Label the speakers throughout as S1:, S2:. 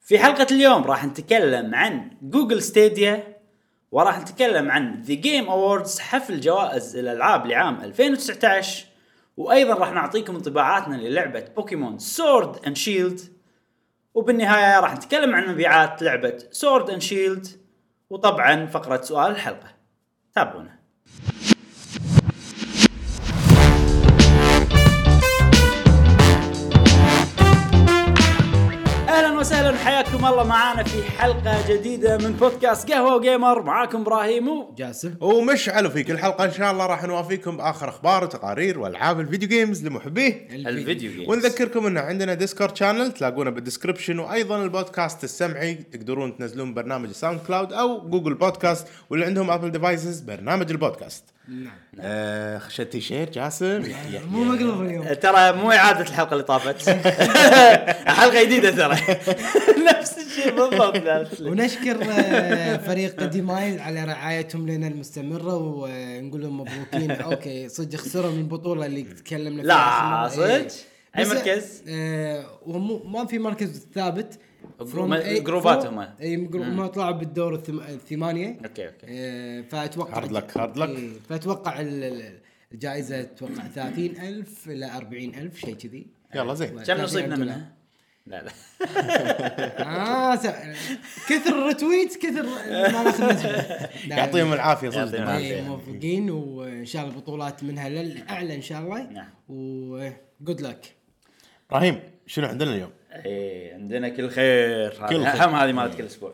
S1: في حلقة اليوم راح نتكلم عن جوجل ستيديا وراح نتكلم عن ذا جيم اووردز حفل جوائز الالعاب لعام 2019 وايضا راح نعطيكم انطباعاتنا للعبة بوكيمون سورد اند شيلد وبالنهاية راح نتكلم عن مبيعات لعبة سورد اند شيلد وطبعا فقرة سؤال الحلقة تابعونا اهلا وسهلا حياكم الله معانا في حلقة جديدة من بودكاست قهوة وجيمر معاكم ابراهيم و-
S2: جاسم
S3: ومشعل في كل حلقه ان شاء الله راح نوافيكم باخر اخبار وتقارير والعاب الفيديو جيمز لمحبيه
S1: الفيديو جيمز
S3: ونذكركم ان عندنا ديسكورد شانل تلاقونه بالديسكربشن وايضا البودكاست السمعي تقدرون تنزلون برنامج ساوند كلاود او جوجل بودكاست واللي عندهم ابل ديفايسز برنامج البودكاست
S2: نعم
S3: آه خشيتي شير جاسم
S2: مو مقلوب اليوم
S1: ترى مو اعادة الحلقة اللي طافت حلقة جديدة ترى نفس الشيء بالضبط نفس الشيء.
S2: ونشكر آه، فريق ديمايز على رعايتهم لنا المستمرة ونقول لهم مبروكين اوكي صدق خسروا من البطولة اللي تكلمنا فيها
S1: لا،
S2: آخر مرة. إيه.
S1: صدق؟ أي
S2: بس،
S1: مركز؟
S2: آه، ومو ما في مركز ثابت
S1: جروما-
S2: From- إيه،
S1: جروبات
S2: from-
S1: هم.
S2: اي من جروب- هم طلعوا بالدور الثم- الثمانية
S1: اوكي اوكي
S2: آه، فاتوقع
S3: Hard luck، hard luck.
S2: إيه، فاتوقع ال- ال- الجائزة اتوقع 30000 الى 40000 شيء كذي
S3: يلا زين
S1: كم نصيبنا منها؟ لا لا
S2: اه س- كثر الرتويت كثر ما ناخذ نسبة. لا،
S3: يعطيهم العافيه
S1: يعطيهم
S3: صدق
S1: العافية.
S2: نعم. إيه، موفقين وان شاء الله البطولات منها للاعلى ان شاء الله
S1: نعم.
S2: وجود لك
S3: ابراهيم شنو عندنا اليوم؟
S1: ايه عندنا كل خير
S3: كل
S1: هذه-
S3: خير. إيه.
S1: هم هذه مالت كل اسبوع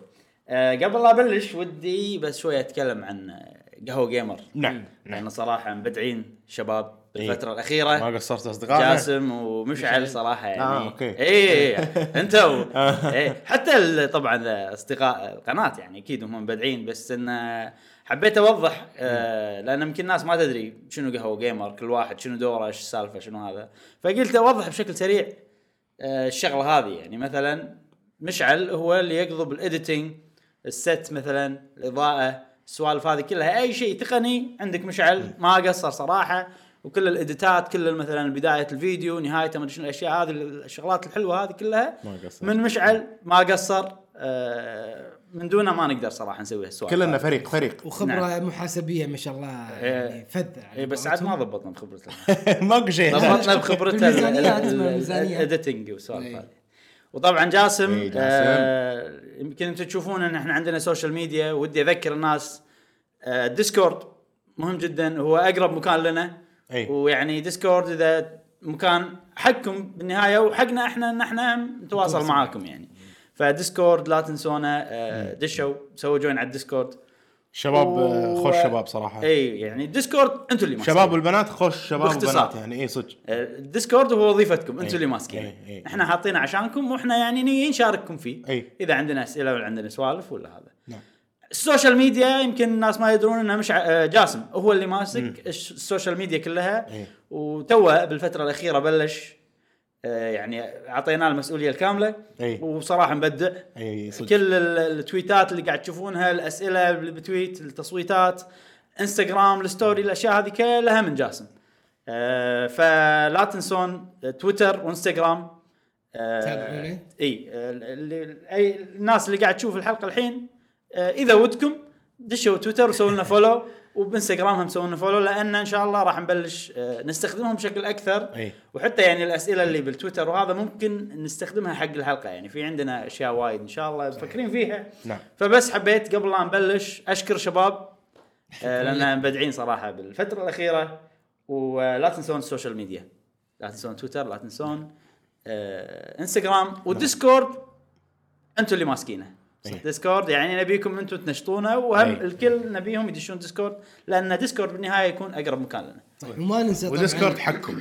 S1: آه، قبل لا ابلش ودي بس شويه اتكلم عن آه، قهوه جيمر
S3: نعم
S1: لان صراحه مبدعين شباب
S3: إيه.
S1: بالفتره
S3: ما
S1: الاخيره
S3: قصرت اصدقائنا
S1: جاسم ومشعل صراحه يعني
S3: آه، أوكي. آه.
S1: اي انتم إيه. حتى ال- طبعا اصدقاء القناه يعني اكيد هم مبدعين بس ان حبيت اوضح آه لان يمكن الناس ما تدري شنو قهوه جيمر كل واحد شنو دوره ايش السالفه شنو هذا فقلت اوضح بشكل سريع آه الشغله هذه يعني مثلا مشعل هو اللي يقضب الاديتنج الست مثلا الاضاءه السوالف هذه كلها اي شيء تقني عندك مشعل ما قصر صراحه وكل الاديتات كل مثلا بدايه الفيديو نهايته ما ادري شنو الاشياء هذه الشغلات الحلوه هذه كلها
S3: ما قصر.
S1: من مشعل ما قصر آه، من دونه ما نقدر صراحه نسوي هالسوالف
S3: كلنا فريق فريق
S2: وخبره محاسبيه ما شاء الله
S1: نعم. إيه.
S2: يعني فذ على
S1: اي بس عاد ما
S3: يعني
S2: قولتهم.
S1: ضبطنا بخبرته
S3: ماكو شيء
S1: ضبطنا بخبرته
S2: بالميزانية، لازم الميزانية.
S1: الاديتنج والسوالف
S2: إيه.
S1: هذه وطبعا جاسم
S3: إيه، جاسم.
S1: آه، يمكن انتم تشوفون ان احنا عندنا سوشيال ميديا ودي اذكر الناس آه، ديسكورد مهم جدا هو اقرب مكان لنا
S3: إيه.
S1: ويعني ديسكورد اذا مكان حقكم بالنهايه وحقنا احنا ان احنا نتواصل معاكم يعني فديسكورد لا تنسونا
S3: إيه.
S1: آه، دشوا سووا جوين على الديسكورد
S3: شباب آه،
S1: و-
S3: خوش شباب صراحه
S1: اي يعني الديسكورد انتم اللي ماسكين.
S3: شباب والبنات خوش شباب
S1: باختصار.
S3: وبنات يعني اي صدق
S1: الديسكورد هو وظيفتكم انتم
S3: إي.
S1: اللي ماسكين
S3: إي. إي.
S1: احنا حاطينه عشانكم واحنا يعني نيجي نشارككم فيه
S3: إي.
S1: اذا عندنا اسئله ولا عندنا سوالف ولا هذا
S3: نعم
S1: السوشيال ميديا يمكن الناس ما يدرون انه مش ع... آه، جاسم هو اللي ماسك الش- السوشيال ميديا كلها
S3: إي.
S1: وتوه بالفتره الاخيره بلش آه، يعني اعطيناه المسؤوليه الكامله
S3: إي.
S1: وصراحه مبدع
S3: اي إيه، صدق
S1: كل ال- التويتات اللي قاعد تشوفونها الاسئله اللي بتويت التصويتات انستغرام الستوري الاشياء هذه كلها من جاسم آه فلا تنسون تويتر وانستغرام
S2: تابعونا.
S1: آه اي آه، اللي اي الناس اللي قاعد تشوف الحلقه الحين آه اذا ودكم دشوا تويتر وسووا لنا فولو وبانستغرام هم سووا لنا فولو لان ان شاء الله راح نبلش آه نستخدمهم بشكل اكثر
S3: إي.
S1: وحتى يعني الاسئله اللي بالتويتر وهذا ممكن نستخدمها حق الحلقه يعني في عندنا اشياء وايد ان شاء الله مفكرين فيها
S3: نعم.
S1: فبس حبيت قبل لا نبلش اشكر شباب آه لان مبدعين صراحه بالفتره الاخيره ولا تنسون السوشيال ميديا لا تنسون تويتر لا تنسون آه انستغرام والديسكورد انتم اللي ماسكينه
S3: إيه.
S1: ديسكورد يعني نبيكم انتم تنشطونه وهم
S3: إيه.
S1: الكل نبيهم يدشون ديسكورد لان ديسكورد بالنهايه يكون اقرب مكان لنا
S2: صح، وما ننسى طبعاً-
S3: وديسكورد حقكم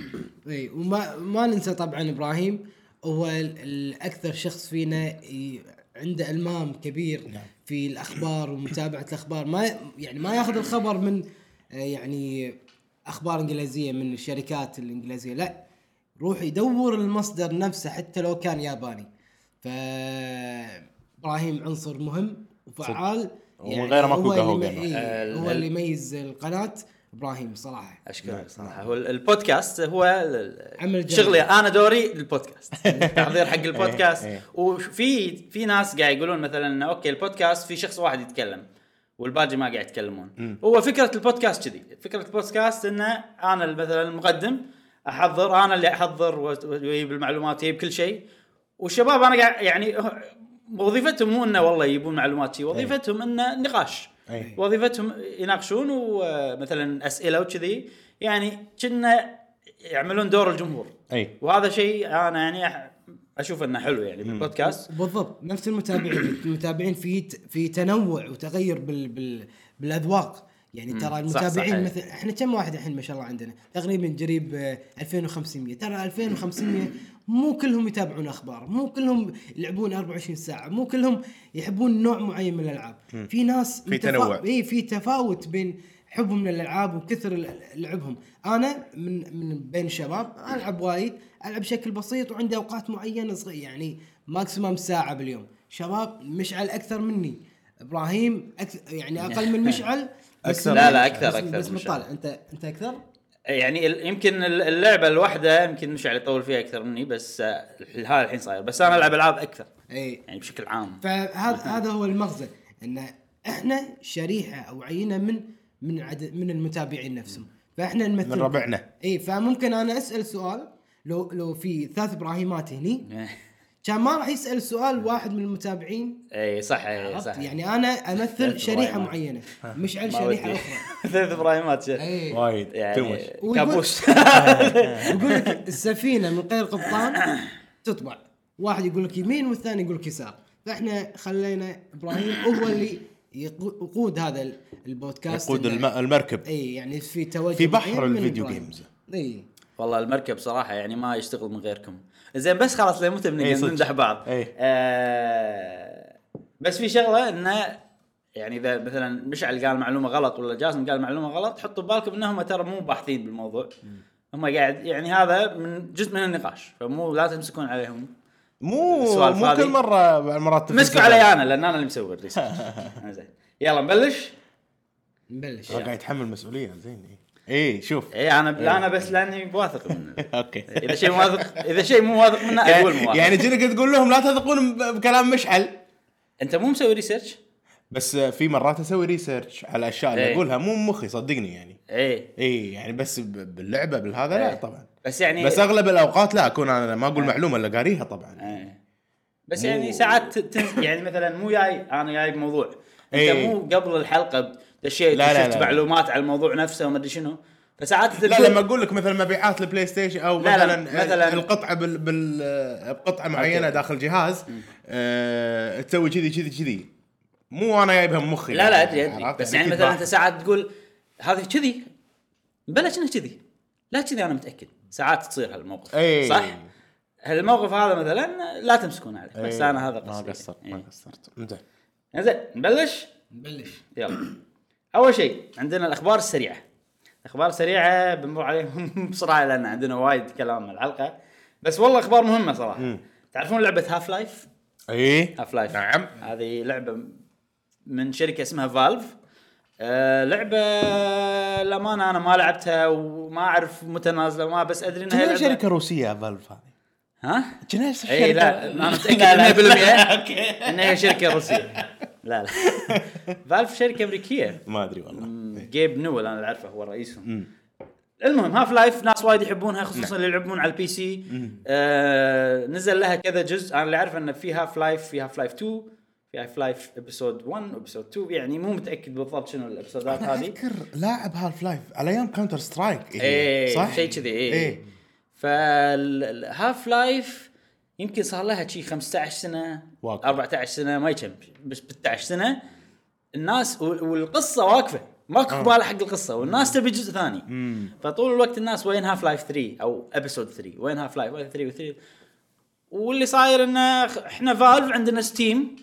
S2: اي وما ما ننسى طبعا ابراهيم هو ال- الاكثر شخص فينا ي- عنده المام
S3: نعم.
S2: كبير في الاخبار ومتابعه الاخبار ما يعني ما ياخذ الخبر من آه، يعني اخبار انجليزيه من الشركات الانجليزيه لا روح يدور المصدر نفسه حتى لو كان ياباني ف ابراهيم عنصر مهم وفعال يعني
S3: ومن غيره ماكو
S2: هو اللي
S3: قهوة
S2: م-
S3: قهوة.
S2: إيه،
S1: ال-
S2: هو
S1: ال-
S2: اللي يميز القناه ابراهيم صراحه
S1: اشكرك صراحه هو البودكاست هو ال-
S2: عمل جميل.
S1: شغلي انا دوري البودكاست تحضير حق البودكاست
S3: إيه، إيه.
S1: وفي في ناس قاعد يقولون مثلا إنه اوكي البودكاست في شخص واحد يتكلم والباقي ما قاعد يتكلمون هو فكره البودكاست كذي فكره البودكاست انه انا مثلا المقدم احضر انا اللي احضر و- واجيب المعلومات واجيب كل شيء والشباب انا قاعد يعني وظيفتهم مو انه والله يجيبون معلومات شي وظيفتهم انه نقاش
S3: إيه.
S1: وظيفتهم يناقشون ومثلا اسئله وكذي يعني كنا يعملون دور الجمهور
S3: اي
S1: وهذا شيء انا يعني أح- اشوف انه حلو يعني بالبودكاست
S2: بالضبط نفس المتابعين المتابعين في ت- في تنوع وتغير بال بال بالاذواق يعني
S1: صح،
S2: ترى
S1: صح،
S2: المتابعين
S1: أي.
S2: مثلا احنا كم واحد الحين ما شاء الله عندنا تقريبا قريب آه، 2500 ترى 2500 مو كلهم يتابعون اخبار مو كلهم يلعبون 24 ساعه مو كلهم يحبون نوع معين من الالعاب في ناس
S3: في تنوع.
S2: اي في تفاوت بين حبهم للالعاب وكثر ال- لعبهم انا من من بين الشباب العب وايد العب بشكل بسيط وعندي اوقات معينه صغيره يعني ماكسيمم ساعه باليوم شباب مشعل اكثر مني ابراهيم أكثر يعني اقل من مشعل بس
S3: أكثر.
S2: من-
S3: لا،
S1: لا، أكثر،
S2: يعني. بس-
S1: أكثر
S2: بس
S1: من مشعل.
S2: مطالع انت انت اكثر
S1: يعني ال- يمكن ال- اللعبه الواحده يمكن مش علي يطول فيها اكثر مني بس آه، هذا الحين صاير بس انا العب العاب اكثر
S2: اي
S1: يعني بشكل عام
S2: فهذا هذا هو المغزى ان احنا شريحه او عينه من من عدد من المتابعين نفسهم فاحنا نمثل
S3: من ربعنا
S2: اي فممكن انا اسال سؤال لو لو في ثلاث ابراهيمات هني كان ما راح يسال سؤال واحد من المتابعين
S1: اي إيه، صح اي
S2: عرفت؟
S1: صح
S2: يعني انا امثل
S1: ثلاث
S2: شريحه
S1: إبراهيمات.
S2: معينه مشعل
S1: ما
S2: شريحه
S1: ودي.
S2: اخرى
S1: ثلاث ابراهيمات
S2: اي
S3: وايد
S1: يعني
S3: يعني
S2: ويقول-
S1: كابوس
S2: يقول لك السفينه من غير قبطان تطبع واحد يقول لك يمين والثاني يقول لك يسار فاحنا خلينا ابراهيم هو اللي يقو- يقود هذا ال- البودكاست
S3: يقود
S2: إنه-
S3: الم- المركب
S2: اي يعني في توجه
S3: في بحر
S2: معين من
S3: الفيديو
S2: إبراهيم.
S3: جيمز.
S2: اي
S1: والله المركب صراحه يعني ما يشتغل من غيركم زين بس خلاص لين متى
S3: إي
S1: بنقدر
S3: إيه، صدق.
S1: نمدح بعض
S3: إي.
S1: آه بس في شغله انه يعني اذا مثلا مشعل قال معلومه غلط ولا جاسم قال معلومه غلط حطوا ببالكم انهم ترى مو باحثين بالموضوع هم قاعد يعني هذا من جزء من النقاش فمو لا تمسكون عليهم
S3: مو
S1: السؤال
S3: مو
S1: فاضي.
S3: كل مره مرات
S1: مسكوا علي انا لان انا اللي مسوي الريسيرش زين يلا نبلش
S2: نبلش
S1: أه.
S3: قاعد يتحمل مسؤوليه زين اي إي، شوف
S1: اي انا
S3: إيه.
S1: لا انا إيه، بس لاني بواثق منه
S3: اوكي
S1: اذا شيء مو واثق اذا شيء مو واثق منه اقول مو واثق
S3: يعني جنك تقول لهم لا تثقون ب- بكلام مشعل
S1: انت مو مسوي ريسيرش؟
S3: بس في مرات اسوي ريسيرش على الاشياء اللي
S1: إيه.
S3: اقولها مو من مخي صدقني يعني
S1: ايه
S3: اي يعني بس ب- باللعبه بالهذا لا
S1: إيه.
S3: طبعا
S1: بس يعني آه.
S3: بس اغلب الاوقات لا اكون انا ما اقول معلومه الا قاريها طبعا
S1: إيه. بس
S3: مو-
S1: يعني ساعات تنزل يعني مثلا مو جاي انا جاي بموضوع انت
S3: إيه.
S1: مو قبل الحلقه دشيت
S3: لا، لا،
S1: شفت
S3: لا.
S1: معلومات على الموضوع نفسه وما ادري شنو فساعات
S3: لا
S1: تدخل-
S3: لما اقول لك مثلا مبيعات البلاي ستيشن او
S1: لا، لا،
S3: مثلا,
S1: مثلاً-
S3: القطعه بال بال بقطعه معينه
S1: أوكي.
S3: داخل جهاز آه تسوي كذي كذي كذي مو انا جايبها من مخي
S1: لا لا
S3: يعني،
S1: ادري ادري
S3: عرفت؟
S1: بس يعني
S3: أكيد
S1: مثلا
S3: بعرف.
S1: انت ساعات تقول هذه كذي بلا انها كذي لا كذي انا متاكد ساعات تصير هالموقف
S3: إيه.
S1: صح؟ هالموقف هذا مثلا لا تمسكون عليه بس
S3: إيه،
S1: انا هذا
S3: ما
S1: قصدي
S3: قصرت ما
S1: إيه.
S3: قصرت انزين
S1: زين نبلش
S2: نبلش
S1: يلا اول شيء عندنا الاخبار السريعه الاخبار السريعه بنمر عليهم بسرعه لان عندنا وايد كلام من الحلقه بس والله اخبار مهمه صراحه
S3: مم.
S1: تعرفون لعبه هاف لايف
S3: اي
S1: هاف لايف
S3: نعم.
S1: هذه لعبه من شركه اسمها فالف آه لعبه للامانه انا ما لعبتها وما اعرف متى نازله وما بس ادري انها
S3: كنا
S1: لعبة-
S3: شركه روسيه فالف هذه
S1: ها
S3: كنا
S1: اي إيه، لا انا متاكد 100% انها شركه روسيه لا لا فالف شركه امريكيه
S3: ما ادري والله
S1: إيه. جيب نول انا اللي اعرفه هو رئيسهم المهم هاف لايف ناس وايد يحبونها خصوصا اللي يلعبون على البي سي آه نزل لها كذا جزء انا اللي اعرفه انه في هاف لايف في هاف لايف 2 في هاف لايف ابيسود 1 ابيسود 2 يعني مو متاكد بالضبط شنو الابيسودات
S3: انا
S1: هذه
S3: اذكر لاعب هالف لايف على ايام كاونتر سترايك
S1: ايه شيء كذي ايه
S3: ايه
S1: فالهاف لايف يمكن صار لها شي 15 سنه
S3: واقفة.
S1: 14 سنه ما يكم بس 16 سنه الناس وال- والقصه واقفه ماكو
S3: آه.
S1: قباله حق القصه والناس تبي جزء ثاني فطول الوقت الناس وين هاف لايف 3 او ابيسود 3 وين هاف لايف 3 و3 واللي صاير انه خ- احنا فالف عندنا ستيم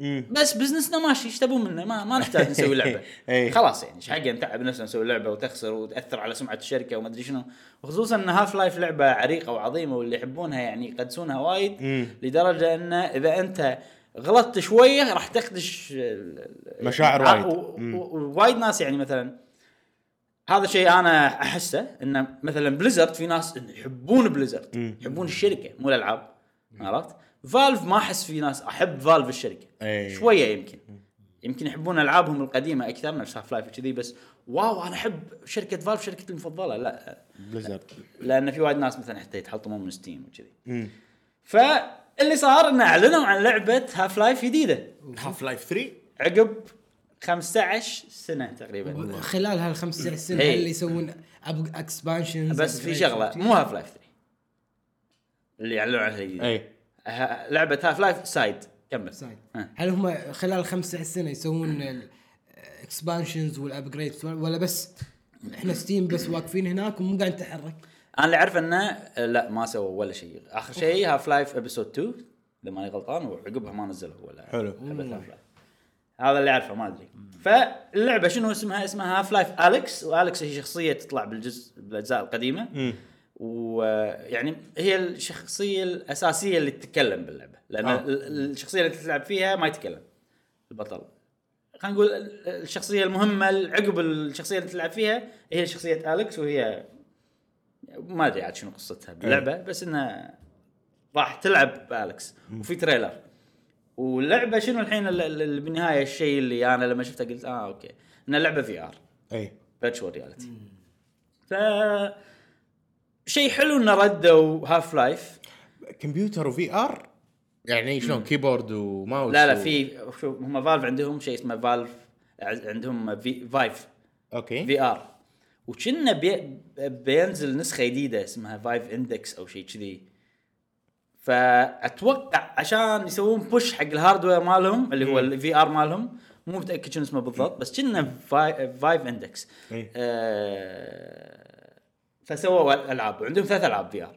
S3: مم.
S1: بس بزنسنا ماشي ايش تبون منا ما, ما نحتاج نسوي لعبه
S3: إيه.
S1: خلاص يعني ايش حقنا نتعب نفسنا نسوي لعبه وتخسر وتاثر على سمعه الشركه وما ادري شنو وخصوصا ان هاف لايف لعبه عريقه وعظيمه واللي يحبونها يعني يقدسونها وايد
S3: مم.
S1: لدرجه ان اذا انت غلطت شويه راح تخدش ال- آه، ال-
S3: مشاعر
S1: ع-
S3: وايد.
S1: و- و- ووايد ناس يعني مثلا هذا شيء انا احسه انه مثلا بليزرد في ناس إن يحبون بليزرد يحبون الشركه مو الالعاب عرفت؟ فالف ما احس في ناس احب فالف الشركه
S3: إي.
S1: شويه يمكن يمكن يحبون العابهم القديمه اكثر نفس هاف لايف كذي بس واو انا احب شركه فالف شركتي المفضله لا
S3: بليزرد
S1: لان في وايد ناس مثلا حتى يتحطمون من ستيم وكذي
S3: مم.
S1: فاللي صار انه اعلنوا عن لعبه هاف لايف جديده
S4: هاف لايف 3
S1: عقب 15 سنه تقريبا
S2: خلال هالخمس ست سنين
S1: إيه.
S2: اللي يسوون اكسبانشنز
S1: بس في شغله مو هاف لايف 3 اللي اعلنوا عنها الجديد
S3: اي
S1: ه- لعبه هاف لايف سايد كمل ها.
S2: هل هم خلال خمس ست سنين يسوون الاكسبانشنز والابجريدز ولا بس احنا ستيم بس واقفين هناك ومو قاعد نتحرك
S1: انا اللي اعرف انه آه، لا ما سووا ولا شيء اخر شيء هاف لايف ابيسود 2 اذا ماني غلطان وعقبها ما نزلوا ولا
S3: حلو.
S1: لعبة Half Life. هذا اللي اعرفه ما ادري فاللعبه شنو اسمها اسمها هاف لايف اليكس واليكس هي شخصيه تطلع بالجزء بالاجزاء القديمه ويعني يعني هي الشخصيه الاساسيه اللي تتكلم باللعبه لان
S3: آه.
S1: آه. الشخصيه اللي تلعب فيها ما يتكلم البطل خلينا نقول ال- الشخصيه المهمه اللي عقب الشخصيه اللي تلعب فيها هي شخصيه اليكس وهي ما ادري عاد شنو قصتها باللعبه بس انها راح تلعب باليكس وفي تريلر واللعبه شنو الحين ال- ال- ال- بالنهايه الشيء اللي انا لما شفتها قلت اه اوكي ان اللعبه في ار
S3: اي
S1: إيه. فيرتشوال رياليتي ف شيء حلو انه ردوا هاف لايف
S3: كمبيوتر وفي ار يعني شلون كيبورد وماوس
S1: لا لا
S3: و-
S1: في شوف هم فالف عندهم شيء اسمه فالف عندهم في فايف
S3: اوكي
S1: في ار وكنا بي بينزل نسخه جديده اسمها فايف اندكس او شيء كذي فاتوقع عشان يسوون بوش حق الهاردوير مالهم اللي هو الفي ار مالهم مو متاكد شنو اسمه بالضبط بس كنا فايف اندكس
S3: إيه.
S1: آه فسووا العاب وعندهم ثلاث العاب في ار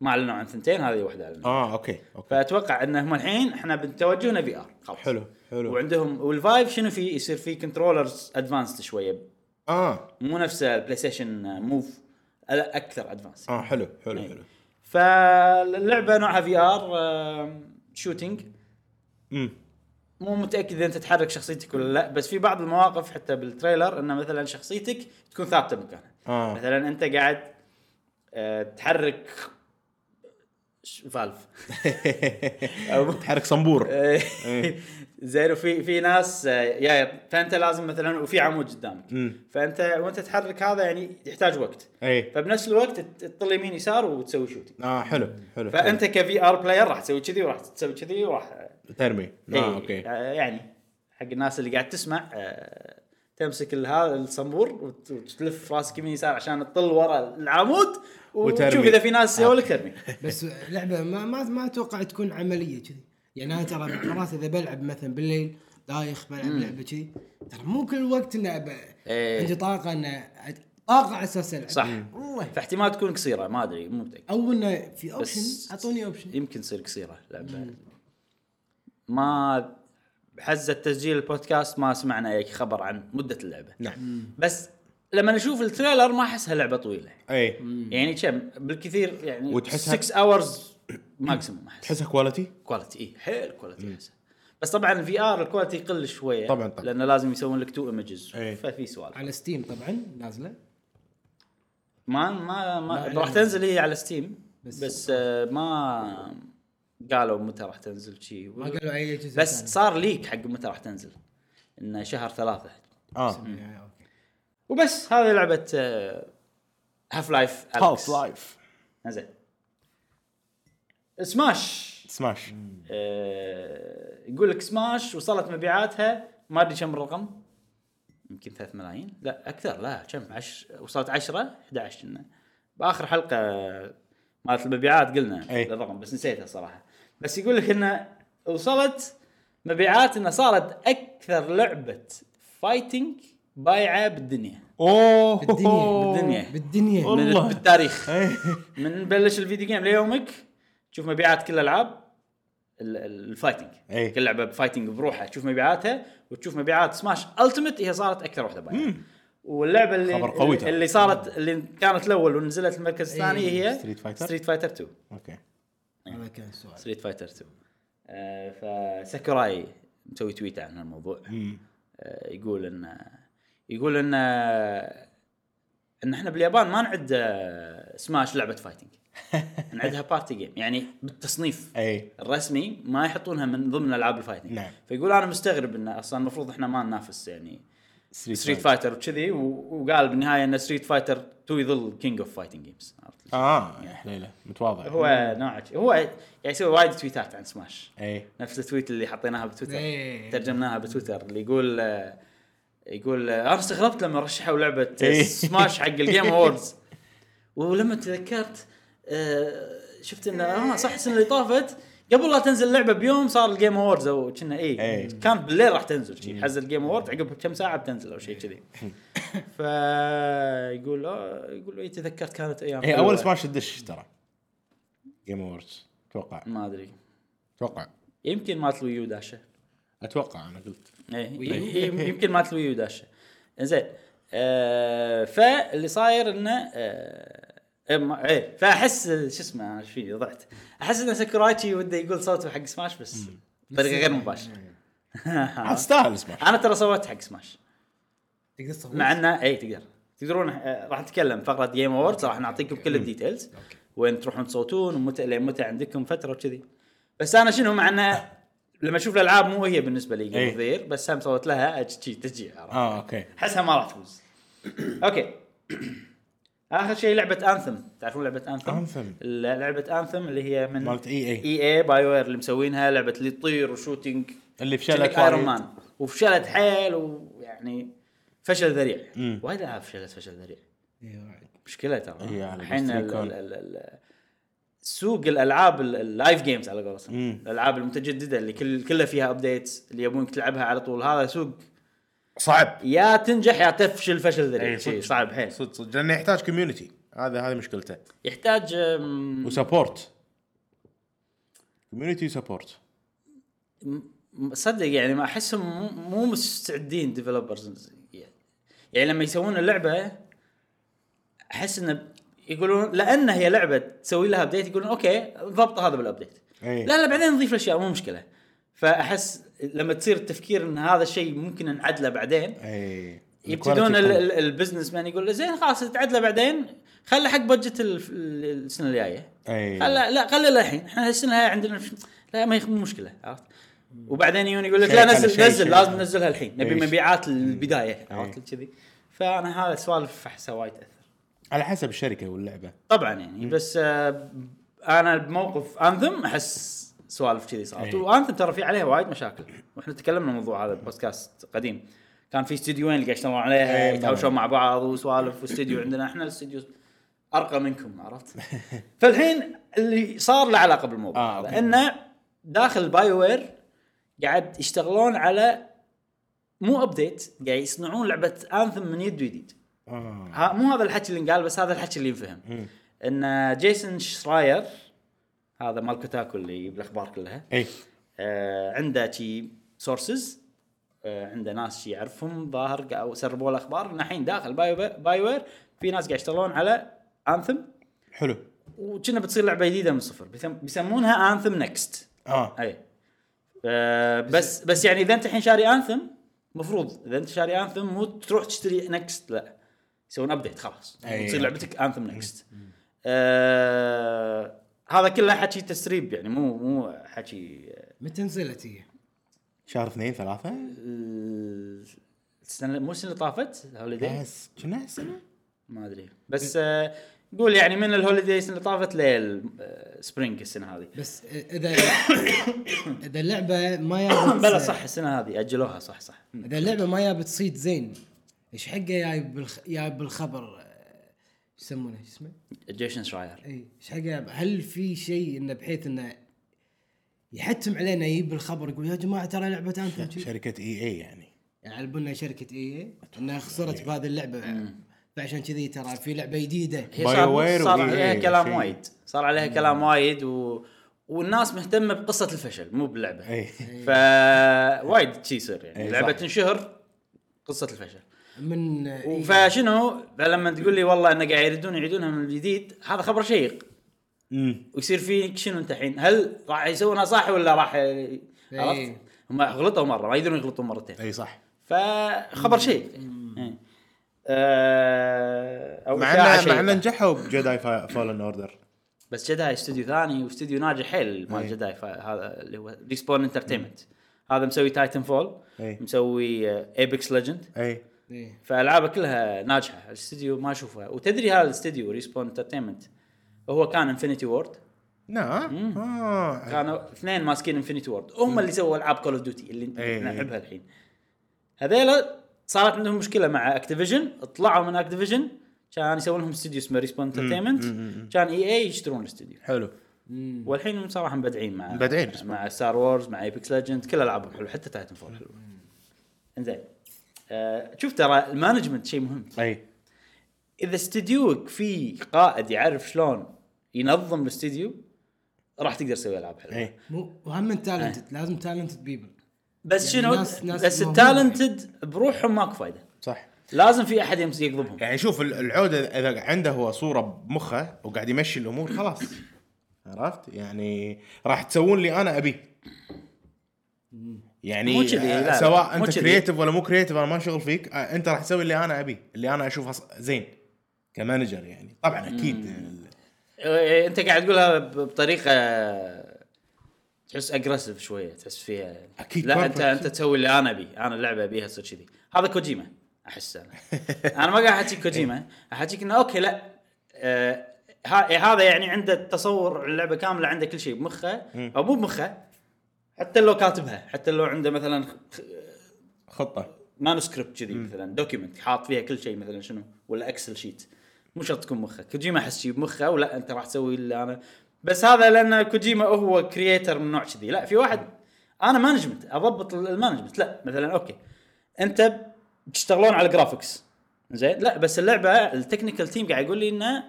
S1: ما اعلنوا عن ثنتين هذه واحده اعلنوا
S3: اه اوكي اوكي
S1: فاتوقع ان هم الحين احنا بتوجهنا في ار خلاص
S3: حلو حلو
S1: وعندهم والفايف شنو فيه يصير فيه كنترولرز ادفانسد شويه
S3: اه
S1: مو نفس البلاي ستيشن موف لا اكثر ادفانس
S3: اه حلو حلو
S1: إي.
S3: حلو
S1: فاللعبه نوعها في ار شوتينج
S3: امم
S1: مو متاكد اذا انت تحرك شخصيتك ولا لا بس في بعض المواقف حتى بالتريلر انه مثلا شخصيتك تكون ثابته مكانها
S3: آه.
S1: مثلا انت قاعد آه، تحرك ش- فالف أو-
S3: تحرك
S1: إيه.
S3: صنبور إيه.
S1: زين وفي في ناس آه، يا فانت لازم مثلا وفي عمود قدامك
S3: مم. إيه.
S1: فانت وانت تحرك هذا يعني يحتاج وقت
S3: اي
S1: فبنفس الوقت ت- تطل يمين يسار وتسوي شوتي
S3: اه حلو حلو
S1: فانت كفي ار بلاير راح تسوي كذي وراح تسوي كذي وراح
S3: حلو. ترمي اه
S1: إيه،
S3: اوكي
S1: آه، يعني حق الناس اللي قاعد تسمع آه، تمسك هذا الصنبور وت- وتلف راسك يمين يسار عشان تطل ورا العمود وتشوف
S3: وترمي.
S1: اذا في ناس سووا لك ترمي
S2: بس لعبه ما ما, ما اتوقع تكون عمليه كذي يعني انا ترى مرات اذا بلعب مثلا بالليل دايخ بلعب لعبه كذي ترى مو كل وقت انه أب-
S1: إيه.
S2: عندي طاقه انه أت- طاقه على اساس العب
S1: صح
S2: والله
S1: فاحتمال تكون قصيره ما ادري مو متاكد
S2: او انه في
S1: بس- إيه.
S2: اوبشن اعطوني اوبشن
S1: يمكن تصير قصيره لعبه ما حزة تسجيل البودكاست ما سمعنا اي خبر عن مده اللعبه
S3: نعم
S1: بس لما نشوف التريلر ما احسها لعبه طويله
S3: اي
S1: يعني كم بالكثير يعني
S3: وتحسها-
S1: 6 اورز ماكسيموم احس
S3: تحسها كواليتي؟
S1: كواليتي اي إيه، حيل كواليتي احسها بس طبعا الفي ار الكواليتي يقل شويه
S3: طبعاً طبعاً.
S1: لانه لازم يسوون لك تو ايمجز
S3: إيه.
S1: ففي سوالف
S2: على ستيم طبعا نازله
S1: ما ما, ما
S2: ما
S1: راح تنزل هي على ستيم
S2: بس-
S1: بس, بس آه، ما قالوا متى راح تنزل شي
S2: ما قالوا اي جزء
S1: بس صار ليك حق متى راح تنزل انه شهر ثلاثة
S3: اه
S2: ثاني. آه، أوكي.
S1: وبس هذه لعبة آه، هاف لايف
S3: هاوس لايف
S1: زين سماش
S3: سماش
S1: آه، يقول لك سماش وصلت مبيعاتها ما ادري كم الرقم يمكن 3 ملايين لا اكثر لا كم عش... وصلت 10 11 كنا باخر حلقه مالت المبيعات قلنا
S3: أي.
S1: الرقم بس نسيته صراحه بس يقول لك انه وصلت مبيعات انها صارت اكثر لعبه فايتنج بايعه بالدنيا
S3: اوه
S2: بالدنيا،
S1: بالدنيا.
S2: بالدنيا
S1: من
S3: والله.
S1: بالتاريخ
S3: إي.
S1: من بلش الفيديو جيم ليومك تشوف مبيعات كل الالعاب ال- ال- الفايتنج
S3: أي.
S1: كل لعبه بفايتنج بروحها تشوف مبيعاتها وتشوف مبيعات سماش التيمت هي صارت اكثر واحده بايعه واللعبه اللي
S3: خبر قوي ترى. إيه.
S1: اللي صارت اللي كانت الاول ونزلت المركز الثاني
S2: أي.
S1: هي
S3: Street Fighter؟
S1: ستريت فايتر 2
S3: اوكي
S2: هذا كان السؤال
S1: ستريت فايتر 2 آه، فساكوراي مسوي تويت عن الموضوع
S3: مم.
S1: آه، يقول ان يقول ان ان احنا باليابان ما نعد آه، سماش لعبه فايتنج نعدها بارتي جيم يعني بالتصنيف
S3: اي
S1: الرسمي ما يحطونها من ضمن العاب الفايتنج
S3: نعم.
S1: فيقول انا مستغرب انه اصلا المفروض احنا ما ننافس يعني ستريت
S3: فايت.
S1: فايتر وكذي و- وقال بالنهايه ان ستريت فايتر 2 يظل كينج اوف فايتنج جيمز
S3: اه يا حليله متواضع
S1: هو نوعه شي- هو يعني يسوي وايد تويتات عن سماش
S3: اي
S1: نفس التويت اللي حطيناها بتويتر
S2: إيه.
S1: ترجمناها بتويتر اللي يقول آه، يقول آه، انا استغربت لما رشحوا لعبه آه،
S3: إيه.
S1: سماش حق الجيم اووردز ولما تذكرت آه، شفت انه اه صح السنه اللي طافت قبل لا تنزل اللعبه بيوم صار الجيم اووردز او كنا اي
S3: إيه.
S1: كان بالليل راح تنزل شي حز الجيم اوورد عقب كم ساعه بتنزل او شيء كذي فيقول اه يقول اي تذكرت كانت ايام
S3: هي
S1: حلوة.
S3: اول سماش تدش ترى جيم اووردز اتوقع
S1: ما ادري
S3: اتوقع
S1: يمكن مالت الويو داشه
S3: اتوقع انا قلت
S1: ايه يم- يمكن ما تلوي وداشه زين آه فاللي صاير انه آه إيه، ما- ايه فاحس شو اسمه أنا ايش فيني ضعت احس ان ساكورايتشي وده يقول صوته حق سماش بس بطريقه غير مباشره آه.
S3: عاد تستاهل سماش
S1: انا ترى صوت حق سماش
S2: تقدر تصور
S1: مع انه اي تقدر تقدرون آه، راح نتكلم فقره جيم اووردز راح نعطيكم كل الديتيلز وين تروحون تصوتون ومتى لين متى عندكم فتره وكذي بس انا شنو مع انه لما اشوف الالعاب مو هي بالنسبه لي
S3: إيه.
S1: جيم بس هم صوت لها أج- شي تجي عرفت؟
S3: اه اوكي
S1: احسها ما راح تفوز اوكي اخر شيء لعبه انثم تعرفون لعبه انثم
S3: Anthem.
S1: لعبه انثم اللي هي من
S3: مالت EA.
S1: اي اي باي وير اللي مسوينها لعبه اللي تطير وشوتينج
S3: اللي فشلت
S1: شلت ايرون
S3: وايد.
S1: مان وفشلت حيل ويعني فشل ذريع
S3: مم.
S1: وايد العاب فشلت فشل ذريع
S2: إيه، وايد.
S1: مشكله ترى
S3: إي، على
S1: الحين ال-
S3: بلاستيكون.
S1: ال- ال- ال- سوق الالعاب ال- اللايف جيمز على قولتهم
S3: مم.
S1: الالعاب المتجدده اللي كل كلها فيها ابديتس اللي يبونك تلعبها على طول هذا سوق
S3: صعب
S1: يا تنجح يا تفشل فشل ذريع شيء
S3: إي، صدق.
S1: إيه، صعب حيل
S3: صدق صدق لانه يحتاج كوميونتي هذا هذه مشكلته
S1: يحتاج أم،
S3: وسبورت كوميونتي سبورت
S1: م- صدق يعني ما احسهم مو- مو مستعدين ديفلوبرز يعني لما يسوون اللعبه احس انه يقولون لان هي لعبه تسوي لها ابديت يقولون اوكي ضبط هذا بالابديت
S3: إي.
S1: لا لا بعدين نضيف الاشياء مو مشكله فاحس لما تصير التفكير ان هذا الشيء ممكن نعدله بعدين
S3: اي
S1: يبتدون ال- ال- البزنس مان يقول زين خلاص تعدله بعدين خله حق بجت ال- ال- السنه الجايه
S3: اي
S1: خلا لا خلي الحين احنا السنه هاي عندنا مش- لا ما يخ- مو مشكله عرفت وبعدين يجون يقول لك
S3: شيء
S1: لا
S3: على
S1: نزل
S3: شيء،
S1: نزل
S3: شيء.
S1: لازم ننزلها الحين نبي
S3: إيش.
S1: مبيعات البدايه عرفت
S3: إيه.
S1: كذي فانا هذا السوالف احسها وايد تاثر
S3: على حسب الشركه واللعبه
S1: طبعا يعني بس آه، انا بموقف انثم احس سوالف كذي صارت
S3: إيه.
S1: وانثم ترى في عليها وايد مشاكل واحنا تكلمنا عن الموضوع هذا بودكاست قديم كان في استديوين اللي قاعد يشتغلون عليها
S3: إيه،
S1: يتهاوشون
S3: طبعاً.
S1: مع بعض وسوالف واستديو عندنا احنا الاستديو ارقى منكم عرفت؟ فالحين اللي صار له علاقه بالموضوع
S3: آه، أوكي.
S1: لانه داخل باي وير قاعد يشتغلون على مو ابديت قاعد يصنعون لعبه انثم من يد ويديد
S3: اه
S1: ها مو هذا الحكي اللي انقال بس هذا الحكي اللي ينفهم ان جيسون شراير هذا مال كوتاكو اللي يجيب الاخبار كلها
S3: اي
S1: آه عنده شي سورسز آه عنده ناس شي يعرفهم ظاهر قا- او سربوا الاخبار ان الحين داخل باي باي وير في ناس قاعد يشتغلون على انثم
S3: حلو
S1: وكنا بتصير لعبه جديده من الصفر بيسم- بيسمونها انثم نكست
S3: اه
S1: اي آه بس بس يعني اذا انت الحين شاري انثم مفروض اذا انت شاري انثم مو تروح تشتري نكست لا يسوون ابديت خلاص
S3: أي.
S1: تصير لعبتك انثم نكست آه هذا كله حكي تسريب يعني مو مو حكي
S2: متى نزلت هي؟
S3: شهر اثنين ثلاثه
S1: آه، السنه مو السنه اللي طافت الهوليدي
S3: بس كنا هالسنه
S1: ما ادري بس آه قول يعني من الهوليدي السنه اللي طافت للسبرينج السنه هذه
S2: بس اذا اذا اللعبه ما جابت
S3: آه.
S1: بلا صح السنه هذه اجلوها صح صح
S2: اذا اللعبه ما جابت صيد زين ايش حقه جايب بالخ... جايب بالخبر آه، شو يسمونه شو اسمه؟ إيه،
S1: جيشن شراير
S2: اي ايش حقه جايب؟ هل في شيء انه بحيث انه يحتم علينا يجيب الخبر يقول يا جماعه ترى لعبه انثم
S3: شركه اي اي يعني
S2: يعلبونا شركه اي انها إيه، خسرت بهذه اللعبه فعشان كذي ترى في لعبه جديده
S1: هي
S3: باي
S1: صار,
S3: وير
S1: صار
S3: وإي
S1: عليها
S3: إي
S1: كلام
S3: شيء.
S1: وايد صار عليها كلام وايد و... والناس مهتمه بقصه الفشل مو باللعبه
S3: اي
S1: فا وايد شي يصير يعني
S3: إي،
S1: اللعبه
S3: إيه. صح.
S1: تنشهر قصه الفشل
S2: من إيه.
S1: فشنو فلما تقول لي والله انه قاعد يردون يعيدونها من جديد هذا خبر شيق
S3: امم
S1: ويصير فيك شنو انت الحين هل راح يسوونها صح ولا راح عرفت؟
S3: إيه.
S1: هم غلطوا مره ما يقدرون يغلطون مرتين
S3: اي صح
S1: فخبر شيء إيه. آه، او
S3: مع
S1: إشاعة
S3: انه مع انه
S1: شيقة.
S3: نجحوا بجداي فولن اوردر
S1: بس جداي استوديو ثاني واستوديو ناجح حيل
S3: إيه.
S1: مال جداي فا- هذا اللي هو ريسبون انترتينمنت هذا مسوي تايتن فول
S3: إيه.
S1: مسوي آه، ايبكس ليجند
S3: اي
S2: إيه.
S1: فالعابه كلها ناجحه الاستوديو ما اشوفها وتدري هذا الاستوديو ريسبون انترتينمنت هو كان انفنتي وورد
S3: إيه. نا نعم. آه.
S1: كانوا اثنين ماسكين انفنتي وورد هم اللي سووا العاب كول اوف ديوتي اللي
S3: إيه.
S1: نلعبها الحين هذيلا صارت عندهم مشكله مع اكتيفيجن طلعوا من اكتيفيجن كان يسوون لهم استوديو اسمه ريسبون انترتينمنت كان اي اي يشترون الاستوديو
S3: حلو
S1: والحين صراحه مبدعين مع
S3: مبدعين.
S1: مع ستار وورز مع ايبكس ليجند كل العابهم حلوه حتى تايتن فول حلوه انزين آه شوف ترى المانجمنت شيء مهم
S3: اي
S1: اذا استديوك فيه قائد يعرف شلون ينظم الاستديو راح تقدر تسوي العاب حلوه
S3: اي
S2: مو وهم تالنتد لازم تالنتد بيبل
S1: بس
S2: يعني
S1: شنو
S2: ناس- ناس
S1: بس
S2: موهوبة.
S1: التالنتد بروحهم ماكو فايده
S3: صح
S1: لازم في احد يمس يقضبهم
S3: يعني شوف ال- العوده اذا عنده هو صوره بمخه وقاعد يمشي الامور خلاص عرفت يعني راح تسوون لي انا ابي
S1: مو
S3: يعني
S1: كذي، لا، لا.
S3: آه، سواء
S1: مو
S3: انت
S1: كذي.
S3: كرييتيف ولا مو كرييتيف انا ما شغل فيك آه، انت راح تسوي اللي انا ابي اللي انا اشوفه ص- زين كمانجر يعني طبعا اكيد
S1: إيه، انت قاعد تقولها ب- بطريقه تحس اجريسيف شويه تحس فيها
S3: أكيد،
S1: لا
S3: perfect.
S1: انت انت تسوي اللي انا ابي انا اللعبه ابيها تصير كذي هذا كوجيما احس انا انا ما قاعد احكيك كوجيما احكيك انه اوكي لا آه ها- إيه، هذا يعني عنده تصور اللعبه كامله عنده كل شيء بمخه او مو بمخه حتى لو كاتبها حتى لو عنده مثلا خ-
S3: خطه
S1: مانوسكريبت كذي مثلا دوكيمنت حاط فيها كل شيء مثلا شنو ولا اكسل شيت مو شرط تكون مخك كوجيما احس شيء بمخه ولا انت راح تسوي اللي انا بس هذا لان كوجيما هو كرييتر من نوع كذي لا في واحد انا مانجمنت اضبط المانجمنت لا مثلا اوكي انت تشتغلون على الجرافكس زين لا بس اللعبه التكنيكال تيم قاعد يقول لي انه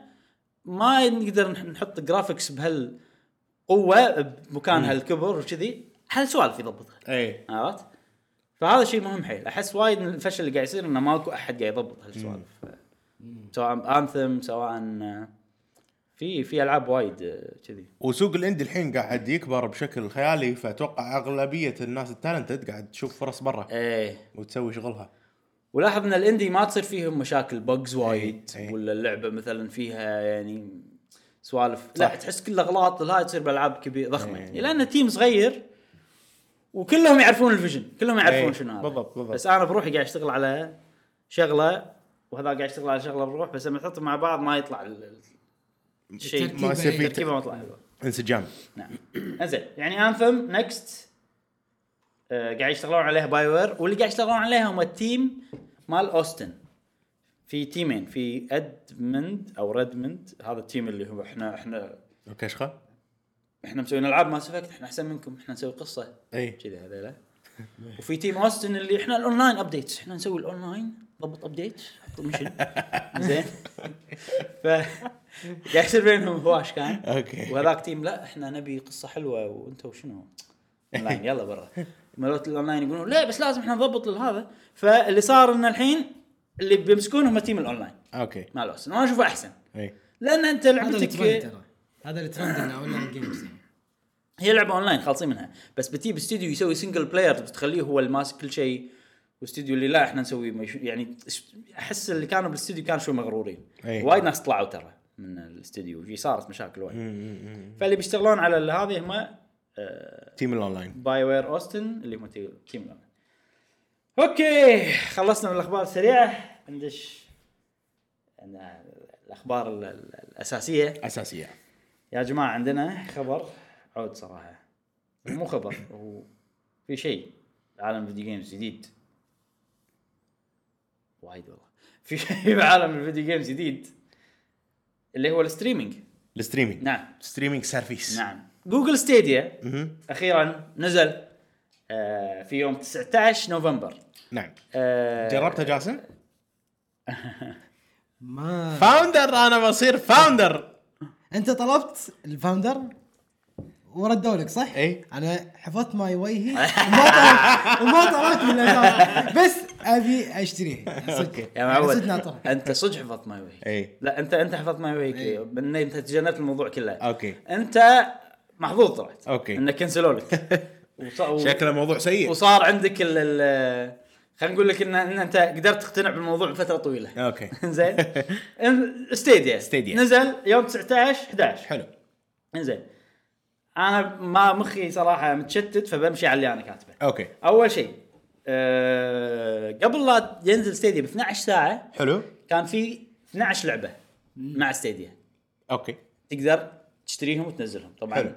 S1: ما نقدر نح- نحط جرافكس بهالقوه بمكان هالكبر وكذي هالسوالف يضبطها
S3: اي
S1: عرفت؟ فهذا شيء مهم حيل احس وايد من الفشل اللي قاعد يصير انه ماكو احد قاعد يضبط هالسوالف سواء انثم سواء آه، في في العاب وايد آه، كذي
S3: وسوق الاندي الحين قاعد يكبر بشكل خيالي فاتوقع اغلبيه الناس التالنتد قاعد تشوف فرص برا
S1: ايه
S3: وتسوي شغلها
S1: ولاحظ ان الاندي ما تصير فيهم مشاكل بجز وايد
S3: إيه.
S1: ولا اللعبه مثلا فيها يعني سوالف لا تحس كل اغلاط هاي تصير بالعاب كبيره
S3: إيه،
S1: ضخمه يعني لان تيم صغير وكلهم يعرفون الفيجن كلهم يعرفون
S3: إيه.
S1: شنو هذا
S3: بالضبط- بالضبط.
S1: بس انا بروحي قاعد اشتغل على شغله وهذا قاعد يشتغل على شغله بروح بس لما تحطهم مع بعض ما يطلع ال- ال- الشيء
S2: التركيبة
S3: ما يصير في
S1: تركيبه ما تطلع حلوه
S3: انسجام
S1: نعم انزين يعني انثم نكست آه قاعد يشتغلون عليها باي وير واللي قاعد يشتغلون عليها هم التيم مال اوستن في تيمين في ادمند او ريدمند هذا التيم اللي هو احنا احنا
S3: الكشخه
S1: احنا مسويين العاب ماس افكت احنا احسن منكم احنا نسوي قصه
S3: اي
S1: كذي هذيلا وفي تيم اوستن اللي احنا الاونلاين ابديتس احنا نسوي الاونلاين ضبط ابديت حط مشن زين ف قاعد يصير بينهم هواش كان
S3: أوكي.
S1: وهذاك تيم لا احنا نبي قصه حلوه وانتم شنو اونلاين يلا برا مالوت الاونلاين يقولون لا بس لازم احنا نضبط هذا فاللي صار ان الحين اللي بيمسكون هم تيم الاونلاين
S3: اوكي
S1: مال اوستن وانا اشوفه احسن
S3: اي
S1: لان انت
S2: هذا اللي
S1: لعبتك
S2: ترند ترى هذا اللي ترند انه اونلاين جيمز يعني.
S1: هي لعبه اونلاين خالصين منها بس بتجيب استوديو يسوي سنجل بلاير تخليه هو الماسك كل شيء واستوديو اللي لا احنا نسوي ما يش- يعني اس- احس اللي كانوا بالاستوديو كانوا شوي مغرورين
S3: أي.
S1: وايد ناس طلعوا ترى من الاستوديو في صارت مشاكل وايد فاللي بيشتغلون على ال- هذه هم
S3: تيم الاونلاين
S1: باي وير اوستن اللي هم تي- تيم لون. اوكي خلصنا من الاخبار السريعه ندش عندنا الاخبار ال- ال- الاساسيه
S3: اساسيه
S1: يا جماعة عندنا خبر عود صراحة مو خبر هو في شيء عالم الفيديو جيمز جديد وايد والله في شيء بعالم الفيديو جيمز جديد اللي هو الستريمينج
S3: الستريمينج
S1: نعم
S3: ستريمينج سيرفيس
S1: نعم جوجل ستيديا
S3: مهم.
S1: اخيرا نزل آه، في يوم 19 نوفمبر
S3: نعم
S1: آه،
S3: جربتها جاسم؟
S2: ما
S3: فاوندر انا بصير فاوندر
S2: انت طلبت الفاوندر وردوا لك صح؟
S3: إي.
S2: انا حفظت ماي وجهي وما طلبت وما طلبت من الأجانب. بس ابي اشتريها اوكي
S1: يا
S3: يعني
S1: معود انت صدق حفظت ماي وي
S3: إي.
S1: لا انت انت حفظت ماي وي من انت تجنبت الموضوع كله
S3: إيه. أوكي.
S1: انت محظوظ طلعت
S3: أوكي.
S1: انك كنسلوا لك وص- و-
S3: شكله موضوع سيء
S1: وصار عندك ال ال خلينا نقول لك ان ان انت قدرت تقتنع بالموضوع بفتره طويله
S3: اوكي
S1: زين ستيديا
S3: Stadia.
S1: نزل يوم 19 11
S3: حلو
S1: انزين انا ما مخي صراحه متشتت فبمشي على اللي انا كاتبه
S3: اوكي
S1: اول شيء أه قبل لا ينزل ستيديا ب 12 ساعه
S3: حلو
S1: كان في 12 لعبه مع ستيديا
S3: اوكي
S1: تقدر تشتريهم وتنزلهم طبعا
S3: حلو.
S1: حلو.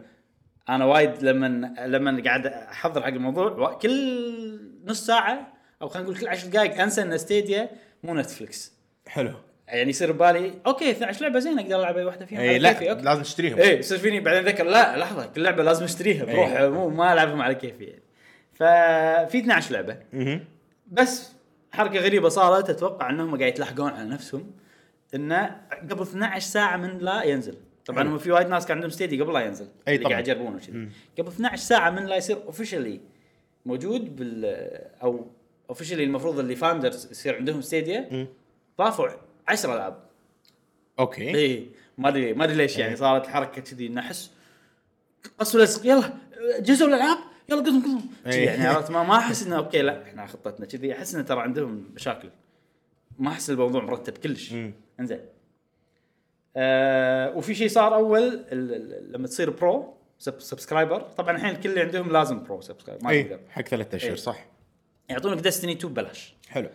S1: انا وايد لما لما قاعد احضر حق الموضوع وا- كل نص ساعه او خلينا نقول كل 10 دقائق انسى ان ستيديا مو نتفلكس
S3: حلو
S1: يعني يصير ببالي اوكي 12 لعبه زين اقدر العب اي واحده فيهم
S3: اي
S1: على
S3: إيه، لا
S1: كيفي، أوكي.
S3: لازم تشتريهم
S1: ايه يصير فيني بعدين ذكر لا لحظه كل لعبه لازم اشتريها
S3: إيه.
S1: بروح مو ما العبهم على كيفي يعني. ففي 12 لعبه
S3: مهم.
S1: بس حركه غريبه صارت اتوقع انهم قاعد يتلحقون على نفسهم انه قبل 12 ساعه من لا ينزل طبعا
S3: حلو.
S1: هم في وايد ناس كان عندهم ستيدي قبل لا ينزل
S3: أي
S1: اللي
S3: طبعاً.
S1: قاعد يجربونه كذي قبل 12 ساعه من لا يصير اوفشلي موجود بال او اوفشلي المفروض اللي فاوندرز يصير عندهم ستيديا ضافوا 10 العاب
S3: اوكي
S1: اي إيه. ما ادري ما ادري ليش
S3: إيه.
S1: يعني صارت الحركه كذي انه احس قصوا لزق يلا جزوا الالعاب يلا قصهم قصهم كذي
S3: إيه.
S1: يعني عرفت ما ما احس انه اوكي لا احنا خطتنا كذي احس انه ترى عندهم مشاكل ما احس الموضوع مرتب كلش
S3: مم.
S1: انزين آه وفي شيء صار اول ال- ال- لما تصير برو سب- سبسكرايبر طبعا الحين الكل اللي عندهم لازم برو سبسكرايبر ما تقدر
S3: اي حق ثلاثة اشهر
S1: إيه.
S3: صح
S1: يعطونك ديستني 2 ببلاش
S3: حلو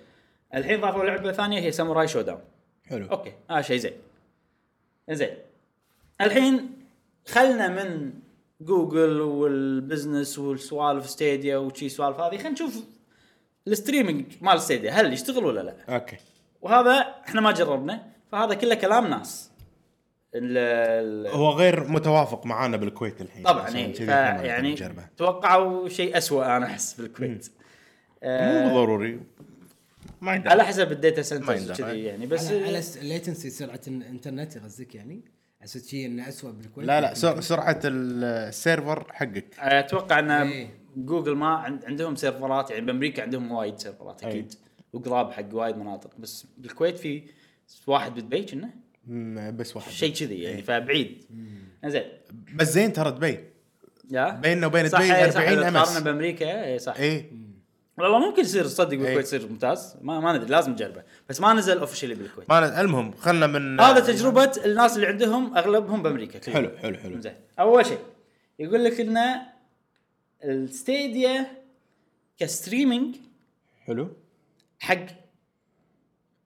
S1: الحين ضافوا لعبه ثانيه هي ساموراي شو داون
S3: حلو
S1: اوكي هذا آه شيء زين زين الحين خلنا من جوجل والبزنس والسوالف ستيديا وشي سوالف هذه خلينا نشوف الستريمنج مال ستيديا هل يشتغل ولا لا
S3: اوكي
S1: وهذا احنا ما جربنا فهذا كله كلام ناس ال- ال-
S3: هو غير متوافق معانا بالكويت الحين
S1: طبعا
S3: عشان
S1: إيه.
S3: كذي إحنا ما
S1: فيعني
S3: نقدر نجربه.
S1: توقعوا شيء أسوأ انا احس بالكويت آه
S3: مو ضروري ما يندرى.
S1: على حسب الداتا
S3: ما يندرى.
S1: سنترز كذي يعني
S2: بس
S1: بس
S2: على, على الليتنسي سرعه الانترنت قصدك يعني اساس شيء انه اسوء بالكويت
S3: لا لا سر-
S2: سرعه
S3: سرعه السيرفر حقك
S1: اتوقع ان
S2: إيه.
S1: جوجل ما عند عندهم سيرفرات يعني بامريكا عندهم وايد سيرفرات
S3: إيه.
S1: اكيد وقراب حق وايد مناطق بس بالكويت في واحد بدبي كنا
S3: مم، بس واحد
S1: شيء كذي
S3: إيه.
S1: يعني فبعيد زين
S3: بس زين ترى دبي
S1: يا
S3: بيننا وبين
S1: صح
S3: دبي
S1: إيه، صح،
S3: 40
S1: إذا
S3: أمس.
S1: قارنا بامريكا إيه، صح
S3: اي
S1: والله ممكن يصير صدق
S3: إيه.
S1: بالكويت يصير ممتاز ما, ما ندري لازم نجربه بس ما نزل اوفشلي بالكويت
S3: ما ن- المهم خلنا من
S1: هذا تجربه الناس اللي عندهم اغلبهم بامريكا كلهم.
S3: حلو حلو حلو
S1: زين اول شيء يقول لك ان الستيديا كستريمينج
S3: حلو
S1: حق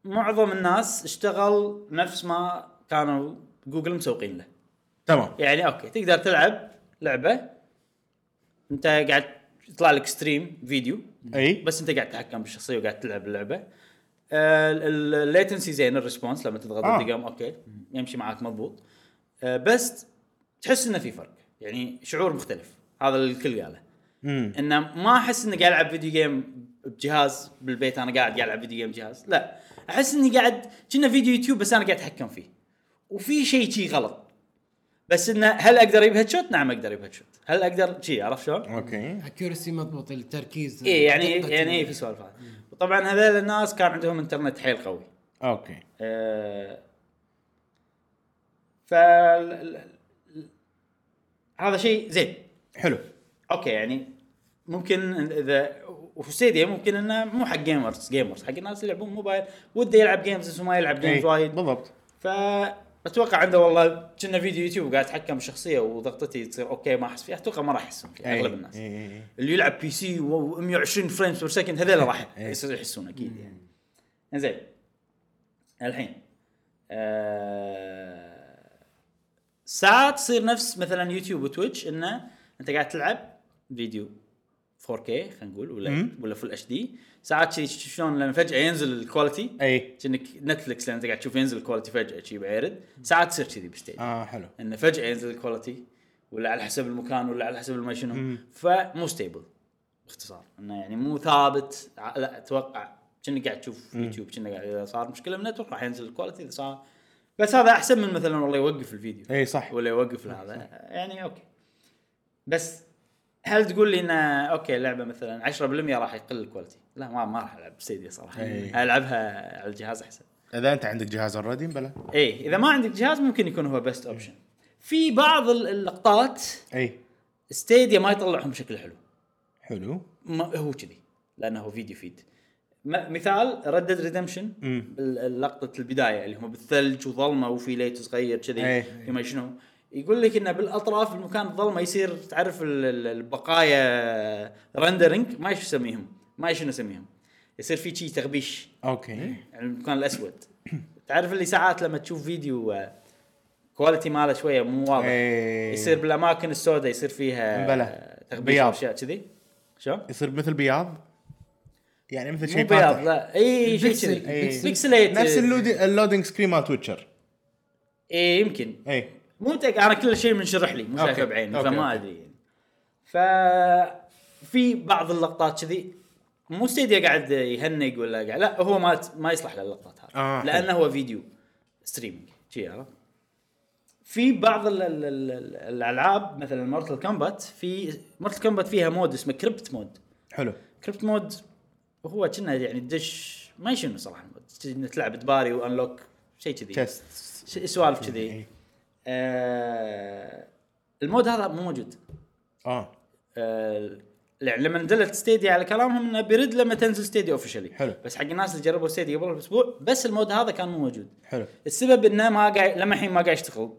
S1: معظم الناس اشتغل نفس ما كانوا جوجل مسوقين له
S3: تمام
S1: يعني اوكي تقدر تلعب لعبه انت قاعد يطلع لك ستريم فيديو
S3: اي
S1: بس انت قاعد تتحكم بالشخصيه وقاعد تلعب آه، اللعبه الليتنسي زين الريسبونس لما تضغط
S3: آه.
S1: آه. الدقم اوكي يمشي معاك مضبوط آه، بس تحس انه في فرق يعني شعور مختلف هذا اللي الكل قاله
S3: امم
S1: انه ما احس اني قاعد العب فيديو جيم بجهاز بالبيت انا قاعد قاعد العب فيديو جيم بجهاز لا احس اني قاعد كنا فيديو يوتيوب بس انا قاعد اتحكم فيه وفي شيء شي غلط بس انه هل اقدر اجيب هيد شوت؟ نعم اقدر اجيب هيد شوت، هل اقدر شي عرفت شلون؟
S3: اوكي
S2: اكيورسي مضبوط التركيز
S1: اي يعني
S2: دقة
S1: يعني إيه
S2: ال-
S1: في سوالف هذه. وطبعا هذول الناس كان عندهم انترنت حيل قوي
S3: اوكي
S1: آه، ف هذا شيء زين
S3: حلو
S1: اوكي يعني ممكن اذا وستيديا ممكن انه مو حق جيمرز جيمرز حق الناس اللي يلعبون موبايل وده يلعب جيمز بس هو ما يلعب جيمز
S3: إيه،
S1: وايد
S3: بالضبط
S1: فاتوقع عنده والله كنا فيديو يوتيوب قاعد اتحكم بشخصيه وضغطتي تصير اوكي ما احس فيها اتوقع ما راح يحسون فيها
S3: إي،
S1: اغلب الناس
S3: إي، إي، إي.
S1: اللي يلعب بي سي و 120 فريمز بير سكند هذول راح يصير يحسون اكيد يعني زين الحين آه... ساعات تصير نفس مثلا يوتيوب وتويتش انه انت قاعد تلعب فيديو 4K خلينا نقول ولا
S3: مم.
S1: ولا فل اتش دي ساعات شي- شلون لما فجاه ينزل الكواليتي
S3: اي
S1: كأنك نتفلكس لما انت قاعد تشوف ينزل الكواليتي فجاه شي بعرض ساعات تصير كذي بستيج
S3: اه حلو
S1: انه فجاه ينزل الكواليتي ولا على حسب المكان ولا على حسب ما شنو فمو ستيبل باختصار انه يعني مو ثابت ع- لا اتوقع كأنك قاعد تشوف يوتيوب كأنك قاعد اذا صار مشكله من النتورك راح ينزل الكواليتي اذا صار بس هذا احسن من مثلا والله يوقف الفيديو
S3: اي إيه. صح
S1: ولا يوقف هذا يعني اوكي بس هل تقول لي ان اوكي لعبه مثلا 10% راح يقل الكواليتي لا ما ما راح العب ستيديا صراحه
S3: إي.
S1: العبها على الجهاز احسن
S3: اذا انت عندك جهاز اوريدي بلا
S1: اي اذا إيه، ما عندك جهاز ممكن يكون هو بيست اوبشن في بعض ال- اللقطات
S3: اي
S1: ستيديا ما يطلعهم بشكل حلو
S3: حلو
S1: ما هو كذي لانه هو فيديو فيد م- مثال ردد ريدمشن
S3: مم.
S1: لقطه البدايه اللي هم بالثلج وظلمه وفي ليت صغير كذي
S3: إيه.
S1: ما شنو يقول لك انه بالاطراف المكان الظلمه يصير تعرف ال- ال- البقايا رندرنج ما إيش يسميهم ما إيش شنو يسميهم يصير في شيء تغبيش
S3: اوكي
S1: يعني المكان الاسود تعرف اللي ساعات لما تشوف فيديو آه، كواليتي ماله شويه مو واضح
S3: إيه.
S1: يصير بالاماكن السوداء يصير فيها
S3: بلى.
S1: آه، تغبيش
S3: بياض.
S1: واشياء كذي شلون؟
S3: يصير مثل بياض يعني مثل
S1: مو
S3: شيء
S1: بياض
S3: فاتح
S1: لا اي شيء
S2: البكسل-
S1: كذي
S3: إيه.
S2: البكسل.
S1: بيكسليت
S3: نفس اللودي- اللودينج سكرين مال تويتشر إيه.
S1: اي إيه، يمكن
S3: اي
S1: مو متأكد انا كل شيء منشرح لي مو شايفه
S3: أوكي.
S1: بعيني
S3: أوكي،
S1: فما
S3: أوكي.
S1: ادري يعني. ف في بعض اللقطات كذي مو ستيديا قاعد يهنق ولا قاعد لا هو ما ما يصلح للقطات هذه
S3: آه،
S1: لانه هو فيديو ستريمينج شي عرفت في بعض ال ال ال ال- الالعاب مثلا مورتل كومبات في مورتل كومبات فيها مود اسمه كريبت مود
S3: حلو
S1: كريبت مود هو كنا يعني تدش ما شنو صراحه المود تلعب تباري وانلوك شيء كذي
S3: تشست
S1: ش- سوالف كذي آه، المود هذا مو موجود
S3: اه
S1: آه، يعني لما نزلت ستيديا على كلامهم انه بيرد لما تنزل ستيديا اوفشلي
S3: حلو.
S1: بس حق الناس اللي جربوا ستيديا قبل باسبوع بس المود هذا كان مو موجود
S3: حلو
S1: السبب انه ما قاعد لما الحين ما قاعد يشتغل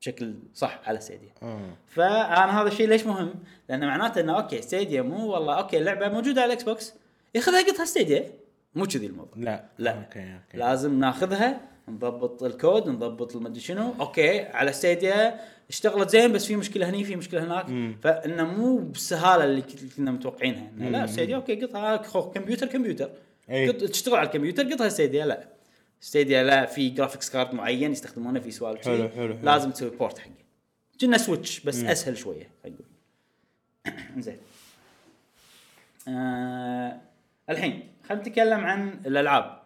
S1: بشكل صح على ستيديا
S3: اه
S1: فانا هذا الشيء ليش مهم؟ لانه معناته انه اوكي ستيديا مو والله اوكي اللعبه موجوده على الاكس بوكس ياخذها قطها ستيديا مو كذي الموضوع
S3: لا
S1: لا
S3: اوكي اوكي
S1: لازم ناخذها نضبط الكود نضبط المدري شنو اوكي على ستيديا اشتغلت زين بس في مشكله هني في مشكله هناك فانه مو بالسهاله اللي كت- كنا متوقعينها إنه لا ستيديا اوكي قطها خو- كمبيوتر كمبيوتر
S3: أي.
S1: قط- تشتغل على الكمبيوتر قطها ستيديا لا ستيديا لا في جرافيكس كارد معين يستخدمونه في سوالف
S3: حلو،
S1: شي.
S3: حلو، حلو.
S1: لازم تسوي بورت حقه كنا سويتش بس اسهل شويه اقول زين آه الحين خلينا نتكلم عن الالعاب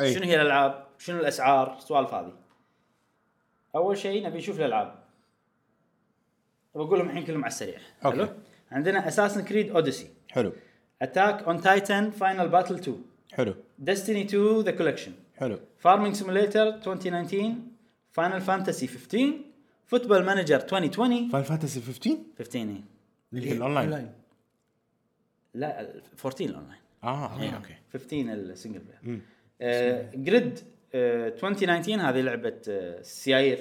S3: أي.
S1: شنو هي الالعاب شنو الاسعار السوالف هذه اول شيء نبي نشوف الالعاب بقول لهم الحين كلهم على السريع
S3: أوكي.
S1: عندنا اساسن كريد اوديسي
S3: حلو
S1: اتاك اون تايتن فاينل باتل 2
S3: حلو
S1: ديستني 2 ذا كولكشن
S3: حلو
S1: فارمينج سيموليتر 2019 فاينل فانتسي 15 فوتبول مانجر 2020
S3: فاين فانتسي 15
S1: 15 إيه.
S3: اللي في الاونلاين
S1: لا 14 الاونلاين
S3: اه اوكي
S1: إيه،
S3: اوكي
S1: 15 السنجل بلاير آه، جريد آه، 2019 هذه لعبه آه، سيايير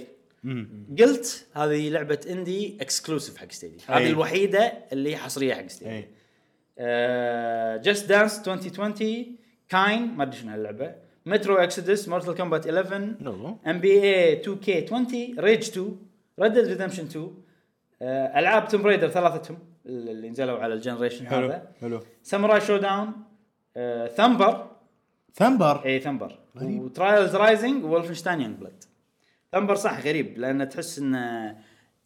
S1: قلت هذه لعبه اندي اكسكلوسيف حق ستيدي هذه
S3: أي.
S1: الوحيده اللي حصريه حق آه، ستيدي
S3: اي
S1: جاست دانس 2020 كاين ما ادري شنو هاللعبه مترو اكسيدس مورتال كومبات 11
S3: نو
S1: ام بي اي 2 كي 20 ريج 2 ريد ديد ريدمشن 2 آه، العاب توم رايدر ثلاثتهم اللي نزلوا على الجنريشن
S3: حلو
S1: هذا
S3: حلو
S1: ساموراي شو داون uh, ثمبر
S3: ثمبر
S1: اي ثمبر
S3: غريب.
S1: وترايلز رايزنج وولفنشتاين يونج بلاد ثمبر صح غريب لان تحس انه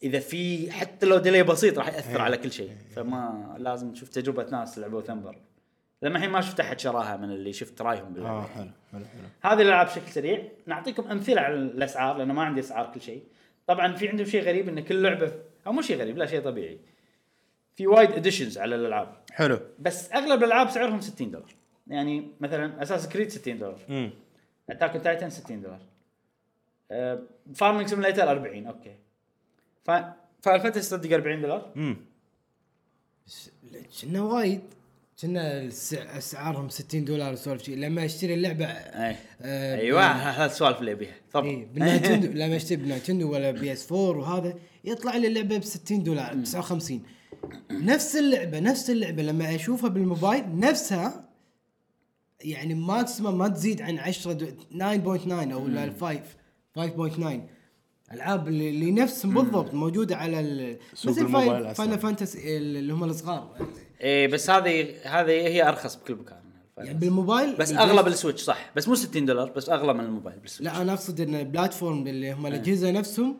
S1: اذا في حتى لو ديلي بسيط راح ياثر على كل شيء فما لازم تشوف تجربه ناس لعبوا ثمبر لما الحين ما شفت احد شراها من اللي شفت رايهم باللعبه
S3: اه حلو حلو حلو
S1: هذه الالعاب بشكل سريع نعطيكم امثله على الاسعار لانه ما عندي اسعار كل شيء طبعا في عندهم شيء غريب ان كل لعبه او مو شيء غريب لا شيء طبيعي في وايد اديشنز على الالعاب
S3: حلو
S1: بس اغلب الالعاب سعرهم 60 دولار يعني مثلا اساس كريد 60 دولار
S3: امم
S1: اتاك اون تايتن 60 دولار فارمنج سيميليتر 40 اوكي فاين فانتسي صدق 40 دولار
S3: امم
S2: كنا وايد كنا السع- اسعارهم 60 دولار سوالف شيء لما اشتري اللعبه
S1: أي.
S2: آه، إيه.
S1: ايوه هذا السوالف اللي ابيها
S2: اي
S1: تفضل
S2: بالنايتندو لما اشتري بنايتندو ولا بي اس 4 وهذا يطلع لي اللعبه ب 60 دولار 59 نفس اللعبه نفس اللعبه لما اشوفها بالموبايل نفسها يعني ما تسمى ما تزيد عن 10 دو- 9.9 او لا 5 5.9 العاب اللي اللي نفس بالضبط موجوده على ال-
S3: سوق
S2: مثل
S3: الموبايل
S2: فاين-
S3: أصلاً.
S2: فاينل فانتسي اللي هم الصغار
S1: اي إيه، بس هذه هذه هي ارخص بكل مكان
S2: يعني بالموبايل
S1: بس
S2: بالجهاز-
S1: اغلى بالسويتش صح بس مو 60 دولار بس اغلى من الموبايل بالسويتش
S2: لا انا اقصد ان البلاتفورم اللي هم الاجهزه نفسهم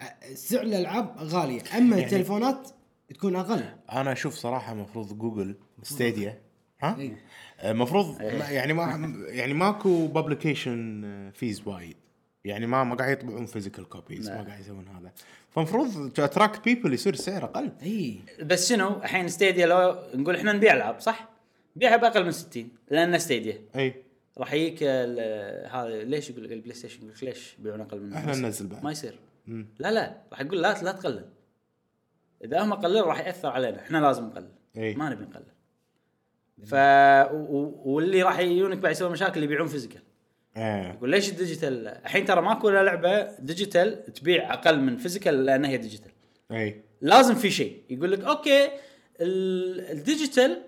S2: أ- سعر الالعاب غاليه اما يعني التليفونات تكون اقل
S3: انا اشوف صراحه مفروض جوجل ستيديا ها
S1: إيه.
S3: المفروض يعني ما يعني ماكو ببليكيشن فيز وايد يعني ما ما قاعد يطبعون فيزيكال كوبيز
S1: نعم.
S3: ما قاعد يسوون هذا فمفروض تو اتراكت بيبل يصير السعر اقل
S2: اي
S1: بس شنو الحين ستيديا لو نقول احنا نبيع العاب صح؟ نبيعها باقل من 60 لان ستيديا
S3: اي
S1: راح يجيك ال- هذا ليش يقول لك البلاي ستيشن يقول لك ليش يبيعون اقل من
S3: احنا
S1: 60؟
S3: ننزل بعد.
S1: ما يصير لا لا راح يقول لا لا تقلل اذا هم قللوا راح ياثر علينا احنا لازم نقلل
S3: إي.
S1: ما نبي نقلل ف و- و- واللي راح يجونك بعد يسوون مشاكل اللي يبيعون فيزيكال
S3: ايه
S1: يقول ليش الديجيتال الحين ترى ماكو ولا لعبه ديجيتال تبيع اقل من فيزيكال لانها هي ديجيتال
S3: اي
S1: لازم في شيء يقول لك اوكي ال- الديجيتال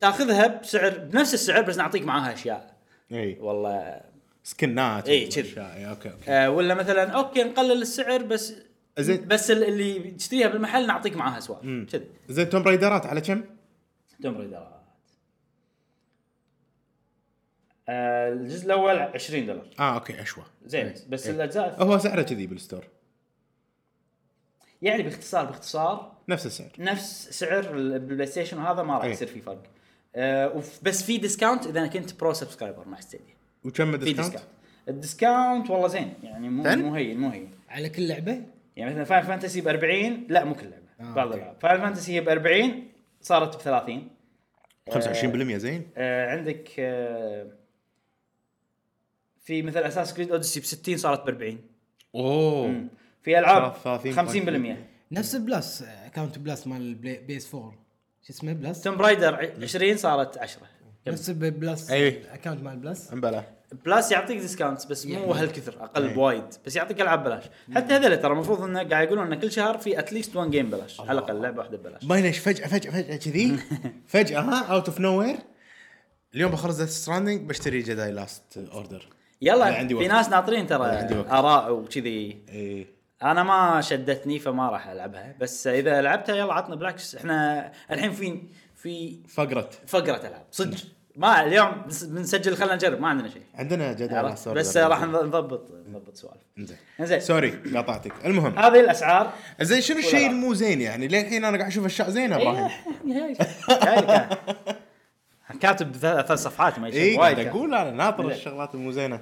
S1: تاخذها بسعر بنفس السعر بس نعطيك معاها اشياء
S3: اي
S1: والله
S3: إيه. سكنات إيه،
S1: إي،
S3: وأشياء.
S1: إيه، كذي.
S3: إي، اوكي اوكي
S1: آه ولا مثلا اوكي نقلل السعر بس
S3: زين.
S1: بس ال- اللي تشتريها بالمحل نعطيك معاها اسواق كذي
S3: زين توم رايدرات على كم؟
S1: توم ريدرات آه الجزء الاول 20 دولار
S3: اه اوكي اشوى
S1: زين
S3: إي.
S1: بس
S3: إي.
S1: الاجزاء الث-
S3: هو سعره كذي بالستور
S1: يعني باختصار باختصار
S3: نفس السعر
S1: نفس سعر ال- البلاي ستيشن وهذا ما راح
S3: إي.
S1: يصير في فرق آه وف- بس في ديسكاونت اذا كنت برو سبسكرايبر مع ستيديا
S3: وكم
S1: في
S3: الديسكاونت؟
S1: ديسكاونت الديسكاونت والله زين يعني مو
S3: زين؟
S1: مو هين مو هين
S2: على كل لعبه
S1: يعني مثلا فاين فانتسي ب 40 لا مو كل لعبه
S2: آه،
S1: بعض
S2: أوكي.
S1: الالعاب فاين فانتسي هي ب 40 صارت ب 30
S3: 25% زين
S1: آه عندك آه في مثل اساس كريد اوديسي ب 60 صارت ب 40
S3: اوه
S1: في العاب
S3: 30.
S1: 50%
S2: نفس البلس اكونت بلس مال البلاي- بيس 4 شو اسمه بلس
S1: توم برايدر 20 صارت 10
S2: نفس بلس
S3: أي.
S2: اكونت مال
S3: آه.
S2: بلس
S3: امبلا
S1: بلاس يعطيك ديسكاونتس بس مو
S2: يعني.
S1: هالكثر اقل
S3: إيه.
S1: بوايد بس يعطيك العاب بلاش حتى هذول ترى المفروض انه قاعد يقولون ان كل شهر في اتليست 1 جيم بلاش على الاقل لعبه واحده ببلاش
S3: ما ليش فجاه فجاه فجاه كذي فجاه ها اوت اوف نو وير اليوم بخلص ذا ستراندنج بشتري جداي لاست اوردر أنا
S1: يلا
S3: عندي
S1: في
S3: وقت.
S1: ناس ناطرين ترى
S3: أنا عندي وقت.
S1: اراء وكذي
S3: اي
S1: إيه. انا ما شدتني فما راح العبها بس اذا لعبتها يلا عطنا بالعكس احنا الحين في في
S3: فقره
S1: فقره العاب صدق ما اليوم بس- بنسجل خلينا نجرب ما عندنا شيء
S3: عندنا جداي
S1: عرفت؟
S3: لاست اوردر
S1: بس راح نضبط نضبط سوالف
S3: انزين
S1: انزين
S3: سوري قاطعتك المهم
S1: هذه الاسعار
S3: زين شنو
S1: ولا
S3: الشيء
S1: لا؟
S3: المو زين يعني للحين انا قاعد اشوف اشياء زينه ابراهيم
S1: إيه، جاي لك. كاتب ثلاث ثلاث صفحات ما
S3: اي
S1: يشوف
S3: إيه، قاعد
S1: وايد إيه. كاتب.
S3: اقول انا ناطر
S1: زين.
S3: الشغلات المو زينه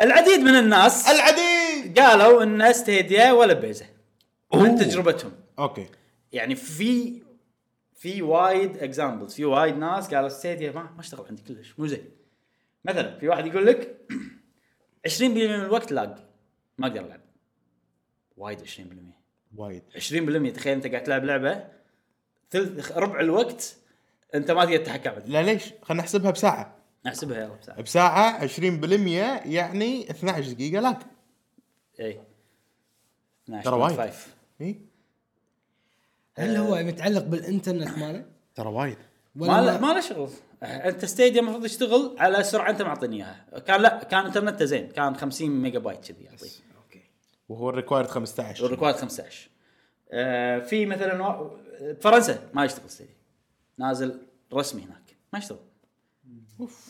S1: العديد من الناس
S3: العديد
S1: قالوا ان ستيديا ولا بيزه عن
S3: أوه.
S1: تجربتهم
S3: اوكي
S1: يعني في في وايد اكزامبلز في وايد ناس قالوا ستيديا ما ما اشتغل عندي كلش مو زين مثلا في واحد يقول لك 20% من الوقت لاج ما اقدر العب وايد 20%
S3: وايد
S1: 20% تخيل انت قاعد تلعب لعبه ثلث ربع الوقت انت ما تقدر تتحكم فيه.
S3: لا ليش خلينا نحسبها بساعه
S1: احسبها يلا بساعة.
S3: بساعه 20% يعني 12 دقيقه لاك
S1: اي 12.5.
S3: ترى وايد. اي
S2: هل هو متعلق بالانترنت ماله؟
S3: ترى وايد
S1: ما له ما له شغل انت ستيديا المفروض يشتغل على سرعه انت معطيني اياها كان لا كان انترنته زين كان 50 ميجا بايت كذي يعطيك
S2: اوكي
S3: وهو الريكوايرد 15
S1: والريكواد 15 آه في مثلا وا- فرنسا ما يشتغل ستيديا نازل رسمي هناك ما يشتغل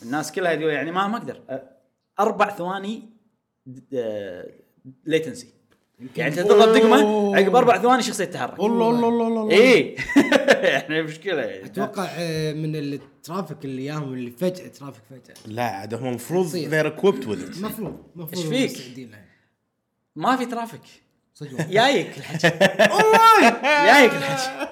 S1: الناس كلها يقول يعني ما ما اقدر آه، اربع ثواني ليتنسي يعني انت تضغط دقمه
S3: أوه.
S1: عقب اربع ثواني شخصيه تتحرك
S3: الله الله الله الله الله
S1: اي يعني مشكله يعني
S2: اتوقع آه، من الترافيك اللي ياهم اللي فجاه ترافيك فجاه
S3: لا عاد هم المفروض
S2: تصير.
S3: they're equipped with it
S2: مفروض مفروض
S1: إيش فيك؟
S2: مستعدين لها.
S1: ما في ترافيك
S2: صدق والله.
S1: جايك الحكي جايك الحكي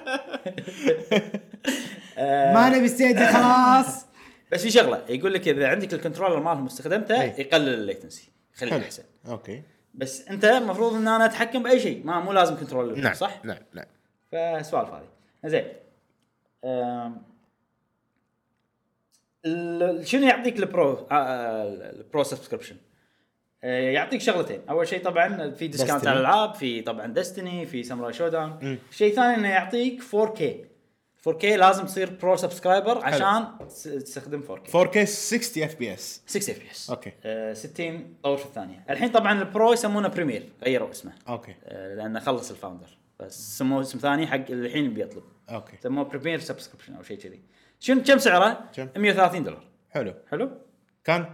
S2: ما نبي ستيدي خلاص
S1: بس في شغله يقول لك اذا عندك الكنترولر مالهم استخدمته
S3: أي.
S1: يقلل الليتنسي يخليه
S3: حلو.
S1: احسن
S3: اوكي
S1: بس انت المفروض ان انا اتحكم باي شيء ما مو لازم كنترولر
S3: نعم
S1: صح؟
S3: نعم نعم
S1: فسوالف هذه زين أم، ال- شنو يعطيك البرو آه، آه، البرو سبسكربشن آه، يعطيك شغلتين اول شيء طبعا في ديسكاونت
S3: Destiny.
S1: على الالعاب في طبعا ديستني في ساموراي شو داون
S3: مم.
S1: الشيء الثاني انه يعطيك 4K 4K لازم تصير برو سبسكرايبر عشان تس- تستخدم 4K
S3: 4K 60 اف بي اس
S1: 6 اف بي اس
S3: أوكي.
S1: 60 آه، طور في الثانيه الحين طبعا البرو يسمونه بريمير غيروا اسمه
S3: اوكي
S1: آه، لانه خلص الفاوندر بس سموه اسم ثاني حق اللي الحين بيطلب
S3: اوكي
S1: سموه بريمير سبسكربشن او شيء كذي شنو كم سعره؟
S3: كم؟
S1: 130 دولار
S3: حلو
S1: حلو؟
S3: كان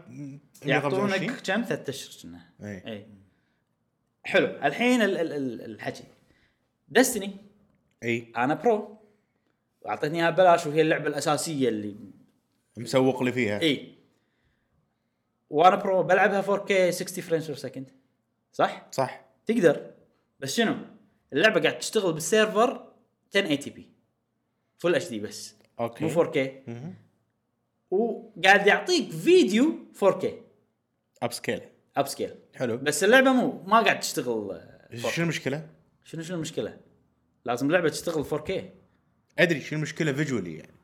S1: يعطونك
S3: 125
S1: كم؟ ثلاث اشهر كنا
S3: إي.
S1: اي حلو الحين ال- ال- ال- الحكي دستني
S3: اي
S1: انا برو واعطتني اياها ببلاش وهي اللعبه الاساسيه اللي
S3: مسوق لي فيها
S1: اي وانا برو بلعبها 4K 60 فريمز بير سكند صح؟
S3: صح
S1: تقدر بس شنو؟ اللعبه قاعد تشتغل بالسيرفر 1080 بي فول اتش دي بس
S3: اوكي
S1: مو 4K
S3: مهم.
S1: وقاعد يعطيك فيديو 4K
S3: اب سكيل
S1: اب سكيل
S3: حلو
S1: بس اللعبه مو ما قاعد تشتغل آه، 4K.
S3: شنو المشكله؟
S1: شنو شنو المشكله؟ لازم لعبه تشتغل 4K
S3: ادري شنو المشكله فيجولي يعني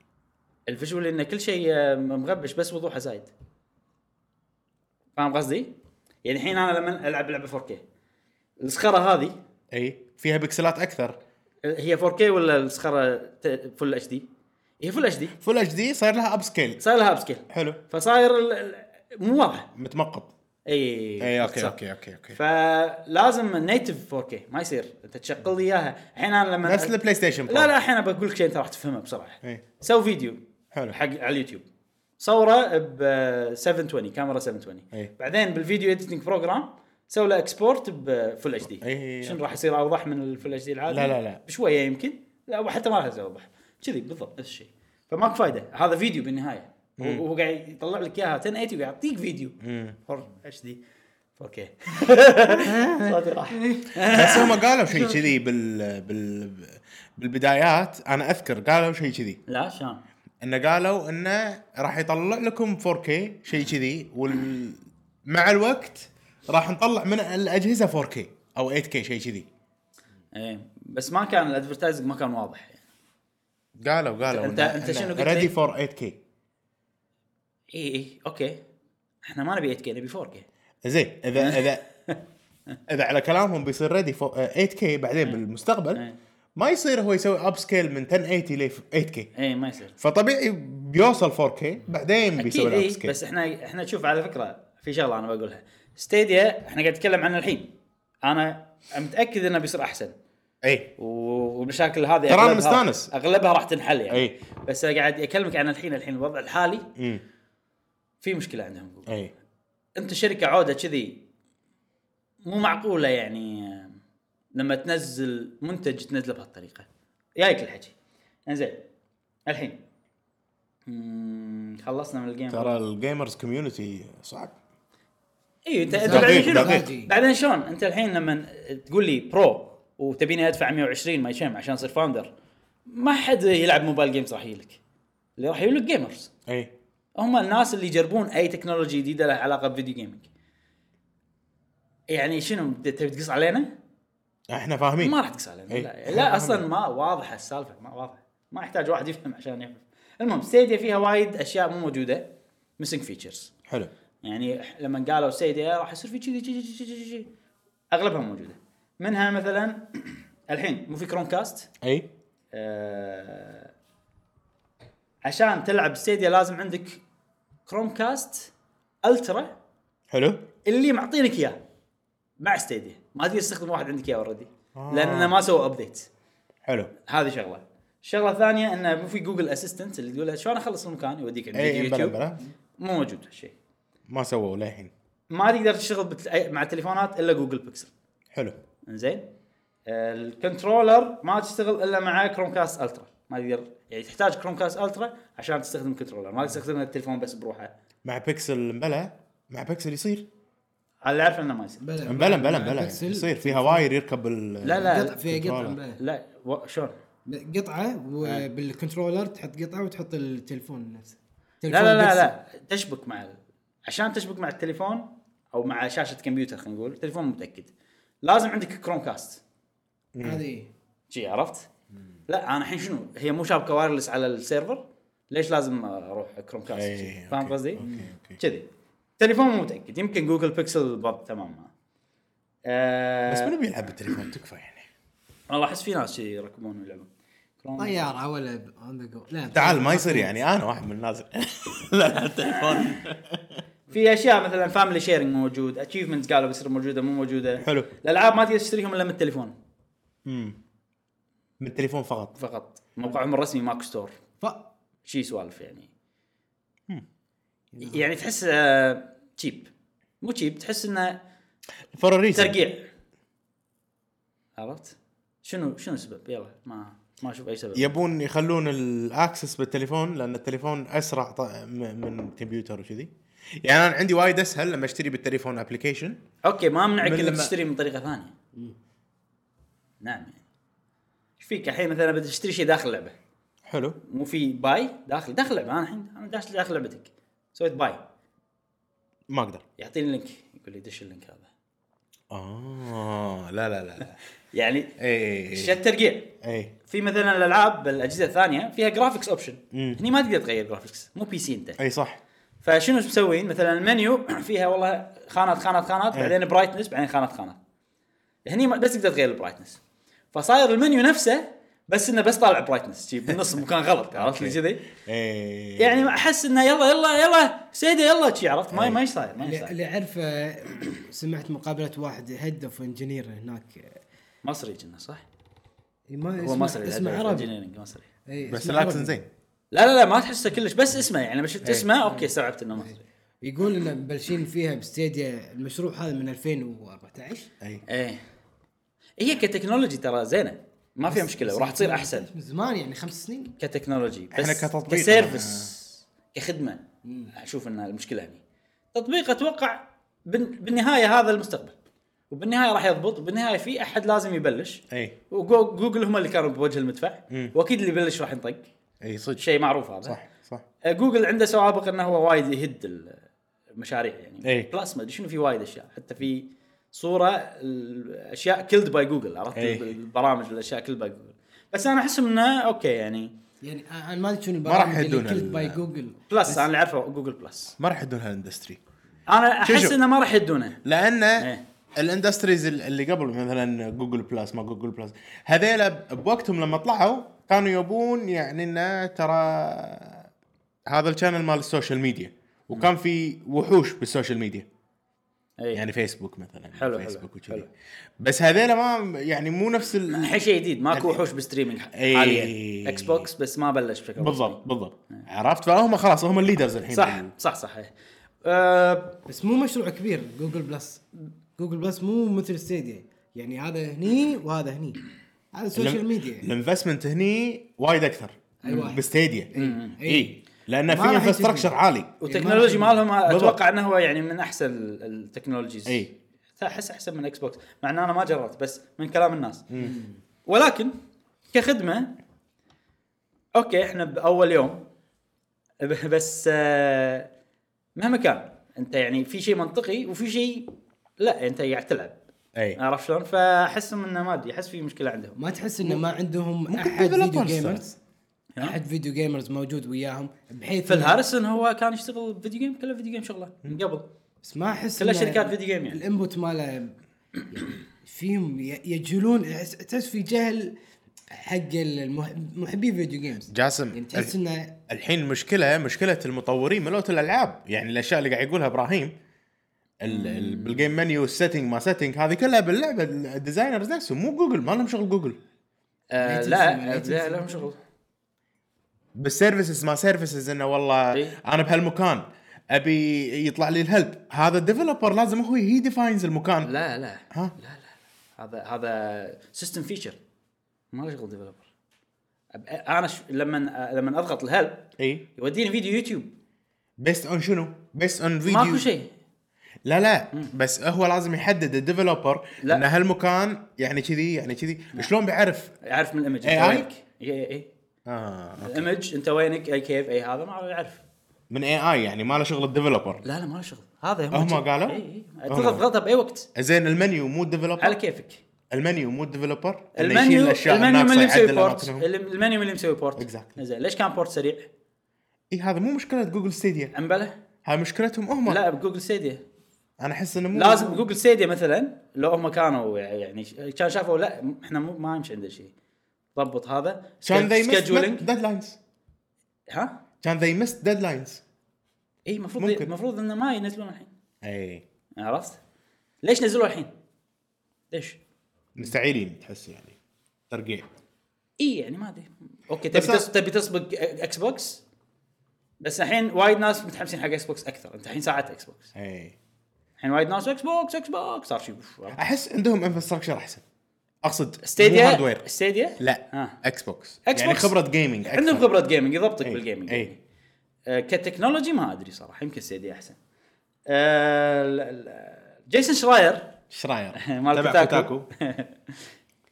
S1: الفيجوال انه كل شيء آه، مغبش بس وضوحه زايد فاهم قصدي؟ يعني الحين انا لما العب لعبه 4K الصخره هذه
S3: اي فيها بكسلات اكثر
S1: هي 4K ولا الصخره فل اتش دي؟ هي فل اتش دي
S3: فول اتش دي صاير لها اب سكيل
S1: صاير لها اب سكيل
S3: حلو
S1: فصاير ال- ال- مو واضح
S3: متمقط
S1: اي
S3: اي اوكي
S1: باختصار.
S3: اوكي اوكي اوكي
S1: فلازم نيتف 4K ما يصير انت تشغل لي اياها الحين انا لما
S3: نفس البلاي ستيشن برو.
S1: لا لا الحين بقول لك شيء انت راح تفهمه بسرعه
S3: إي.
S1: سوي فيديو
S3: إيه. حلو.
S1: حق على اليوتيوب صوره ب 720 كاميرا 720
S3: إي.
S1: بعدين بالفيديو اديتنج بروجرام سوي له اكسبورت بفل اتش دي
S3: إي إي إي.
S1: شنو راح يصير اوضح من الفل اتش دي العادي
S3: إيه، لا لا لا.
S1: بشويه يمكن لا حتى ما راح يصير اوضح كذي بالضبط نفس الشيء فماكو فايده هذا فيديو بالنهايه هو هو قاعد يطلع لك اياها 1080 وقاعد يعطيك فيديو فور اتش دي 4K صوتي راح
S3: بس هم قالوا شيء كذي بال... بال بالبدايات انا اذكر قالوا شيء كذي
S1: لا شلون
S3: انه قالوا انه راح يطلع لكم 4K شيء كذي وال... مع الوقت راح نطلع من الاجهزه 4K او 8K شيء كذي
S1: ايه بس ما كان الادفرتايزنج ما كان واضح يعني.
S3: قالوا قالوا
S1: أنت- أنت شنو قلت
S3: ريدي
S1: لي؟
S3: فور 8K
S1: اي اي اوكي احنا إيه، ما نبي 8K نبي 4K
S3: زين اذا اذا اذا على كلامهم بيصير ريدي 8K بعدين بالمستقبل
S1: إيه.
S3: ما يصير هو يسوي اب سكيل من 1080 ل 8K
S1: اي إيه، ما يصير
S3: فطبيعي بيوصل 4K بعدين
S1: اكيد
S3: بيسوي
S1: اي
S3: اب سكيل
S1: إيه، بس احنا احنا شوف على فكره في شغله انا بقولها ستيديا احنا قاعد نتكلم عنه الحين انا متاكد انه بيصير احسن
S3: اي
S1: إيه. و- والمشاكل هذه
S3: ترى أنا إيه.
S1: أغلبها-
S3: مستانس.
S1: اغلبها راح تنحل يعني
S3: إي.
S1: بس أنا قاعد اكلمك عن الحين الحين الوضع الحالي
S3: امم
S1: في مشكله عندهم
S3: اي
S1: انت شركه عوده كذي مو معقوله يعني آه، لما تنزل منتج تنزله بهالطريقه جايك الحكي انزين الحين مم، خلصنا من الجيم
S3: ترى الجيمرز كوميونتي صعب
S1: اي إيه، انت انت
S2: دقيق،
S1: بعدين شنو
S2: دقيق.
S1: بعدين شلون انت الحين لما تقول لي برو وتبيني ادفع 120 ما شيم عشان اصير فاوندر ما حد يلعب موبايل جيمز راح يجيلك اللي راح يجيلك جيمرز
S3: اي
S1: هم الناس اللي يجربون اي تكنولوجيا جديده لها علاقه بفيديو جيمنج يعني شنو تبي تقص علينا؟
S3: احنا فاهمين
S1: ما راح تقص علينا
S3: إي.
S1: لا, لا اصلا ما واضحه السالفه ما واضحه ما يحتاج واحد يفهم عشان يفهم المهم ستيديا فيها وايد اشياء مو موجوده ميسنج فيتشرز
S3: حلو
S1: يعني إح- لما قالوا سيديا راح يصير في كذي كذي كذي كذي كذي. اغلبها موجوده منها مثلا الحين مو في كروم كاست
S3: اي
S1: آه عشان تلعب ستيديا لازم عندك كروم كاست الترا
S3: حلو
S1: اللي معطينك اياه مع ستيديا ما تقدر تستخدم واحد عندك اياه اوريدي
S3: آه.
S1: لانه ما سووا ابديت
S3: حلو
S1: هذه شغله الشغله الثانيه انه مو في جوجل اسيستنت اللي تقول له شلون اخلص المكان يوديك عند
S3: اي
S1: فيديو
S3: إيه، بلا
S1: يوتيوب
S3: بلا
S1: مو موجود هالشيء
S3: ما سووا للحين
S1: ما تقدر تشتغل بت... أي- مع التليفونات الا جوجل بيكسل
S3: حلو
S1: زين الكنترولر ما تشتغل الا مع كروم كاست الترا ما تقدر يعني تحتاج كروم كاست الترا عشان تستخدم كنترولر ما تستخدم التليفون بس بروحه
S3: مع بيكسل بلا مع بيكسل يصير
S1: على اللي اعرف انه ما يصير
S2: بلا
S3: بلا بلا بلا
S2: بكسل.
S3: يصير فيها واير يركب ال
S1: لا لا
S2: قطع فيها قطعه
S3: كنترولر.
S2: بلا.
S1: لا و... شلون
S2: قطعه وبالكنترولر تحط قطعه وتحط التليفون نفسه
S1: لا لا لا لا تشبك مع ال- عشان تشبك مع التليفون او مع شاشه كمبيوتر خلينا نقول تليفون متاكد لازم عندك كروم كاست
S2: لا هذه
S1: شي عرفت؟ لا انا الحين شنو هي مو شابكه وايرلس على السيرفر ليش لازم اروح كروم كاست
S3: إي،
S1: شي؟
S3: إيه، أوكي،
S1: فاهم قصدي؟
S3: أوكي، أوكي.
S1: كذي تليفون مو متاكد يمكن جوجل بيكسل برضه تمام معه.
S3: بس
S1: آه
S3: منو بيلعب بالتليفون تكفى يعني
S1: والله احس في ناس شي يركبون ويلعبون كروم-
S3: طيب.
S2: طياره ولا ب- on the go. لا
S3: تعال ما يصير يعني انا واحد من الناس لا التليفون
S1: في اشياء مثلا فاميلي شيرنج موجود اتشيفمنت قالوا بيصير موجوده مو موجوده
S3: حلو.
S1: الالعاب ما تقدر تشتريهم الا من التليفون
S3: من التليفون فقط
S1: فقط موقعهم الرسمي ماك ستور
S2: ف...
S1: شي سوالف يعني يعني تحس آه، تشيب مو تشيب تحس انه
S3: فور ريزن
S1: ترقيع عرفت؟ شنو شنو السبب؟ يلا ما ما اشوف اي سبب
S3: يبون يخلون الاكسس بالتليفون لان التليفون اسرع ط- م- من الكمبيوتر وكذي يعني انا عندي وايد اسهل لما اشتري بالتليفون ابلكيشن
S1: اوكي ما منعك
S3: من
S1: انك
S3: لما-
S1: تشتري من طريقه ثانيه نعم يعني ايش فيك الحين مثلا بدك تشتري شيء داخل لعبه
S3: حلو
S1: مو في باي داخل داخل لعبه انا الحين انا داش داخل لعبتك سويت باي
S3: ما اقدر
S1: يعطيني لينك يقول لي دش اللينك هذا
S3: اه لا لا لا إيه،
S1: يعني
S3: اي
S1: شو الترقيع
S3: اي
S1: في مثلا الالعاب بالاجهزه الثانيه فيها جرافيكس اوبشن
S3: مم.
S1: هني ما تقدر تغير جرافيكس مو بي سي انت
S3: اي إيه، صح
S1: فشنو مسوين مثلا المنيو فيها والله خانات خانات خانات
S2: إيه.
S1: بعدين برايتنس بعدين خانات خانات هني ما- بس تقدر تغير البرايتنس فصاير المنيو نفسه بس انه بس طالع برايتنس شي بالنص مكان غلط عرفت لي كذي
S3: اي
S1: يعني ما احس انه يلا يلا يلا سيده يلا شي عرفت
S2: إيه.
S1: ما ما ايش صاير ما ايش
S2: اللي
S1: صاير
S2: اللي اعرفه آه، سمعت مقابله واحد هيد اوف انجينير هناك
S1: مصري كنا صح؟
S2: ما
S1: هو مصري
S2: اسمه
S1: هذا
S2: عربي
S1: engineering مصري
S2: إي،
S3: بس
S2: اسمه
S3: الاكشن
S2: عربي.
S3: زين
S1: لا لا لا ما تحسه كلش بس اسمه يعني لما
S2: إيه.
S1: شفت اسمه اوكي استوعبت انه مصري
S2: يقول ان مبلشين فيها بستيديا المشروع هذا من 2014
S3: اي
S1: ايه هي كتكنولوجي ترى زينه ما فيها مشكله وراح تصير احسن
S2: من زمان يعني خمس سنين
S1: كتكنولوجي بس
S3: إحنا كتطبيق آه.
S1: كسيرفس كخدمه اشوف ان المشكله هني تطبيق اتوقع بال- بالنهايه هذا المستقبل وبالنهايه راح يضبط وبالنهايه في احد لازم يبلش
S3: اي
S1: وجوجل هم اللي كانوا بوجه المدفع
S3: مم.
S1: واكيد اللي بلش راح ينطق
S3: اي إيه، صدق
S1: شيء معروف هذا
S3: صح صح
S1: آه، جوجل عنده سوابق انه هو وايد يهد المشاريع يعني
S3: إيه.
S1: بلس ما ادري شنو في وايد اشياء حتى في صوره الاشياء كيلد باي جوجل عرفت
S3: إيه.
S1: البرامج والاشياء كيلد باي جوجل بس انا احسهم انه اوكي يعني
S2: يعني أ- انا ما ادري شنو
S3: راح
S2: البرامج
S3: يهدون
S2: اللي كلت
S3: ال-
S2: باي جوجل
S1: بلس انا اللي اعرفه جوجل بلس
S3: ما راح يدون هالاندستري
S1: انا
S3: شو-
S1: احس
S3: شو؟
S1: انه ما راح يدونه
S3: لان
S1: إيه.
S3: الاندستريز ال- اللي قبل مثلا جوجل بلس ما جوجل بلس هذيلا ب- بوقتهم لما طلعوا كانوا يبون يعني انه ترى هذا الشانل مال السوشيال ميديا وكان في وحوش بالسوشيال ميديا
S1: اي يعني
S3: يعني فيسبوك مثلا
S1: حلو،
S3: فيسبوك
S1: حلو،
S3: وكذي بس هذيلا ما يعني مو نفس ال...
S1: الحين شيء جديد ماكو وحوش بستريمينج
S3: إيه.
S1: حاليا اكس بوكس بس ما بلش بشكل رسمي.
S3: بالضبط بالضبط
S2: نعم.
S3: عرفت فهم خلاص هم الليدرز الحين يعني
S1: صح
S3: بال-
S1: صح صح إيه. أه
S2: بس مو مشروع كبير جوجل بلس جوجل بلس مو مثل ستيديا يعني هذا هني وهذا هني هذا سوشيال ميديا
S3: الانفستمنت هني وايد اكثر
S2: أي واحد.
S3: بستيديا
S2: إي.
S3: اي لان
S2: ما
S3: في
S2: راح يجي.
S3: انفستراكشر عالي
S1: والتكنولوجي
S2: ما راح
S1: مالهم
S3: بالضبط.
S1: اتوقع انه هو يعني من احسن ال- التكنولوجيز
S3: إيه.
S1: احس احسن من اكس بوكس مع ان انا ما جربت بس من كلام الناس ولكن كخدمه اوكي احنا باول يوم ب- بس آه، مهما كان انت يعني في شيء منطقي وفي شيء لا انت قاعد تلعب
S2: آه.
S3: اي
S1: عرفت شلون؟ فاحسهم انه ما ادري احس في مشكله عندهم
S2: ما تحس انه ما عندهم
S3: ممكن
S2: احد فيديو
S3: developers
S2: جيمرز احد فيديو جيمرز موجود وياهم بحيث
S1: فيل
S2: إنه-
S1: هاريسون هو كان يشتغل فيديو جيم كله فيديو جيم شغله من قبل
S2: بس ما احس
S1: كلها
S2: إنه
S1: شركات فيديو جيم يعني.
S2: الانبوت ماله يعني فيهم ي- يجهلون أحس- تحس في جهل حق المح- محبي فيديو جيمز يعني
S3: جاسم
S2: تحس
S3: ال-
S2: انه
S3: الحين مشكله مشكله المطورين ملوت الالعاب يعني الاشياء اللي قاعد يقولها ابراهيم ال- ال- بالجيم منيو السيتنج ما سيتنج هذه كلها باللعبه ال- الديزاينرز نفسهم مو جوجل ما لهم شغل جوجل
S1: آه
S2: Native
S1: لا
S2: Native
S1: لا لهم شغل
S3: بالسيرفيسز ما سيرفيسز انه والله
S1: إيه.
S3: انا بهالمكان ابي يطلع لي الهلب هذا الديفلوبر لازم هو هي ديفاينز المكان
S1: لا لا
S3: ها؟
S1: لا لا هذا هذا سيستم فيتشر ما له شغل ديفلوبر انا ش... لما لما اضغط الهلب
S3: اي
S1: يوديني فيديو يوتيوب
S3: بيست اون شنو؟ بيست اون فيديو
S1: ماكو شيء
S3: لا لا بس هو لازم يحدد الديفلوبر
S1: لا.
S3: ان هالمكان يعني كذي يعني كذي شلون بيعرف
S1: يعرف من الايمج
S3: AI؟
S1: انت وينك إيه، اي اي اي
S3: آه.
S1: الايمج انت وينك اي كيف اي هذا ما يعرف
S3: من اي اي يعني ما له شغل الديفلوبر
S1: لا لا ما له شغل هذا
S3: هم
S1: شي-
S3: قالوا؟
S1: اي اي
S3: هم
S1: إيه. تضغط
S3: قالوا.
S1: ضغطه باي وقت
S3: زين المنيو مو الديفلوبر
S1: على كيفك
S3: المنيو مو الديفلوبر إنه يشيل
S1: المنيو
S3: الأشياء
S1: المنيو من
S3: الناقصة
S1: اللي مسوي
S3: يعدل
S1: بورت
S3: أماكنهم.
S1: المنيو من اللي مسوي بورت
S3: Exactly.
S1: زين ليش كان بورت سريع؟
S3: اي هذا مو مشكله جوجل ستيديا
S1: عمبله؟
S3: هاي مشكلتهم هم
S1: لا بجوجل ستيديا
S3: انا احس انه مو
S1: لازم جوجل ستيديا مثلا لو هم كانوا يعني ش- كان شافوا لا احنا مو ما يمشي عندنا شيء ضبط هذا
S3: كان ذي
S1: سكجولينج
S3: ديدلاينز
S1: ها
S3: كان ذي مس ديدلاينز
S1: اي المفروض
S3: ممكن.
S1: المفروض انه ما ينزلون الحين
S3: اي
S1: عرفت؟ ليش نزلوا الحين؟ ليش؟
S3: مستعيرين تحس يعني ترقيع
S1: اي يعني ما ادري اوكي
S3: بس
S1: تبي تص... تبي تسبق اكس بوكس بس الحين وايد ناس متحمسين حق اكس بوكس اكثر انت الحين ساعات اكس بوكس
S3: اي
S1: الحين وايد ناس اكس بوكس اكس بوكس صار شيء
S3: احس عندهم انفراستراكشر احسن اقصد مو
S1: ستيديا
S3: هاردوير
S1: ستيديا
S3: لا
S1: آه.
S3: آه. اكس بوكس
S1: Xbox.
S3: يعني خبره جيمنج
S1: عندهم خبره جيمنج يضبطك
S3: أي.
S1: بالجيمنج
S3: أي.
S1: يعني. آه، كتكنولوجي ما ادري صراحه يمكن سيدي احسن آه، ال- ال- جيسون شراير
S3: ايش رايك؟
S1: مال كوتاكو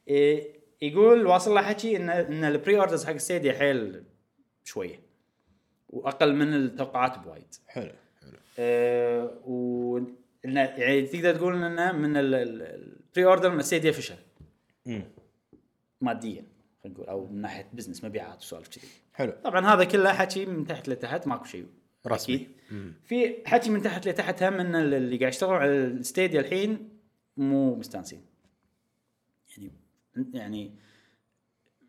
S1: إيه، يقول واصل له حكي ان ان البري اوردرز حق السيدي حيل شويه واقل من التوقعات بوايد
S3: حلو حلو
S1: آه، و انه يعني تقدر تقول انه من البري اوردر من السيديا فشل ماديا خلينا نقول او من ناحيه بزنس مبيعات وسوالف كذي
S3: حلو
S1: طبعا هذا كله حكي من تحت لتحت ماكو شيء
S3: رسمي.
S1: أكيد. في حكي من تحت لتحت هم ان اللي قاعد يشتغلوا على الستيديا الحين مو مستانسين يعني يعني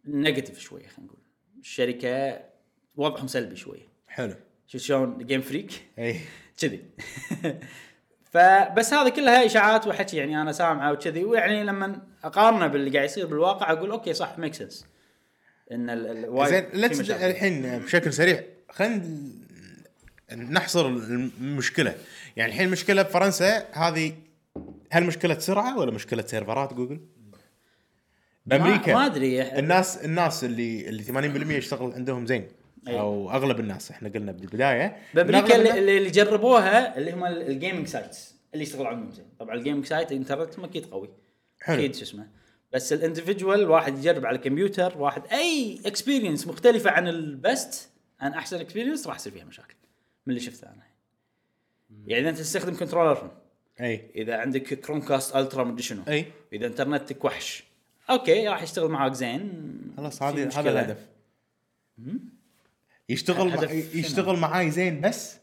S1: نيجاتيف شويه خلينا نقول الشركه وضعهم سلبي شويه
S3: حلو إيه.
S1: شوف شلون جيم فريك
S3: اي
S1: كذي فبس هذا كلها اشاعات وحكي يعني انا سامعه وكذي ويعني لما اقارنه باللي قاعد يصير بالواقع اقول اوكي صح ميك سنس ان ال- ال- وايد
S3: زين
S1: في
S3: ليتس
S1: مشاكل.
S3: الحين بشكل سريع خلينا نحصر المشكله يعني الحين المشكله بفرنسا هذه هل مشكله سرعه ولا مشكله سيرفرات جوجل؟ بامريكا
S1: ما- ما أدري.
S3: الناس الناس اللي اللي 80% يشتغل عندهم زين
S1: أي.
S3: او اغلب الناس احنا قلنا بالبدايه إن
S1: بامريكا
S3: أغلب
S1: اللي,
S3: الناس-
S1: اللي جربوها اللي هم الجيمنج سايتس اللي يشتغلوا عليهم زين طبعا الجيمنج سايت انترنتهم اكيد قوي
S3: حلو.
S1: اكيد شو اسمه بس الاندفجوال واحد يجرب على الكمبيوتر واحد اي اكسبيرينس مختلفه عن البست عن احسن اكسبيرينس راح يصير فيها مشاكل من اللي شفته انا يعني إذا انت تستخدم كنترولر
S3: اي
S1: اذا عندك كروم كاست الترا مدري شنو
S3: اي
S1: اذا انترنتك وحش اوكي راح يشتغل معاك زين
S3: خلاص
S1: في
S3: هذا هذا
S1: مشكلة.
S3: الهدف يشتغل مع
S1: هدف
S3: يشتغل معاي زين بس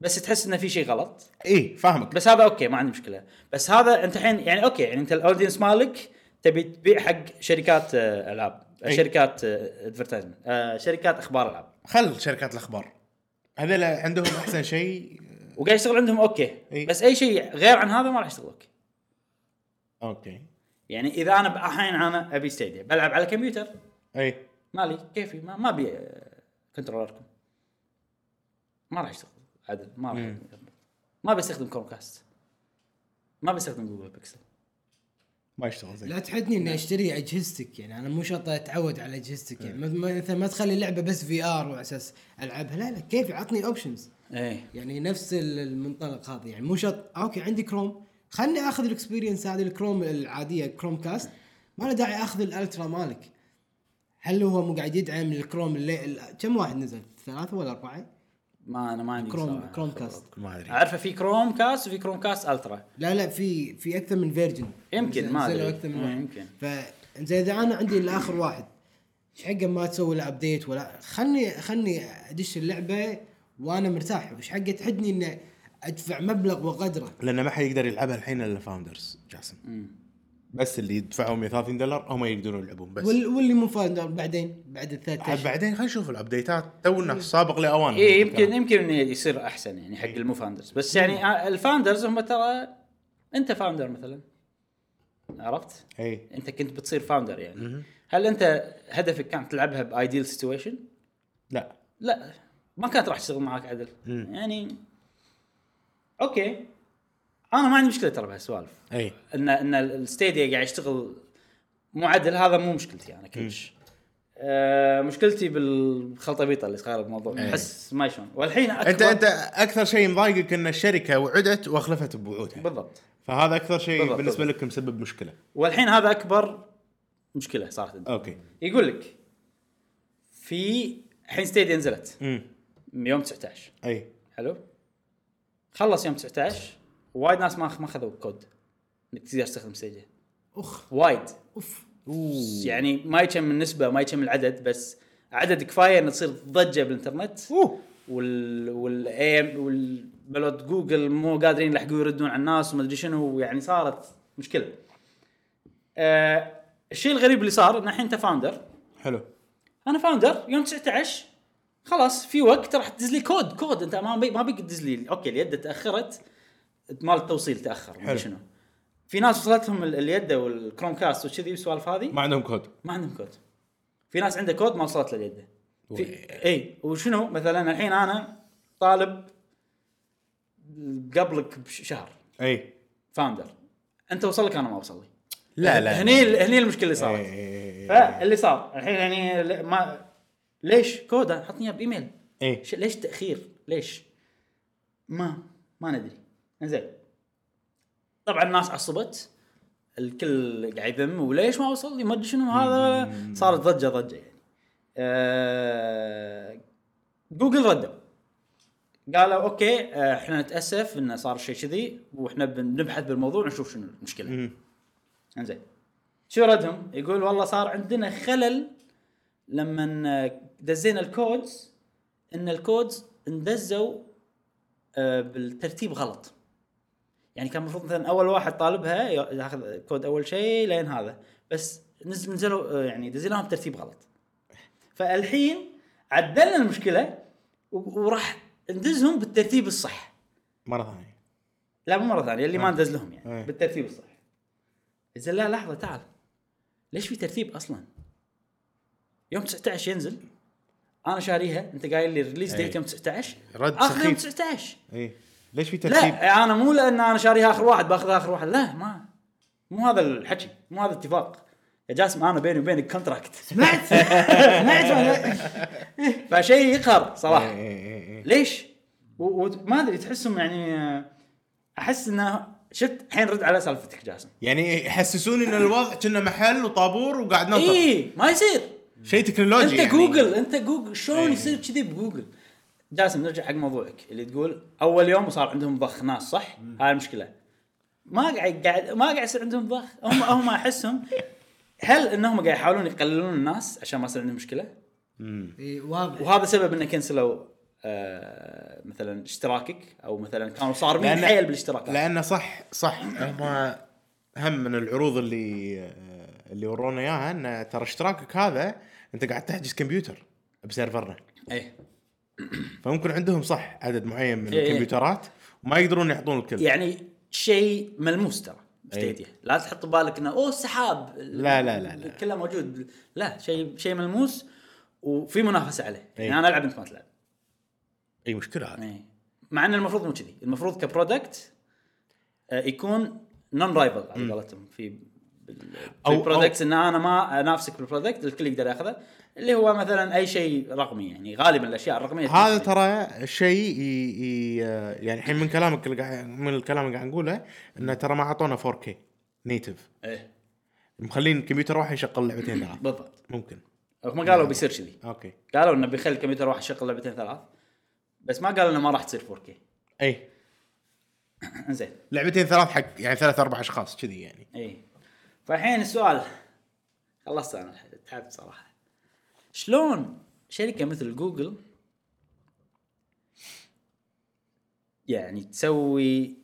S1: بس تحس انه في شيء غلط
S3: اي فاهمك
S1: بس هذا اوكي ما عندي مشكله بس هذا انت الحين يعني اوكي يعني انت الاودينس مالك تبي تبيع حق شركات آه، العاب آه،
S3: أي.
S1: شركات ادفرتايزمنت شركات اخبار العاب
S3: خل شركات الاخبار هذول عندهم احسن شيء
S1: وقاعد يشتغل عندهم اوكي
S3: أي.
S1: بس اي شيء غير عن هذا ما راح يشتغل اوكي
S3: اوكي
S1: يعني اذا انا ب- الحين انا ابي ستيديا بلعب على الكمبيوتر
S3: اي
S1: مالي كيفي ما ما ابي آه، كنترولركم ما راح يشتغل عدل ما راح
S3: مم.
S1: ما بستخدم كومكاست ما بستخدم جوجل بيكسل
S3: ما يشتغل زين
S2: لا تحدني اني اشتري اجهزتك يعني انا مو شرط اتعود على اجهزتك يعني ما- ما- مثلا ما تخلي اللعبه بس في ار وعلى اساس العبها لا لا كيف عطني اوبشنز
S1: ايه
S2: يعني نفس ال- المنطلق هذا يعني مو شرط اوكي عندي كروم خلني اخذ الاكسبيرينس هذه الكروم العاديه كروم كاست ما له داعي اخذ الالترا مالك هل هو مو قاعد يدعم الكروم اللي ال- كم واحد نزل ثلاثه ولا اربعه؟
S1: ما انا ما عندي
S2: كروم-
S1: صراحة
S2: كروم
S1: خبرة.
S2: كاست.
S3: ما أدري.
S1: اعرفه في كروم كاست وفي كروم كاست الترا
S2: لا لا في في اكثر من فيرجن
S1: يمكن، ما
S2: نزلوا
S1: أدري.
S2: اكثر من
S1: مم،
S2: واحد
S1: يمكن.
S2: فزين اذا انا عندي الاخر واحد ايش حقه ما تسوي له ابديت ولا خلني خلني ادش اللعبه وانا مرتاح وش حقه تحدني انه ادفع مبلغ وقدره
S3: لان ما حد يقدر يلعبها الحين الا فاوندرز جاسم بس اللي يدفعهم 130 دولار هم يقدرون يلعبون بس
S2: وال- واللي مو فاندر بعدين بعد الثلاث
S3: عاد
S2: اشهر
S3: بعدين خلينا نشوف الابديتات تونا سابق لاوان
S1: اي إيه، يمكن يمكن إنه يصير احسن يعني حق المو فاوندرز بس يعني آه، الفاوندرز هم ترى انت فاوندر مثلا عرفت؟
S3: اي
S1: انت كنت بتصير فاوندر يعني هل انت هدفك كان تلعبها بايديال سيتويشن؟
S3: لا
S1: لا ما كانت راح تشتغل معاك عدل يعني اوكي انا ما عندي مشكله ترى بهالسوالف
S3: اي
S1: ان ان الستيديا قاعد يشتغل مو عدل هذا مو مشكلتي انا كلش آه مشكلتي بالخلطبيطه اللي صايره بالموضوع احس ما شلون والحين أكبر
S3: انت انت اكثر شيء مضايقك ان الشركه وعدت واخلفت بوعودها
S1: بالضبط
S3: فهذا اكثر شيء
S1: بالضبط،
S3: بالنسبه لك مسبب مشكله
S1: والحين هذا اكبر مشكله صارت عندي.
S3: اوكي
S1: يقول لك في الحين ستيديا نزلت
S3: امم
S1: من يوم 19
S3: اي
S1: حلو خلص يوم 19 وايد ناس ما ما اخذوا كود انك تقدر تستخدم ستيديا
S2: اخ
S1: وايد
S2: اوف
S1: يعني ما يكم النسبه ما يكم العدد بس عدد كفايه ان تصير ضجه بالانترنت
S3: اوه
S1: وال وال AM وال بلوت جوجل مو قادرين يلحقون يردون على الناس وما ادري شنو يعني صارت مشكله. أه الشيء الغريب اللي صار ان الحين انت فاوندر
S3: حلو
S1: انا فاوندر يوم 19 خلاص في وقت راح تدز لي كود كود انت ما بي ما بيك تدز لي اوكي اليد تاخرت مال التوصيل تاخر ما
S3: حلو.
S1: ادري شنو. في ناس وصلت لهم ال- اليد والكروم كاست وكذي والسوالف هذه
S3: ما عندهم كود
S1: ما عندهم كود في ناس عنده كود ما وصلت له يده في...
S3: وي.
S1: اي وشنو مثلا الحين انا طالب قبلك بشهر
S3: اي
S1: فاوندر انت وصل لك انا ما وصل لي
S3: لا لا
S1: هني هني المشكله اللي
S3: إي،
S1: صارت
S3: إي، إي.
S1: فاللي صار الحين يعني ل- ما ليش كود حطني إياه بايميل
S3: اي
S1: ش- ليش تاخير ليش ما ما ندري انزين طبعا الناس عصبت الكل قاعد يذم وليش ما وصل لي ما ادري شنو هذا صارت ضجه ضجه يعني آه، جوجل ردوا قالوا اوكي آه، احنا نتاسف انه صار شيء كذي واحنا بنبحث بالموضوع ونشوف شنو المشكله
S3: مم.
S1: انزين شو ردهم؟ يقول والله صار عندنا خلل لما دزينا الكودز ان الكودز اندزوا آه، بالترتيب غلط يعني كان المفروض مثلا اول واحد طالبها ياخذ كود اول شيء لين هذا بس نزل نزلوا آه، يعني دزيناهم بترتيب غلط فالحين عدلنا المشكله و- وراح ندزهم بالترتيب الصح
S3: مره ثانيه
S1: لا مو مره ثانيه اللي ما ندز لهم يعني
S3: إيه.
S1: بالترتيب الصح زين لا لحظه تعال ليش في ترتيب اصلا؟ يوم 19 ينزل انا شاريها انت قايل لي الريليس
S3: إيه.
S1: ديت يوم 19
S3: رد
S1: اخر يوم
S3: سخيف.
S1: 19
S3: اي إيه. ليش في ترتيب؟
S1: لا انا مو لان انا شاريها اخر واحد باخذها اخر واحد لا ما مو هذا الحكي مو هذا الاتفاق يا جاسم انا بيني وبينك كونتراكت
S2: سمعت سمعت ولا؟
S1: فشيء يقهر صراحه
S3: إي إي إي إي.
S1: ليش؟ و- وما ادري تحسهم يعني آه، احس انه شفت الحين رد على سالفتك جاسم
S3: يعني يحسسوني ان الوضع كنا محل وطابور وقاعد ننطر
S1: اي ما يصير
S3: شيء تكنولوجي
S1: انت
S3: يعني.
S1: إيه.
S3: إيه.
S1: جوجل انت جوجل شلون يصير كذي بجوجل جاسم نرجع حق موضوعك اللي تقول اول يوم صار عندهم ضخ ناس صح؟ هاي المشكله ما قاعد قاعد ما قاعد يصير عندهم ضخ هم هم احسهم هل انهم قاعد يحاولون يقللون الناس عشان ما يصير عندهم مشكله؟
S2: إي، واضح
S1: وهذا سبب انه كنسلوا آه مثلا اشتراكك او مثلا كانوا صارمين
S3: لأن-
S1: حيل بالاشتراكات
S3: لانه صح صح هم هم من العروض اللي اللي ورونا اياها انه ترى اشتراكك هذا انت قاعد تحجز كمبيوتر بسيرفرنا
S1: ايه
S3: فممكن عندهم صح عدد معين من
S1: إيه إيه.
S3: الكمبيوترات وما يقدرون يحطون الكل
S1: يعني شيء ملموس ترى
S3: أي.
S1: ستيديا لا تحط بالك انه اوه السحاب
S3: لا، لا، لا، لا.
S1: كله موجود لا شيء شيء ملموس وفي منافسه عليه
S3: أي.
S1: يعني انا العب انت ما تلعب
S3: اي مشكله إيه، هذه
S1: أي. مع ان المفروض مو كذي المفروض كبرودكت آه، يكون نون رايفل على قولتهم في بال-
S3: أو-
S1: في برودكتس ان انا ما انافسك بالبرودكت الكل يقدر ياخذه اللي هو مثلا اي شيء رقمي يعني غالبا الاشياء الرقميه
S3: هذا
S1: تكون
S3: ترى شيء ي- ي- يعني الحين من كلامك اللي قاعد من الكلام اللي قاعد نقوله انه ترى ما اعطونا 4K نيتف
S1: كذي. ايه
S3: مخلين كمبيوتر واحد يشغل لعبتين ثلاث
S1: بالضبط
S3: ممكن
S1: هم قالوا بيصير كذي
S3: اوكي
S1: قالوا انه بيخلي الكمبيوتر واحد يشغل لعبتين ثلاث بس ما قالوا انه ما راح تصير 4K
S3: اي
S1: انزين
S3: إيه. لعبتين ثلاث حق يعني ثلاث اربع اشخاص كذي يعني
S1: اي فالحين السؤال خلصت انا الحين، تعبت صراحه شلون شركه مثل جوجل يعني تسوي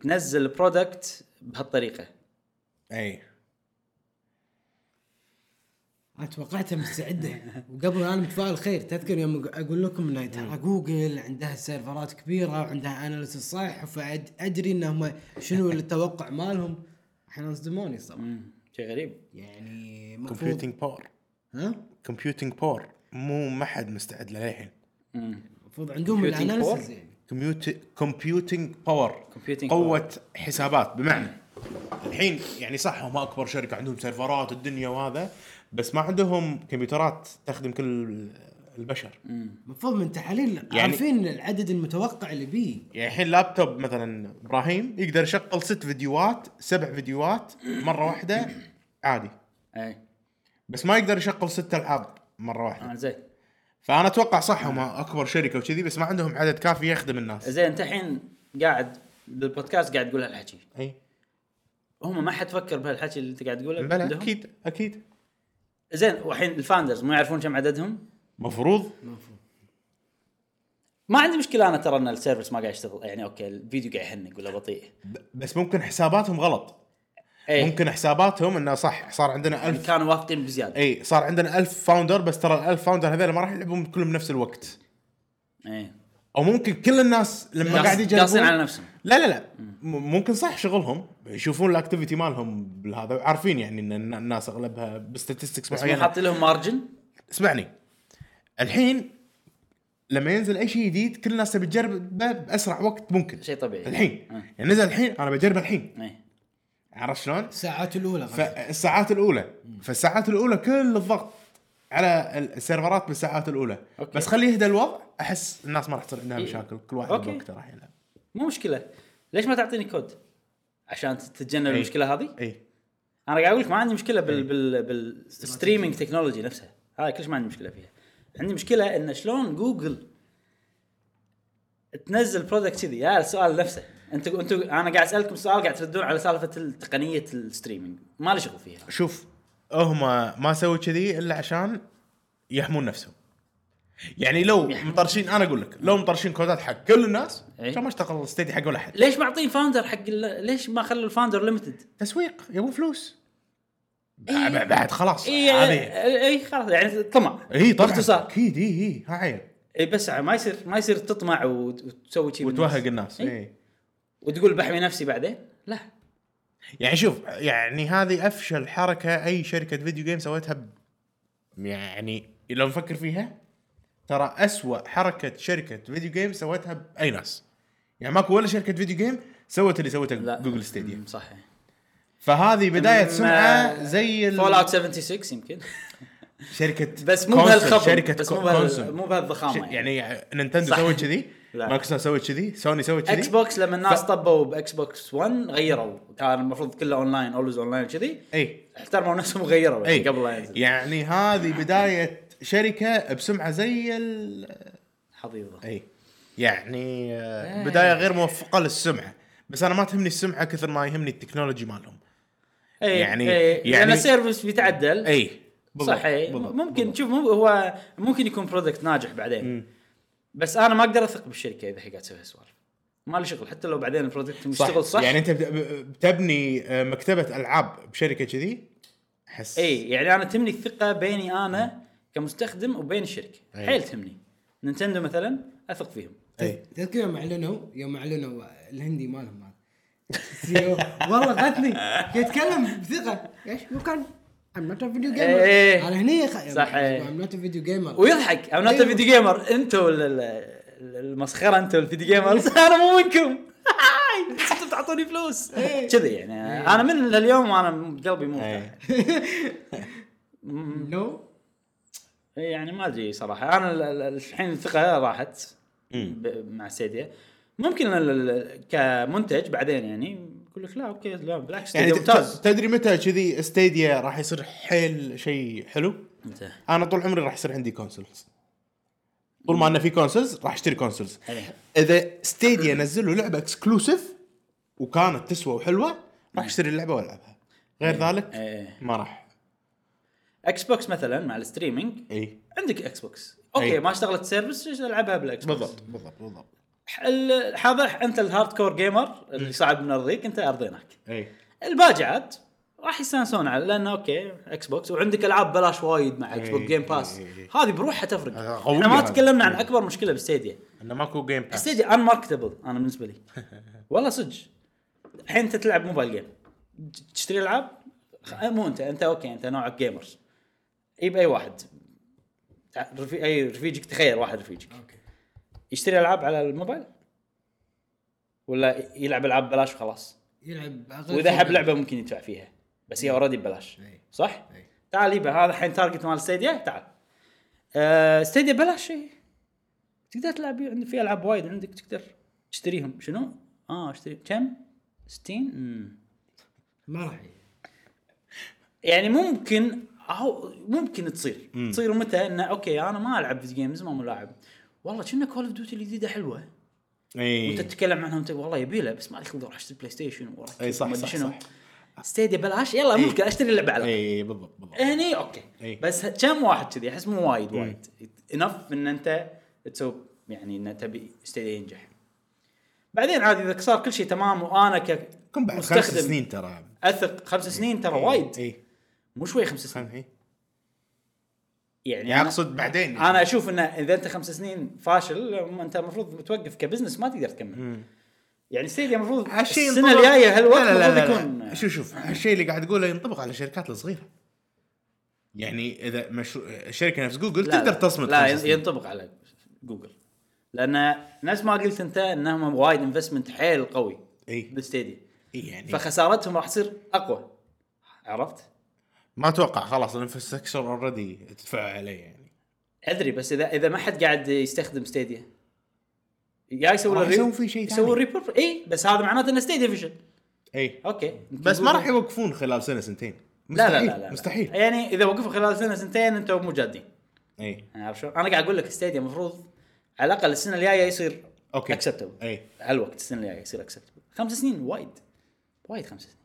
S1: تنزل برودكت بهالطريقه
S3: اي
S2: انا توقعتها مستعده وقبل انا متفائل خير تذكر يوم اقول لكم ان ترى جوجل عندها سيرفرات كبيره وعندها اناليسيس صح فادري انهم شنو التوقع مالهم احنا صدموني صراحه
S1: امم شيء غريب
S2: يعني المفروض
S3: كومبيوتنج باور
S2: ها
S3: كومبيوتنج باور مو ما حد مستعد له للحين
S1: امم
S2: المفروض عندهم
S1: Computing
S2: الاناليسيس
S1: power؟
S2: يعني
S3: كومبيوتنج باور
S1: Computing
S3: قوه حسابات بمعنى الحين يعني صح هم اكبر شركه عندهم سيرفرات الدنيا وهذا بس ما عندهم كمبيوترات تخدم كل البشر
S2: المفروض من تحاليل
S3: يعني-
S2: عارفين العدد المتوقع اللي بيه
S3: يعني الحين لابتوب مثلا ابراهيم يقدر يشغل ست فيديوهات سبع فيديوهات مره واحده عادي
S1: اي
S3: بس ما يقدر يشغل ست العاب مره واحده
S1: آه، زين
S3: فانا اتوقع صح هم اكبر شركه وكذي بس ما عندهم عدد كافي يخدم الناس
S1: زين انت الحين قاعد بالبودكاست قاعد تقول هالحكي
S3: اي
S1: هم ما حد فكر بهالحكي اللي انت قاعد تقوله
S3: بلى
S1: عندهم؟
S3: اكيد اكيد
S1: زين والحين الفاندرز ما يعرفون كم عددهم
S3: مفروض
S1: ما عندي مشكله انا ترى ان السيرفس ما قاعد يشتغل يعني اوكي الفيديو قاعد يهنق ولا بطيء
S3: ب- بس ممكن حساباتهم غلط
S1: اي ممكن
S3: ممكن حساباتهم انه صح صار عندنا
S1: يعني
S3: ألف إيه.
S1: كانوا واثقين بزياده
S3: اي صار عندنا ألف فاوندر بس ترى الألف فاوندر هذول ما راح يلعبون كلهم بنفس الوقت
S1: اي
S3: او ممكن كل الناس لما
S1: إيه. قاص-
S3: قاعد
S1: قاصين على
S3: يجربون
S1: نفسهم
S3: لا لا لا م- ممكن صح شغلهم يشوفون الاكتيفيتي مالهم بالهذا وعارفين يعني ان الن- الناس اغلبها بستاتستكس
S1: بس مو
S3: معينه
S1: حاط لهم مارجن
S3: اسمعني الحين لما ينزل اي شيء جديد كل الناس تبي تجربه باسرع وقت ممكن
S1: شيء طبيعي إيه.
S3: الحين
S1: آه.
S3: يعني نزل الحين انا بجربه الحين
S1: اي
S3: عرفت شلون؟
S2: الساعات الاولى غالباً.
S3: فالساعات الاولى فالساعات الاولى كل الضغط على السيرفرات بالساعات الاولى
S1: أوكي. إيه.
S3: أوكي. بس خليه يهدى الوضع احس الناس ما راح تصير عندها مشاكل كل واحد
S1: أوكي.
S3: بوقته راح يلعب
S1: مو مشكله ليش ما تعطيني كود عشان
S3: إيه.
S1: تتجنب المشكله هذه
S3: اي
S1: انا قاعد اقول لك ما عندي مشكله بال
S3: إيه.
S1: بال بالستريمينج تكنولوجي نفسها هاي كلش ما عندي مشكله فيها عندي مشكله ان شلون جوجل تنزل برودكت كذي يا السؤال نفسه انت انت انا قاعد اسالكم سؤال قاعد تردون على سالفه تقنيه الستريمنج ما لي شغل فيها
S3: شوف هم ما سووا كذي الا عشان يحمون نفسهم يعني لو مطرشين انا اقول لك لو مطرشين كودات حق كل الناس
S1: إيه.
S3: كان ما اشتغل استدي حق ولا احد
S1: ليش معطين فاوندر حق ال- ليش ما خلوا الفاوندر ليمتد؟
S3: تسويق يبون فلوس
S1: إيه.
S3: بعد, بعد خلاص
S1: اي
S3: عادي إيه،
S1: اي إيه، خلاص يعني طمع
S3: اي طبعا
S1: باختصار.
S3: اكيد اي اي ها عيل
S1: اي بس ما يصير ما يصير تطمع وت- وتسوي شيء
S3: وتوهق الناس
S1: إيه.
S3: اي
S1: وتقول بحمي نفسي بعدين لا
S3: يعني شوف يعني هذه افشل حركه اي شركه فيديو جيم سوتها ب... يعني لو نفكر فيها ترى أسوأ حركه شركه فيديو جيم سوتها باي ناس يعني ماكو ولا شركه فيديو جيم سوت اللي سوته
S1: لا
S3: جوجل ستيديا
S1: أمم، صحيح
S3: فهذه بدايه
S1: أما
S3: سمعه زي ال-
S1: فول اوت 76 يمكن
S3: شركه
S1: بس مو
S3: كونسول،
S1: بهالخبر
S3: شركه
S1: بس مو
S3: كو-
S1: بهال-
S3: كونسول.
S1: مو بهالضخامه
S3: ش-
S1: يعني,
S3: يعني نينتندو
S1: صح.
S3: سوت كذي
S1: لا.
S3: مايكروسوفت سوت كذي سوني سوت
S1: اكس
S3: كذي
S1: بوكس لما الناس طبوا باكس بوكس 1 غيروا كان المفروض كله اونلاين اولويز اونلاين كذي
S3: اي
S1: احترموا نفسهم وغيروا
S3: اي
S1: يعني قبل لا ينزل
S3: يعني هذه بدايه شركه بسمعه زي ال...
S1: حظيظه
S3: اي يعني آه،
S1: إيه.
S3: بدايه غير موفقه للسمعه بس انا ما تهمني السمعه كثر ما يهمني التكنولوجي مالهم
S1: اي
S3: يعني-
S1: يعني
S3: يعني-
S1: لان السيرفس بيتعدل
S3: اي بالضبط،
S1: صح اي
S3: بالضبط،
S1: ممكن
S3: بالضبط.
S1: شوف مو هو ممكن يكون برودكت ناجح بعدين
S3: مم.
S1: بس انا ما اقدر اثق بالشركه اذا هي قاعد تسوي هالسوالف ما لي شغل حتى لو بعدين البرودكت مشتغل صح
S3: يعني انت بت- بتبني آه، مكتبه العاب بشركه كذي احس
S1: اي يعني انا تهمني الثقه بيني انا كمستخدم وبين الشركه
S3: أي.
S1: حيل تهمني نينتندو مثلا اثق فيهم
S3: اي
S2: تذكر يوم اعلنوا يوم اعلنوا الهندي مالهم هذا CEO والله غثني يتكلم بثقه ايش مو كان I'm not a video gamer
S1: إيه.
S2: انا هني خ...
S1: صح، إيه.
S2: I'm not a video gamer
S1: ويضحك انا نوت
S2: أيوة.
S1: فيديو جيمر انتوا ال- ال- ال- المسخره انتوا الفيديو جيمرز انا مو منكم انتوا تعطوني فلوس كذي يعني انا من اليوم وانا قلبي مو مرتاح.
S3: إي.
S2: نو
S1: يعني ما ادري صراحه انا ال- ال- الحين الثقه راحت
S3: مم.
S1: ب- مع سيديا ممكن ال- ال- كمنتج بعدين يعني يقول لك لا اوكي لا بالعكس
S3: يعني
S1: يعني
S3: ت-
S1: ممتاز
S3: تدري متى كذي ستيديا راح يصير حيل شيء حلو
S1: ممتاز.
S3: انا طول عمري راح يصير عندي كونسولز طول ما انا في كونسولز راح اشتري كونسولز
S1: إيه.
S3: اذا ستيديا نزلوا لعبه اكسكلوسيف وكانت تسوى وحلوه راح اشتري اللعبه والعبها غير ذلك
S1: إيه.
S3: ما راح
S1: اكس بوكس مثلا مع الستريمينج
S3: اي
S1: عندك اكس بوكس اوكي
S3: أي.
S1: ما اشتغلت سيرفس ليش العبها بالاكس بوكس
S3: بالضبط بالضبط بالضبط
S1: ال- هذا انت الهارد كور جيمر اللي صعب نرضيك انت ارضيناك
S3: اي
S1: الباجعات راح يستانسون على لانه اوكي اكس بوكس وعندك العاب بلاش وايد مع اكس بوكس
S3: إيه،
S1: جيم باس
S3: إيه، إيه.
S1: هذه بروحها تفرق
S3: هذا قوية
S1: احنا ما
S3: هذا.
S1: تكلمنا عن اكبر مشكله بالستيديا
S3: انه ماكو جيم باس
S1: الستيديا ان ماركتبل انا بالنسبه لي والله صدق الحين انت تلعب موبايل جيم ت- تشتري العاب خ- مو انت انت اوكي انت نوعك جيمرز يب اي واحد تع- رفي... اي رفيجك تخيل واحد رفيجك
S2: اوكي
S1: يشتري العاب على الموبايل ولا يلعب العاب بلاش وخلاص
S2: يلعب اغلب
S1: واذا حب لعبه ممكن يدفع فيها بس
S3: إيه.
S1: هي اوريدي ببلاش
S2: أي.
S1: صح؟
S2: أي.
S1: تعال يبا هذا الحين تارجت مال ستيديا تعال آه ستيديا بلاش شيء تقدر تلعب عندك في العاب وايد عندك تقدر تشتريهم شنو؟ اه اشتري كم؟ 60 مم.
S2: ما راح ي-
S1: يعني ممكن أو ممكن تصير تصير متى انه اوكي انا ما العب فيديو جيمز ما ملاعب والله كنا كول اوف ديوتي الجديده حلوه
S3: إيه.
S1: وانت
S3: اي
S1: تتكلم عنهم تقول والله يبي له بس ما لي خلق اروح اشتري بلاي ستيشن واروح
S3: اي إيه، صح
S1: ما أدري
S3: صح
S1: شنو
S3: صح إيه.
S1: ستيديا بلاش يلا ممكن اشتري اللعبه على
S3: اي بالضبط بالضبط
S1: هني اوكي
S3: إي.
S1: بس ه- كم واحد كذي احس مو وايد وايد انف ان انت تسوي يعني ان تبي ستيديا ينجح بعدين عادي اذا صار كل شيء تمام وانا ك
S3: كم بعد خمس
S1: مستخدم.
S3: سنين ترى
S1: اثق خمس سنين ترى وايد
S3: اي
S1: مو شوي خمس سنين
S3: خم- إي.
S1: يعني
S3: يعني
S1: أنا-
S3: اقصد بعدين
S1: انا اشوف انه اذا انت خمس سنين فاشل انت المفروض توقف كبزنس ما تقدر تكمل يعني ستيديا المفروض
S3: هالشيء
S1: السنه
S3: ينطبق-
S1: الجايه هالوقت
S3: لا لا لا
S1: المفروض
S3: لا
S1: يكون
S3: لا. شوف شوف الشيء اللي قاعد اقوله ينطبق على الشركات الصغيره يعني اذا مشروع الشركه نفس جوجل
S1: لا، لا.
S3: تقدر تصمد
S1: لا
S3: خمس
S1: ين-
S3: سنين.
S1: ينطبق على جوجل لان نفس ما قلت انت انهم وايد انفستمنت حيل قوي
S3: اي
S1: بالستيديا
S3: اي يعني
S1: فخسارتهم راح تصير اقوى عرفت؟
S3: ما اتوقع خلاص الانفراستراكشر اوريدي تدفع عليه يعني
S1: ادري بس اذا اذا ما حد قاعد يستخدم ستيديا يا يسوون
S3: راح
S1: الري-
S3: يسوون فيه شيء
S1: يسوون ريبور اي إيه، بس هذا معناته ان ستيديا فشل
S3: اي
S1: اوكي
S3: بس ما راح يوقفون خلال سنه سنتين
S1: لا لا
S3: مستحيل
S1: لا, لا
S3: مستحيل
S1: يعني اذا وقفوا خلال سنه سنتين انتم مو جادين
S3: اي
S1: يعني عارف شلون؟ انا قاعد اقول لك ستيديا المفروض على الاقل السنه الجايه يصير
S3: اوكي
S1: اكسبتبل
S3: اي
S1: على الوقت السنه اللي جايه يصير اكسبتبل خمس سنين وايد وايد خمس سنين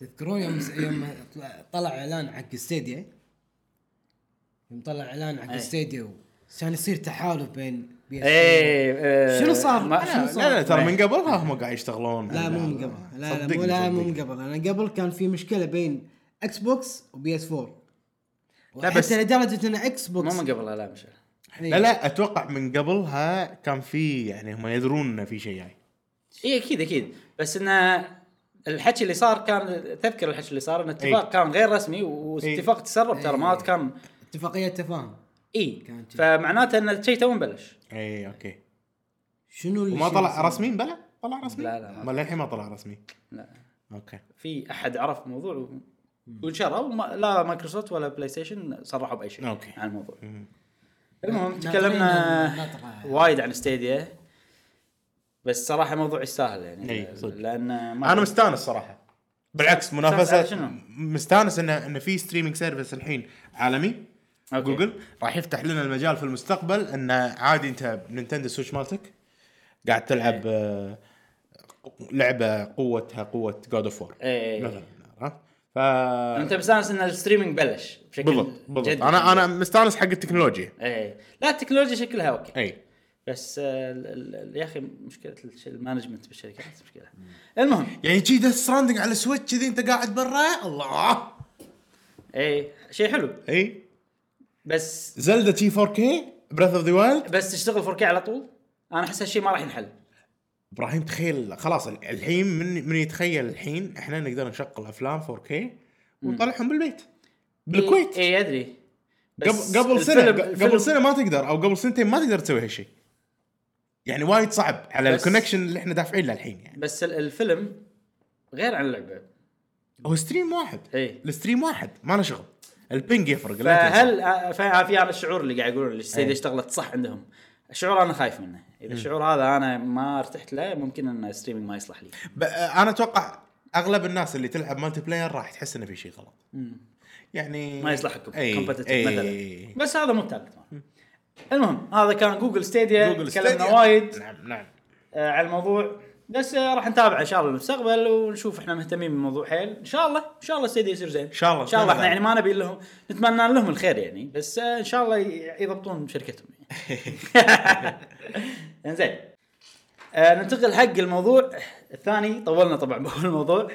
S2: تذكرون يوم يوم طلع- طلع اعلان حق ستيديا يوم طلع اعلان حق
S1: أي.
S2: ستيديا و- كان يصير تحالف بين بي
S1: ايه
S2: شنو صار؟
S1: ما-
S2: أنا-
S1: شنو
S2: صار؟
S3: لا لا ترى من قبلها هم قاعد يشتغلون
S2: لا مو من قبل لا لا مو
S3: يعني صدقني،
S2: لا مو
S3: صدقني.
S2: من قبل انا قبل كان في مشكله بين اكس بوكس وبي اس 4
S3: لا،
S2: لا
S3: بس-
S2: بس لدرجه ان اكس
S1: مو
S2: بوكس
S1: من قبل لا مش
S3: لا لا اتوقع من قبلها كان في يعني هم يدرون انه في شيء جاي
S1: اي اكيد اكيد إيه، بس انه الحكي اللي صار كان تذكر الحكي اللي صار ان
S2: إيه.
S1: اتفاق
S3: إي.
S1: كان غير رسمي واتفاق تسرب ترى ما
S2: إي.
S1: كان
S2: اتفاقيه تفاهم
S1: اي
S2: إيه. كان شي.
S1: فمعناته ان الشيء تو مبلش
S3: اي اوكي
S2: شنو اللي
S3: وما
S2: شنو
S3: طلع
S2: صار؟
S3: رسمي بلا طلع رسمي
S1: لا، لا، ما
S3: ما للحين ما طلع رسمي
S1: لا
S3: اوكي
S1: في احد عرف الموضوع و- وانشروا وما- لا مايكروسوفت ولا بلاي ستيشن صرحوا باي شيء
S3: أوكي.
S1: عن الموضوع
S3: مم.
S1: المهم
S2: ناطرين
S1: تكلمنا
S2: النطرة.
S1: وايد عن ستيديا بس صراحه موضوع يستاهل يعني
S3: إي، صدق.
S1: لان ما
S3: انا مستانس صراحه بالعكس
S1: على
S3: منافسه
S1: شنو؟
S3: مستانس انه انه في ستريمينج سيرفيس الحين عالمي
S1: أوكي.
S3: جوجل راح يفتح لنا المجال في المستقبل انه عادي انت بنينتندو سويتش مالتك قاعد تلعب
S1: إيه.
S3: آه، لعبه قوتها قوه جود اوف وور
S1: إيه.
S3: مثلا عرفت؟ ف
S1: انت مستانس ان الستريمنج بلش بشكل
S3: بالضبط بالضبط
S1: جدي.
S3: انا انا مستانس حق التكنولوجيا إيه.
S1: ايه لا التكنولوجيا شكلها اوكي
S3: اي
S1: بس آه، ال- ال- يا اخي مشكله الش- المانجمنت بالشركات مشكله المهم
S3: يعني جي ديث ستراندنج على سويتش كذي انت قاعد برا الله إيه.
S1: ايه شيء حلو
S3: اي
S1: بس
S3: زلدا تي 4 كي بريث اوف ذا وايلد
S1: بس تشتغل 4K على طول انا احس هالشيء ما راح ينحل
S3: ابراهيم تخيل خلاص الحين من من يتخيل الحين احنا نقدر نشغل افلام 4K ونطلعهم بالبيت بالكويت
S1: اي إي، ادري إيه، بس
S3: قبل قبل سنه
S1: الفيلم-
S3: ق-
S1: الفيلم-
S3: قبل سنه ما تقدر او قبل سنتين ما تقدر تسوي هالشيء يعني وايد صعب على
S1: بس-
S3: الكونكشن اللي احنا دافعين له الحين يعني
S1: بس ال- الفيلم غير عن اللعبه
S3: هو ستريم واحد
S1: إيه.
S3: الستريم واحد ما له شغل البنج يفرق لا تنسى.
S1: فهل
S3: إيه.
S1: آه، فا- في انا الشعور اللي قاعد يقولون السيده اشتغلت صح عندهم الشعور انا خايف منه اذا الشعور هذا انا ما ارتحت له ممكن ان الستريمنج ما يصلح لي
S3: ب- آه، انا اتوقع اغلب الناس اللي تلعب مالتي بلاير راح تحس انه في شيء غلط يعني إيه،
S1: ما يصلح لكم
S3: أي-
S1: كومبتتف
S3: أي-
S1: مثلا بس هذا مو التارجت مالهم. المهم هذا كان جوجل ستيديا
S3: جوجل
S1: تكلمنا
S3: ستيديا.
S1: وايد
S3: نعم نعم
S1: آه على الموضوع بس آه راح نتابع ان شاء الله بالمستقبل ونشوف احنا مهتمين بالموضوع حيل ان شاء الله ان شاء الله ستيديا يصير زين ان
S3: شاء الله.
S1: ان شاء الله احنا
S3: نتمنى
S1: يعني ما نبي لهم نتمنى لهم الخير يعني بس آه ان شاء الله ي- يضبطون شركتهم يعني انزين آه ننتقل حق الموضوع الثاني طولنا طبعا بأول موضوع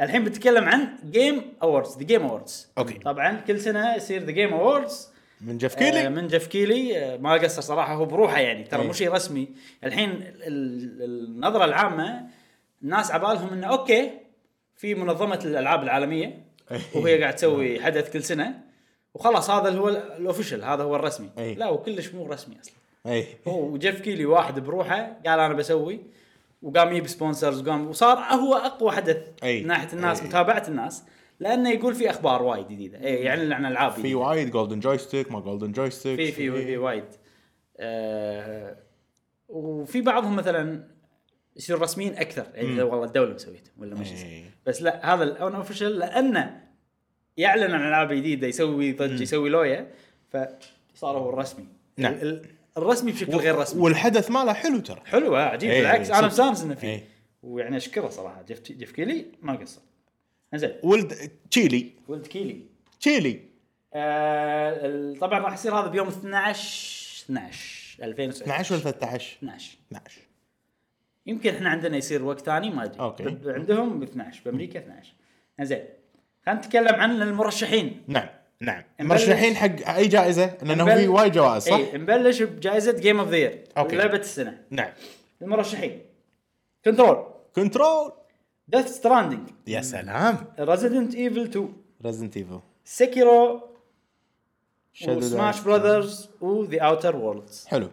S1: الحين بنتكلم عن جيم اووردز ذا جيم اووردز
S3: أوكي.
S1: طبعا كل سنه يصير ذا جيم اووردز
S3: من جف
S1: آه،
S3: كيلي
S1: من جيف كيلي آه، ما قصر صراحه هو بروحه يعني ترى مو
S3: إيه.
S1: شيء رسمي الحين ال- ال- النظره العامه الناس عبالهم انه اوكي في منظمه الالعاب العالميه
S3: إيه.
S1: وهي قاعد تسوي حدث كل سنه وخلاص هذا اللي هو ال- الاوفيشال هذا هو الرسمي
S3: إيه.
S1: لا وكلش مو رسمي اصلا
S3: اي
S1: هو جيف كيلي واحد بروحه قال انا بسوي وقام يجيب سبونسرز وقام وصار هو اقوى حدث
S3: أي.
S1: من ناحيه الناس
S3: أي.
S1: متابعه الناس لانه يقول في اخبار وايد جديده إيه، يعلن عن العاب جديدة.
S3: في وايد جولدن جويستيك ما جولدن جويستيك
S1: في في في وايد آه وفي بعضهم مثلا يصير رسميين اكثر يعني والله الدوله مسويته ولا مش
S3: إيه.
S1: بس لا هذا الاون اوفشل لانه يعلن عن العاب جديده يسوي ضجه يسوي لويا فصار هو الرسمي
S3: نعم.
S1: ال- ال- الرسمي بشكل غير رسمي
S3: والحدث ماله حلو ترى
S1: حلو آه، عجيب
S3: إيه،
S1: بالعكس
S3: صدق.
S1: انا مستانس انه فيه
S3: إيه.
S1: ويعني اشكره صراحه جيف جيف كيلي ما قصر انزين
S3: ولد تشيلي
S1: ولد كيلي
S3: تشيلي
S1: آه ال- طبعا راح يصير هذا بيوم 12 12 2019
S3: 12 ولا 13
S1: 12
S3: 12
S1: يمكن احنا عندنا يصير وقت ثاني ما ادري
S3: أوكي.
S1: ب- عندهم ب 12 بامريكا 12 زين خلينا نتكلم عن المرشحين
S3: نعم نعم
S1: نبلش.
S3: مرشحين حق اي جائزه لانه
S1: نبل-
S3: في وايد جوائز صح؟
S1: اي إيه، نبلش بجائزه جيم اوف ذا يير
S3: أوكي.
S1: لعبه السنه
S3: نعم
S1: المرشحين كنترول
S3: كنترول
S1: ديث ستراندنج
S3: يا سلام
S1: ريزيدنت ايفل 2
S3: ريزنت ايفل
S1: سكيرو
S3: Shadow
S1: وسماش
S3: Die.
S1: براذرز وذا اوتر وورلدز
S3: حلو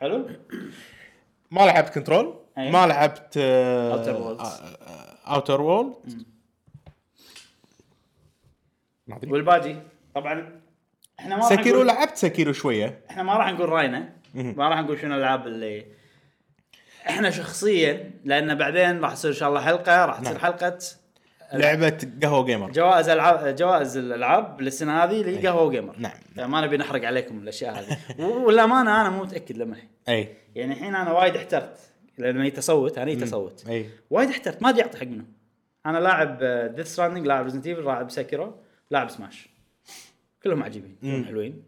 S1: حلو؟
S3: ما لعبت كنترول
S1: أي.
S3: ما لعبت آه،
S1: Outer Worlds.
S3: اوتر وولد
S1: والباقي طبعا احنا ما راح
S3: سكيرو
S1: نقول-
S3: لعبت سكيرو شويه
S1: احنا ما راح نقول راينا ما راح نقول شنو الالعاب اللي احنا شخصيا لان بعدين راح تصير ان شاء الله حلقه راح تصير
S3: نعم.
S1: حلقه
S3: لعبه قهوه جيمر
S1: جوائز العاب جوائز الالعاب للسنه هذه لقهوه جيمر
S3: نعم.
S1: ما نبي نحرق عليكم الاشياء هذه و- والامانه انا مو متاكد لما
S3: اي
S1: يعني الحين انا وايد احترت لما يتصوت انا يتصوت
S3: اي
S1: وايد احترت ما ادري اعطي حق منه انا لاعب ديث ستراندنج لاعب ريزنت ايفل لاعب سكيرو لاعب سماش كلهم عجيبين كلهم حلوين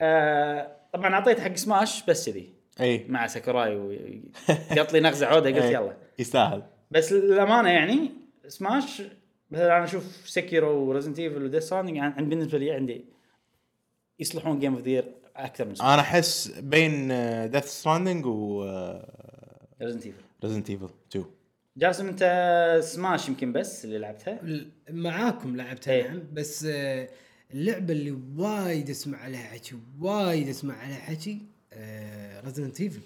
S1: آه طبعا اعطيت حق سماش بس كذي
S3: اي
S1: مع ساكوراي وقط لي نغزه عوده قلت
S3: إي.
S1: يلا
S3: يستاهل
S1: بس للامانه يعني سماش مثلا انا اشوف سكيرو وريزنت ايفل وديث ستراندنج عن بالنسبه لي عندي يصلحون جيم اوف ذير اكثر من
S3: انا احس بين ديث ستراندنج و آه،
S1: ريزنت ايفل
S3: ريزنت ايفل 2
S1: جاسم انت سماش يمكن بس اللي لعبتها
S2: ال- معاكم لعبتها
S1: إيه.
S2: نعم بس آه، اللعبه اللي وايد اسمع عليها حكي وايد اسمع عليها حكي آه، ريزدنت ايفل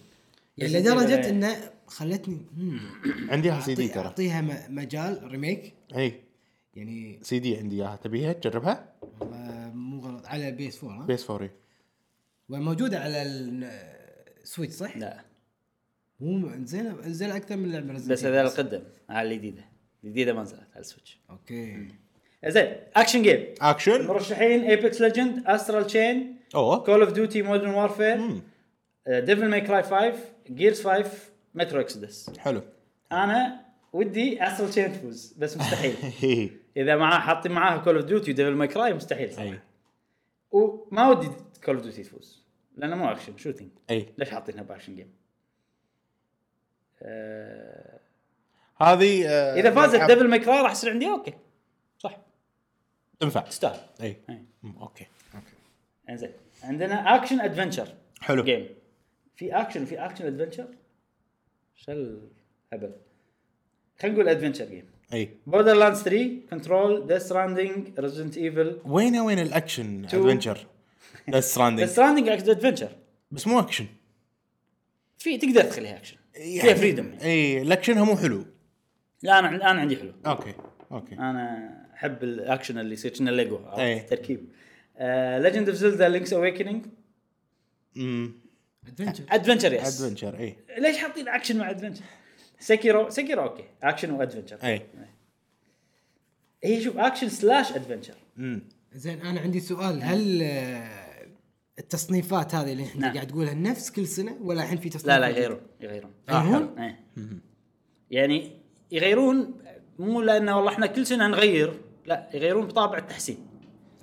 S2: يعني
S1: Resident Evil،
S2: لدرجه
S1: إيه.
S2: انه خلتني مم،
S3: عندي اياها سي دي
S2: أعطي-
S3: إيه، ترى
S2: اعطيها م- مجال ريميك
S3: اي
S2: يعني
S3: سي دي عندي اياها تبيها تجربها
S2: والله مو غلط على بيس 4 ها
S3: بيس 4
S2: وموجوده على السويتش صح؟
S1: لا
S2: مو زين زين اكثر من لعبه Resident
S1: بس
S2: Evil.
S1: هذا القدم على الجديده الجديده ما نزلت على السويتش
S2: اوكي
S1: زين اكشن جيم
S3: اكشن
S1: مرشحين ايبكس ليجند استرال تشين
S3: اوه
S1: كول اوف ديوتي مودرن وارفير ديفل ماي كراي 5 جيرز 5 مترو اكسدس
S3: حلو
S1: انا ودي استرال تشين تفوز بس مستحيل اذا معاه حاطين معاه كول اوف ديوتي وديفل ماي كراي مستحيل صراحه
S3: اي
S1: وما ودي كول اوف ديوتي تفوز لانه مو اكشن شوتنج
S3: اي
S1: ليش حاطينها باكشن جيم؟ آه...
S3: هذه آه،
S1: اذا فازت
S3: ألعاب
S1: ديفل ماي كراي راح يصير عندي اوكي صح
S3: تنفع
S1: تستاهل
S3: اي
S1: إي.
S3: مم، اوكي اوكي
S1: انزين عندنا اكشن ادفنشر
S3: حلو.
S1: جيم في اكشن وفي اكشن ادفنشر شل هبل خلينا نقول ادفنشر جيم
S3: اي
S1: بوردر لاندز 3 كنترول ديث ستراندنج ريزدنت ايفل
S3: وين وين الاكشن
S1: تو.
S3: ادفنشر ديث
S1: ديث
S3: ستراندنج
S1: ستراندنج ادفنشر
S3: بس مو اكشن
S1: في تقدر تخليها اكشن
S3: يعني
S1: فيها فريدم
S3: اي الاكشنها مو حلو
S1: لا انا انا عندي حلو
S3: اوكي اوكي
S1: آه. انا احب الاكشن اللي يصير كنا ليجو عرفت؟
S3: أي.
S1: تركيب آه، ليجند اوف زلدا لينكس اويكننج
S3: امم
S2: ادفنشر
S1: ادفنشر يس
S3: ادفنشر اي
S1: ليش حاطين اكشن مع ادفنشر؟ سكيرو سكيرو اوكي اكشن وادفنشر
S3: اي
S1: هي شوف اكشن سلاش ادفنشر
S3: امم
S2: زين انا عندي سؤال هل آه، التصنيفات هذه اللي احنا
S1: نعم.
S2: قاعد تقولها نفس كل سنه ولا الحين في تصنيف
S1: لا لا
S2: جديد؟
S1: يغيرون يغيرون
S2: آه، حلو.
S1: إيه. يعني يغيرون مو لانه والله احنا كل سنه نغير لا يغيرون بطابع التحسين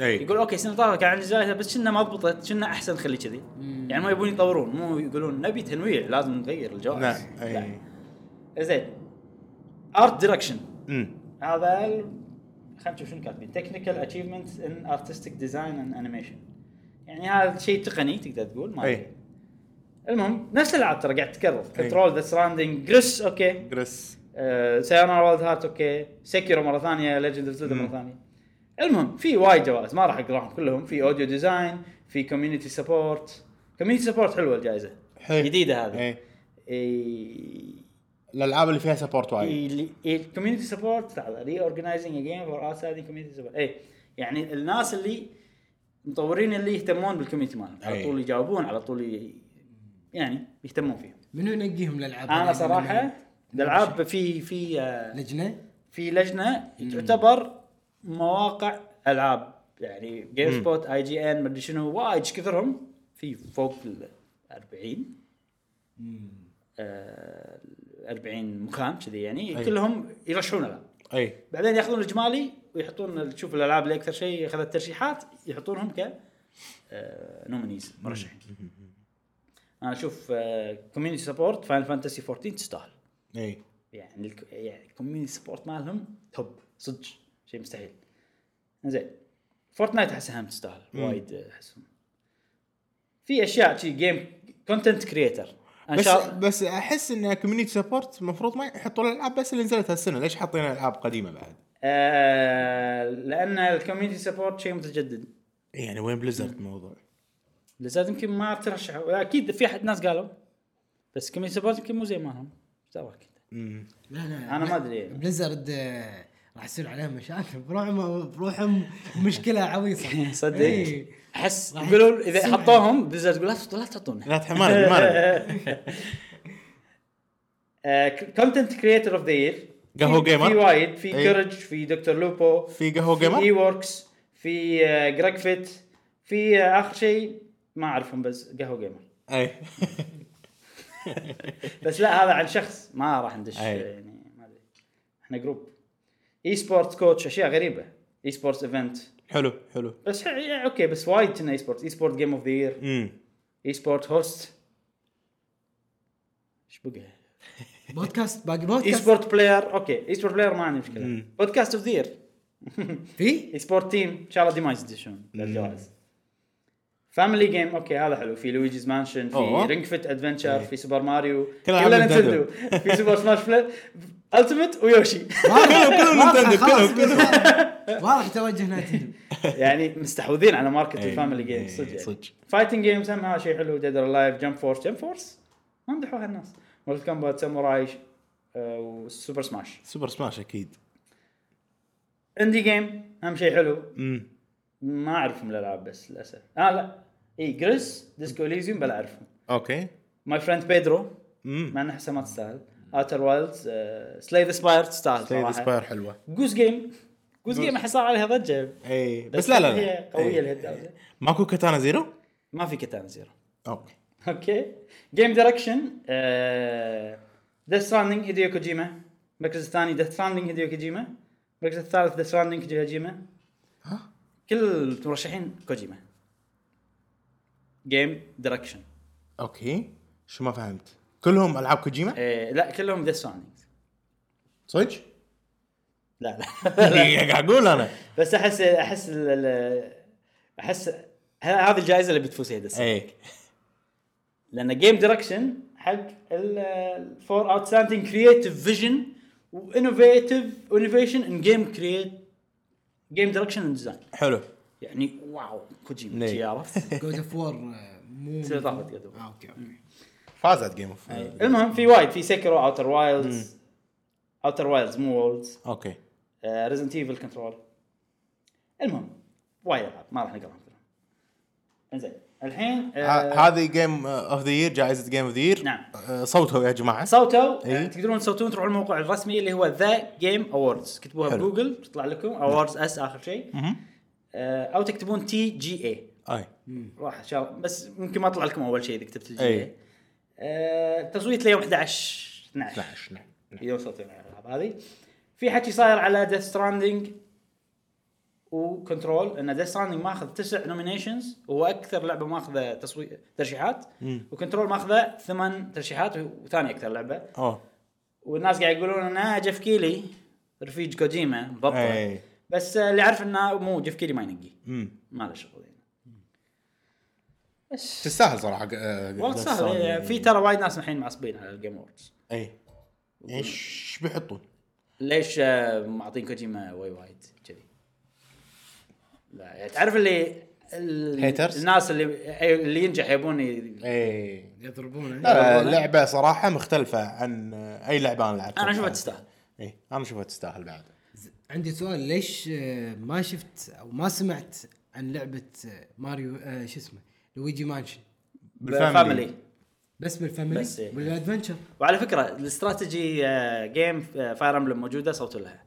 S3: اي
S1: يقول اوكي السنه الطافه كان عندي زايده بس كنا ما ضبطت كنا احسن خلي كذي يعني ما يبون يطورون مو يقولون نبي تنويع لازم نغير الجوائز
S3: نعم
S1: لا. إيه.
S3: اي
S1: زين ارت دايركشن
S3: امم
S1: هذا ال... خلينا نشوف شنو كاتبين تكنيكال اتشيفمنت ان ارتستيك ديزاين اند انيميشن يعني هذا شيء تقني تقدر تقول ما
S3: أي.
S1: أدري. المهم نفس الالعاب ترى قاعد تتكرر
S3: أي.
S1: كنترول ذا سراوندينج جريس اوكي
S3: جريس
S1: آه، سيارة والد هارت اوكي سكيرو مره ثانيه ليجند اوف زلدا مره ثانيه المهم في وايد جوائز ما راح اقراهم كلهم في اوديو ديزاين في كوميونتي سبورت كوميونتي سبورت حلوه الجائزه
S3: حلو.
S1: جديده هذه
S3: اي
S1: إي-
S3: الالعاب إيه. اللي فيها سبورت وايد
S1: الكوميونتي سبورت ري اورجنايزنج جيم فور اوتسايدنج كوميونتي سبورت اي يعني الناس اللي مطورين اللي يهتمون بالكوميونتي مالهم على
S3: أي.
S1: طول يجاوبون على طول ي- يعني يهتمون فيهم
S2: منو ينقيهم يعني للالعاب
S1: انا
S2: هذه؟
S1: صراحه
S2: من-
S1: الالعاب في في آه،
S2: لجنه
S1: في لجنه تعتبر مواقع العاب يعني جيم سبوت اي جي ان مدري شنو وايد إيش كثرهم في فوق ال 40 آه، 40 مخام كذي يعني
S3: أي.
S1: كلهم يرشحون العاب
S3: اي
S1: بعدين ياخذون الاجمالي ويحطون تشوف الالعاب اللي اكثر شيء اخذت ترشيحات يحطونهم ك آه، نومينيز مرشحين انا اشوف كوميونتي سبورت فاينل فانتسي 14 تستاهل
S3: اي
S1: يعني الك- يعني الكوميونتي سبورت مالهم توب صدق شيء مستحيل زين فورتنايت احسها هم تستاهل وايد احسهم في اشياء شي جيم كونتنت كريتر ان
S3: بس
S1: شاء الله
S3: بس احس ان كوميونتي سبورت المفروض ما يحطوا الالعاب بس اللي نزلت هالسنه ليش حاطين العاب قديمه بعد؟
S1: آه لان الكوميونتي سبورت شيء متجدد إيه،
S3: يعني وين بليزرد الموضوع؟
S1: لزاد يمكن ما ترشحوا اكيد في احد ناس قالوا بس كوميونتي سبورت يمكن مو زي ما هم إيش دعوة كنت.
S3: امم
S2: لا لا
S1: انا ما ادري
S2: بليزرد آه، راح يصير عليها مشاكل بروحهم بروحهم مشكله عويصه
S1: صدق
S2: إيه.
S1: احس
S2: راح
S1: يقولون اذا
S2: سمعة.
S1: حطوهم بليزرد يقول لا تحطون- لا تحطون
S3: لا تحمار حمار
S1: آه، كونتنت كريتر اوف ذا يير
S3: قهوه
S1: في
S3: جيمر
S1: وايد في
S3: إي.
S1: كورج في دكتور لوبو
S3: في قهوه
S1: في اي
S3: جيمر
S1: ووركس في آه، جريج فيت في آه، اخر شيء ما اعرفهم بس قهوه جيمر
S3: اي
S1: بس لا هذا عن شخص ما راح ندش
S3: أي.
S1: يعني ما ادري احنا جروب اي سبورت كوتش اشياء غريبه اي سبورتس ايفنت
S3: حلو حلو
S1: بس ح- يعني اوكي بس وايد كنا اي سبورت اي سبورت جيم اوف ذا يير
S3: امم
S1: اي سبورت هوست ايش بقى؟
S2: بودكاست باقي
S1: اي
S2: بودكاست
S1: سبورت بلاير اوكي اي سبورت بلاير ما عندي مشكله بودكاست اوف ذا يير
S2: في
S1: اي سبورت تيم ان شاء الله دي ما يدشون للجوائز فاميلي جيم اوكي هذا حلو في لويجيز مانشن في
S3: أوه.
S1: رينج فيت ادفنتشر في سوبر ماريو
S3: ألعاب
S1: كلها نتندو
S3: نينتندو.
S1: في سوبر سماش بلاي التيمت ويوشي
S2: واضح-
S3: كلهم
S2: واضح
S3: نينتندو،
S2: خلاص،
S3: كلهم- كلهم.
S2: واضح- واضح توجه نينتندو
S1: يعني مستحوذين على ماركت
S3: أي.
S1: الفاميلي جيم
S3: أي،
S1: صدق
S3: صدق.
S1: صدق فايتنج جيمز هم هذا شيء حلو ديد اور لايف جمب فورس جمب فورس ما مدحوها الناس مورتل كومبات ساموراي آه، وسوبر سماش
S3: سوبر سماش اكيد
S1: اندي جيم هم شيء حلو
S3: امم
S1: ما اعرفهم الالعاب بس للاسف اه لا اي جريس ديسكو اليزيوم بلا اعرفهم
S3: اوكي
S1: ماي فريند بيدرو
S3: امم
S1: مع انها حسها ما تستاهل uh, اوتر وايلدز سلاي ذا سباير تستاهل
S3: سيد
S1: صراحه
S3: سباير حلوه
S1: جوز جيم جوز جيم احس صار عليها ضجه
S3: اي إيه. بس لا لا
S1: هي
S3: لا
S1: قويه
S3: إي.
S1: لهالدرجه
S3: ماكو كاتانا زيرو
S1: ما في كتان زيرو
S3: اوكي
S1: اوكي جيم دايركشن uh, ديث ستراندنج هيديو كوجيما المركز الثاني ديث ستراندنج هيديو كوجيما المركز الثالث ديث ستراندنج كوجيما
S3: ها
S1: كل المرشحين كوجيما جيم دايركشن
S3: اوكي شو ما فهمت كلهم العاب كوجيما
S1: إيه، لا كلهم ذا سونيك
S3: صدق
S1: لا لا
S3: إيه، قاعد اقول انا
S1: بس احس احس ال- ال- احس ه- هذه الجائزه اللي بتفوز هي دس
S3: اي
S1: لان جيم دايركشن حق الفور اوت ستاندينج كرييتيف فيجن وانوفيتيف انوفيشن ان جيم كرييت جيم دايركشن اند ديزاين
S3: حلو
S1: يعني واو كوجيما
S3: نعم.
S1: شي عرفت
S2: جود اوف وور آه، مو
S1: تصير طافت قدو.
S2: آه، اوكي اوكي
S3: فازت جيم اوف
S1: المهم في وايد في سكرو اوتر وايلدز اوتر وايلدز مو وولدز
S3: اوكي
S1: ريزنت ايفل كنترول المهم وايد العاب ما راح نقراهم كلهم انزين الحين
S3: ه-
S1: آه،
S3: هذه جيم اوف ذا يير جائزه جيم اوف ذا يير
S1: نعم.
S3: آه، صوتوا يا جماعه
S1: صوتوا
S3: إيه.
S1: آه، تقدرون تصوتون تروحون الموقع الرسمي اللي هو ذا جيم اووردز تكتبوها
S3: حلو. نعم.
S1: بجوجل تطلع لكم اووردز اس اخر شيء
S3: مهم.
S1: آه، او تكتبون تي جي اي
S3: اي
S1: راح ان شاء الله بس ممكن ما طلع لكم اول شيء اذا كتبت الجي
S3: إيه.
S1: اي التصويت ليوم 11 12
S3: 12 نعم.
S1: اذا وصلتوا على الالعاب هذه في حكي صاير على ديث ستراندنج وكنترول ان ديث ستراندنج ماخذ تسع نومينيشنز وهو اكثر لعبه ماخذه تصويت ترشيحات وكنترول ماخذه ثمان ترشيحات وثاني اكثر لعبه
S3: اوه
S1: والناس قاعد يقولون انه جيف كيلي رفيج كوجيما مضبطه
S3: اي
S1: بس آه، اللي عارف انه مو جيف كيلي ما ينقي
S3: امم
S1: ما له شغل يعني بس
S3: تستاهل آه، صراحه
S1: والله سهل يعني في ترى وايد ناس الحين معصبين على الجيم اووردز
S3: اي ايش إيه. بيحطون؟
S1: ليش آه، معطين كوجيما واي وايد كذي لا يعني تعرف اللي ال-
S3: Haters؟
S1: الناس اللي أي- اللي ينجح يبون ي-
S3: اي
S2: يضربونه
S3: لا لا، لعبه صراحه مختلفه عن آه، اي لعبه انا لعبتها
S1: انا اشوفها تستاهل
S3: اي انا اشوفها تستاهل بعد
S2: عندي سؤال ليش آه، ما شفت او ما سمعت عن لعبه آه، ماريو آه، شو اسمه لويجي مانشن
S1: بالفاميلي
S2: بس بالفاميلي
S1: بس، إيه.
S2: بالادفنشر
S1: وعلى فكره الاستراتيجي آه، جيم آه، فاير امبلم موجوده صوتوا لها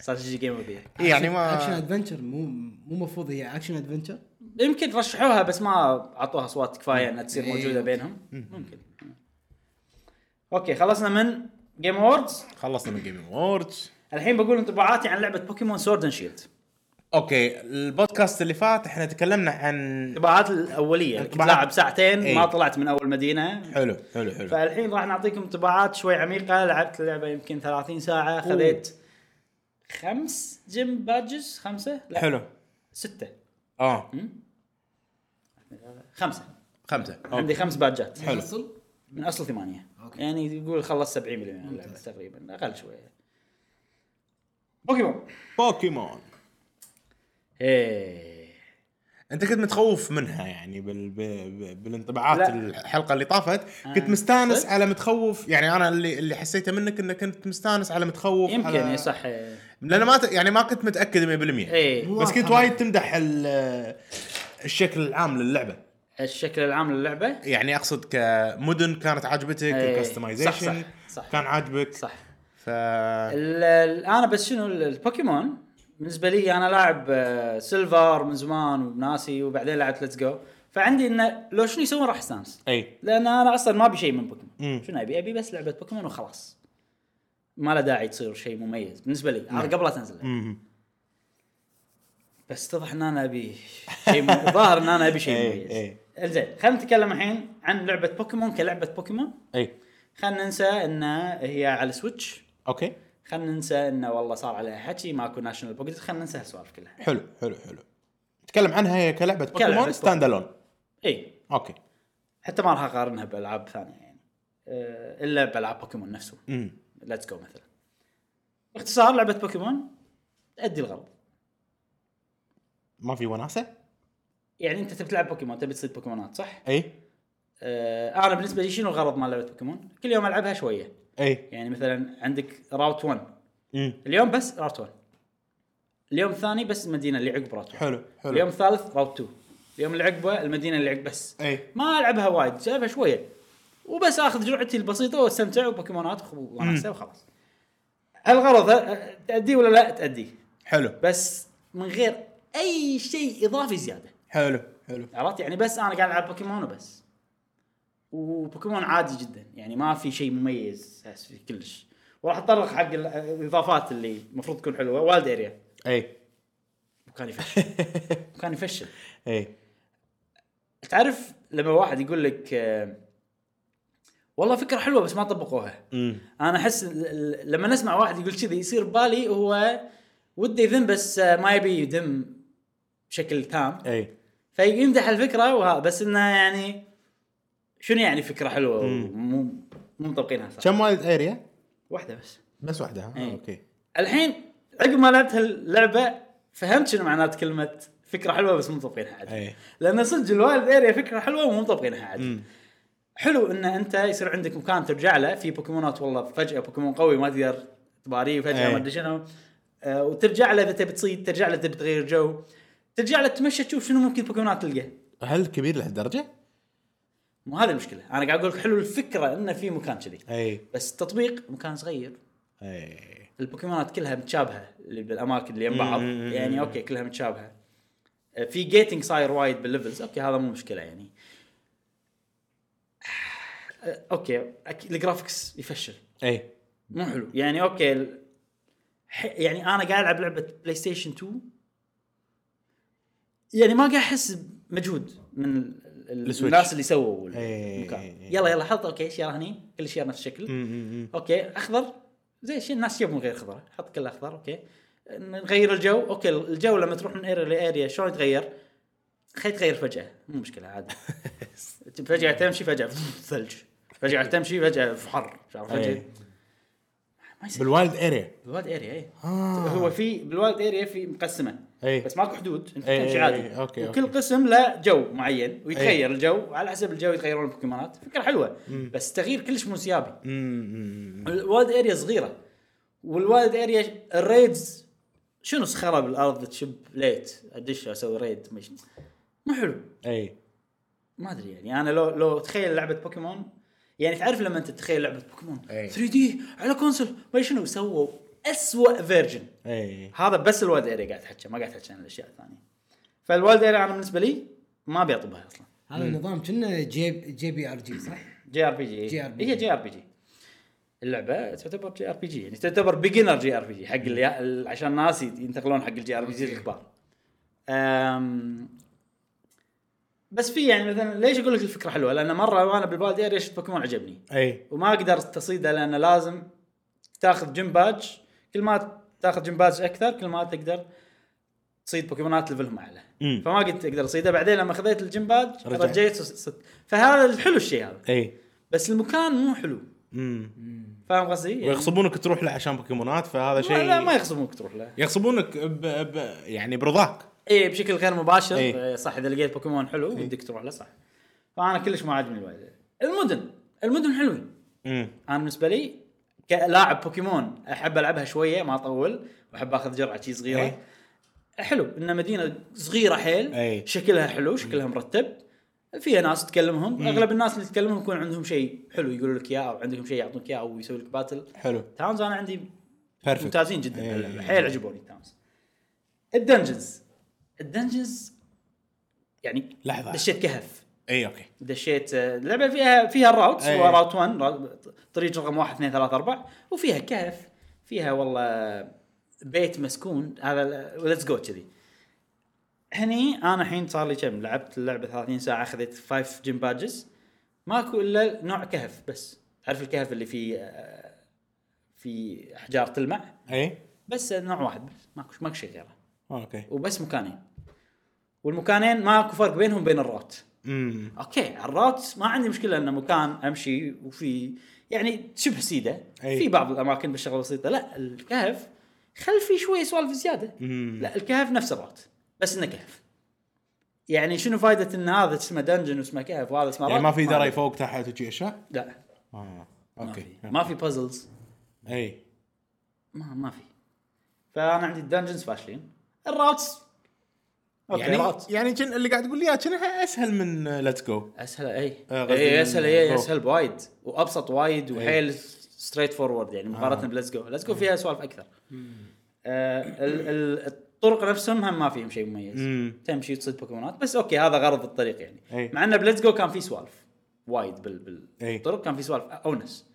S1: استراتيجي جيم اوف ذا
S3: إي يعني
S2: اكشن
S3: ما
S2: ادفنشر مو مو مفروض هي اكشن ادفنشر
S1: يمكن رشحوها بس ما اعطوها اصوات كفايه انها تصير
S3: إيه.
S1: موجوده بينهم ممكن اوكي خلصنا من جيم اووردز
S3: خلصنا من جيم اووردز
S1: الحين بقول انطباعاتي عن لعبه بوكيمون سورد اند شيلد
S3: اوكي البودكاست اللي فات احنا تكلمنا عن
S1: الانطباعات الاوليه كنت
S3: انطباعات-
S1: لاعب ساعتين ما
S3: إيه.
S1: طلعت من اول مدينه
S3: حلو حلو حلو
S1: فالحين راح نعطيكم انطباعات شوي عميقه لعبت اللعبه يمكن 30 ساعه خذيت خمس جيم بادجز خمسه لا
S3: حلو
S1: سته
S3: اه
S1: خمسه
S3: خمسه
S1: عندي خمس بادجات
S3: حلو.
S2: حصل
S1: من اصل ثمانية
S2: أوكي.
S1: يعني يقول خلص 70% من اللعبة تقريبا اقل شوية بوكيمون
S3: بوكيمون
S1: ايه
S3: انت كنت متخوف منها يعني بال... ب... ب... بالانطباعات
S1: لا.
S3: الحلقه اللي طافت
S1: آه.
S3: كنت مستانس
S1: صدق؟
S3: على متخوف يعني انا اللي اللي حسيته منك انك كنت مستانس على متخوف
S1: يمكن
S3: على...
S1: اي صح ايه
S3: لان ما ت... يعني ما كنت متاكد 100%
S1: إيه.
S3: بس كنت وايد تمدح ال... الشكل العام للعبه
S1: الشكل العام للعبة
S3: يعني اقصد كمدن كانت عاجبتك
S1: إيه.
S3: الكستمايزيشن
S1: صح، صح، صح.
S3: كان عاجبك
S1: صح
S3: ف
S1: ال- ال- انا بس شنو ال- البوكيمون بالنسبه لي انا لاعب آه، سيلفر من زمان وناسي وبعدين لعبت ليتس جو فعندي انه لو شنو يسوون راح استانس
S3: اي
S1: لان انا اصلا ما ابي شيء من بوكيمون
S3: مم.
S1: شنو ابي؟ ابي بس لعبه بوكيمون وخلاص ما له داعي تصير شيء مميز بالنسبه لي انا قبل لا تنزل
S3: مم.
S1: بس اتضح ان انا ابي شيء م- ظاهر ان انا ابي شيء
S3: إيه،
S1: مميز
S3: إيه.
S1: زين خلينا نتكلم الحين عن لعبه بوكيمون كلعبه بوكيمون
S3: اي
S1: خلينا ننسى انها هي على السويتش
S3: اوكي
S1: خلينا ننسى انه والله صار عليها حكي ماكو ناشونال بوكيت خلينا ننسى هالسوالف كلها
S3: حلو حلو حلو نتكلم عنها هي كلعبه بوكيمون
S1: بوكيمون.
S3: ستاند الون
S1: اي
S3: اوكي
S1: إيه، حتى ما راح اقارنها بالعاب ثانيه يعني أه، الا بالعاب بوكيمون نفسه
S3: امم
S1: ليتس جو مثلا باختصار لعبه بوكيمون تأدي الغرض
S3: ما في وناسه؟
S1: يعني انت تبي تلعب بوكيمون تبي تصيد بوكيمونات صح؟
S3: اي
S1: أه انا بالنسبه لي شنو الغرض مال لعبه بوكيمون؟ كل يوم العبها شويه
S3: اي
S1: يعني مثلا عندك راوت 1
S3: امم
S1: اليوم بس راوت 1 اليوم الثاني بس المدينه اللي عقب راوت 1
S3: حلو حلو
S1: اليوم الثالث راوت 2 اليوم اللي عقبه المدينه اللي عقب بس
S3: اي
S1: ما العبها وايد العبها شويه وبس اخذ جرعتي البسيطه واستمتع وبوكيمونات وخ- وناسه وخلاص الغرض أ- تأديه ولا لا تأديه
S3: حلو
S1: بس من غير اي شيء اضافي زياده
S3: حلو حلو
S1: عرفت يعني بس انا قاعد العب بوكيمون وبس وبوكيمون عادي جدا يعني ما في شيء مميز أحس فيه كلش وراح اتطرق حق ال- الاضافات اللي المفروض تكون حلوه والد اريا
S3: اي
S1: وكان يفشل وكان يفشل
S3: اي
S1: تعرف لما واحد يقول لك آه، والله فكره حلوه بس ما طبقوها
S3: امم
S1: انا احس ال- ال- لما نسمع واحد يقول كذي يصير بالي هو وده يذم بس آه، ما يبي يذم بشكل تام
S3: اي
S1: فيمدح الفكره وها بس انه يعني شنو يعني فكره حلوه
S3: مم.
S1: مو مو مطبقينها صح
S3: كم والد اريا؟
S1: واحده بس
S3: بس واحده ها
S1: إي.
S3: اوكي
S1: الحين عقب ما لعبت هاللعبه فهمت شنو معنات كلمه فكره حلوه بس مو مطبقينها عدل
S3: إي.
S1: لان صدق الوايلد اريا فكره حلوه ومو مطبقينها عدل
S3: امم
S1: حلو ان انت يصير عندك مكان ترجع له في بوكيمونات والله فجاه بوكيمون قوي ما تقدر تباريه فجاه
S3: إي.
S1: ما ادري شنو آه، وترجع له اذا تبي تصيد ترجع له اذا بتغير جو ترجع له تمشى تشوف شنو ممكن بوكيمونات تلقاه
S3: هل كبير لهالدرجه؟
S1: مو هذه المشكله انا قاعد اقول لك حلو الفكره انه في مكان كذي
S3: اي
S1: بس التطبيق مكان صغير
S3: اي
S1: البوكيمونات كلها متشابهه اللي بالاماكن اللي يم بعض
S3: مم.
S1: يعني اوكي كلها متشابهه آه، في جيتنج صاير وايد بالليفلز اوكي هذا مو مشكله يعني آه، اوكي أك- الجرافكس يفشل
S3: اي
S1: مو حلو يعني اوكي ال- ح- يعني انا قاعد العب لعبه بلاي ستيشن 2 يعني ما قاعد احس بمجهود من ال- ال-
S3: السويتش.
S1: الناس اللي سووا ال-
S3: إيه.
S1: المكان يلا يلا حط اوكي شير هني كل شير نفس الشكل
S3: امم
S1: اوكي اخضر زي شي الناس يبون غير خضره حط كله اخضر اوكي نغير الجو اوكي الجو لما تروح من اريا لاريا شلون يتغير؟ خليه يتغير فجاه مو مشكله عادي فجاه تمشي فجاه ثلج فجاه تمشي فجاه في حر عرفت؟ فجاه
S3: إيه.
S1: ما يصير
S3: بالوايلد اريا
S1: بالواد اريا اي
S3: آه.
S1: eh?
S3: إيه.
S1: هو في بالواد اريا في مقسمه
S3: اي
S1: بس ماكو حدود انت
S3: إي،
S1: تمشي
S3: إي،
S1: عادي
S3: إي، إيه، أوكي،
S1: وكل
S3: أوكي. إيه.
S1: قسم له جو معين
S3: إي.
S1: ويتغير الجو وعلى حسب الجو يتغيرون البوكيمونات فكره حلوه بس تغيير كلش مو سيابي
S3: امم
S1: الوالد اريا صغيره والوالد اريا الريدز شنو صخره بالارض تشب ليت ادش اسوي ريد مش مو حلو
S3: اي
S1: ما ادري يعني انا لو لو تخيل لعبه بوكيمون يعني تعرف لما انت تتخيل لعبه بوكيمون
S3: أي.
S1: 3 دي على كونسول ما شنو سووا اسوء فيرجن
S3: اي
S1: هذا بس الوالد اريا قاعد تحكي ما قاعد تحكي عن الاشياء الثانيه فالوالد اريا انا بالنسبه لي ما بيطبها اصلا
S2: هذا النظام كنا جي جي بي ار جي صح؟
S1: جي ار بي جي
S2: JRPG.
S1: هي جي ار بي جي اللعبه تعتبر جي ار بي جي يعني تعتبر بيجنر جي ار بي جي حق اللي عشان الناس ينتقلون حق الجي ار بي جي الكبار أم، بس في يعني مثلا ليش اقول لك الفكره حلوه؟ لان مره وانا بالبادي اريا شفت بوكيمون عجبني
S3: اي
S1: وما قدرت تصيده لان لازم تاخذ جيم بادج كل ما تاخذ جيم بادج اكثر كل ما تقدر تصيد بوكيمونات ليفلهم اعلى
S3: مم.
S1: فما قد اقدر اصيده بعدين لما خذيت الجيم بادج
S3: رجعت.
S1: رجعت وص- صد- فهذا الحلو الشيء هذا
S3: اي
S1: بس المكان مو حلو
S3: امم
S1: فاهم قصدي؟ يعني
S3: ويغصبونك تروح له عشان بوكيمونات فهذا
S1: ما- لا ما
S3: شيء
S1: يخصموك تروح له
S3: يغصبونك ب... ب... يعني برضاك
S1: اي بشكل غير مباشر
S3: إيه.
S1: إيه. صح اذا لقيت بوكيمون حلو ودك تروح له صح فانا كلش ما عاجبني الوالد المدن المدن حلوين
S3: امم
S1: انا بالنسبه لي كلاعب بوكيمون احب العبها شويه ما اطول واحب اخذ جرعه شي صغيره
S3: إيه.
S1: حلو ان مدينه صغيره حيل
S3: إيه.
S1: شكلها حلو شكلها مرتب فيها ناس تكلمهم اغلب الناس اللي تكلمهم يكون عندهم شيء حلو يقولوا لك اياه او عندهم شيء يعطونك اياه او يسوي لك باتل
S3: حلو
S1: تاونز انا عندي
S3: Perfect.
S1: ممتازين جدا
S3: إيه.
S1: باللعبة. حيل عجبوني تاونز الدنجنز الدنجنز يعني
S3: لحظة.
S1: دشيت كهف
S3: اي اوكي
S1: دشيت آه، اللعبه فيها فيها الراوتس
S3: أي.
S1: هو راوت 1 راوت- طريق رقم 1 2 3 4 وفيها كهف فيها والله بيت مسكون هذا ليتس جو كذي هني انا الحين صار لي كم لعبت اللعبه 30 ساعه اخذت 5 جيم بادجز ماكو الا نوع كهف بس تعرف الكهف اللي فيه آه، في احجار تلمع
S3: اي
S1: بس نوع واحد بس ماكو ماكو شيء غيره
S3: اوكي
S1: وبس مكانين والمكانين ماكو فرق بينهم بين الراوت
S3: امم
S1: اوكي الراوت ما عندي مشكله انه مكان امشي وفي يعني شبه سيده
S3: أي.
S1: في بعض الاماكن بالشغله بسيطه لا الكهف خل فيه شويه سوالف زياده
S3: مم.
S1: لا الكهف نفس الراوت بس انه كهف يعني شنو فائده ان هذا اسمه دنجن واسمه كهف وهذا اسمه
S3: يعني
S1: راوت؟
S3: ما في
S1: أدري.
S3: دري فوق تحت وشي اشياء؟
S1: لا
S3: اه
S1: ما
S3: اوكي
S1: في ما في بازلز
S3: اي
S1: ما ما في فانا عندي الدنجنز فاشلين الراوتس اوكي يعني
S3: يعني
S1: راوت
S3: يعني كن اللي قاعد تقول لي اياه كانها اسهل من ليتس جو
S1: اسهل اي
S3: آه، قصدي إيه.
S1: اي اسهل اي
S3: Go.
S1: اسهل وايد وابسط وايد وحيل ستريت فورورد يعني
S3: آه.
S1: مقارنه بليتس جو ليتس جو فيها سوالف اكثر آه ال- ال- الطرق نفسهم هم ما فيهم شيء مميز
S3: مم. إيه.
S1: تمشي تصيد بوكيمونات بس اوكي هذا غرض الطريق يعني
S3: أي.
S1: مع انه بليتس جو كان في سوالف وايد بال
S3: أي.
S1: بالطرق كان في سوالف اونس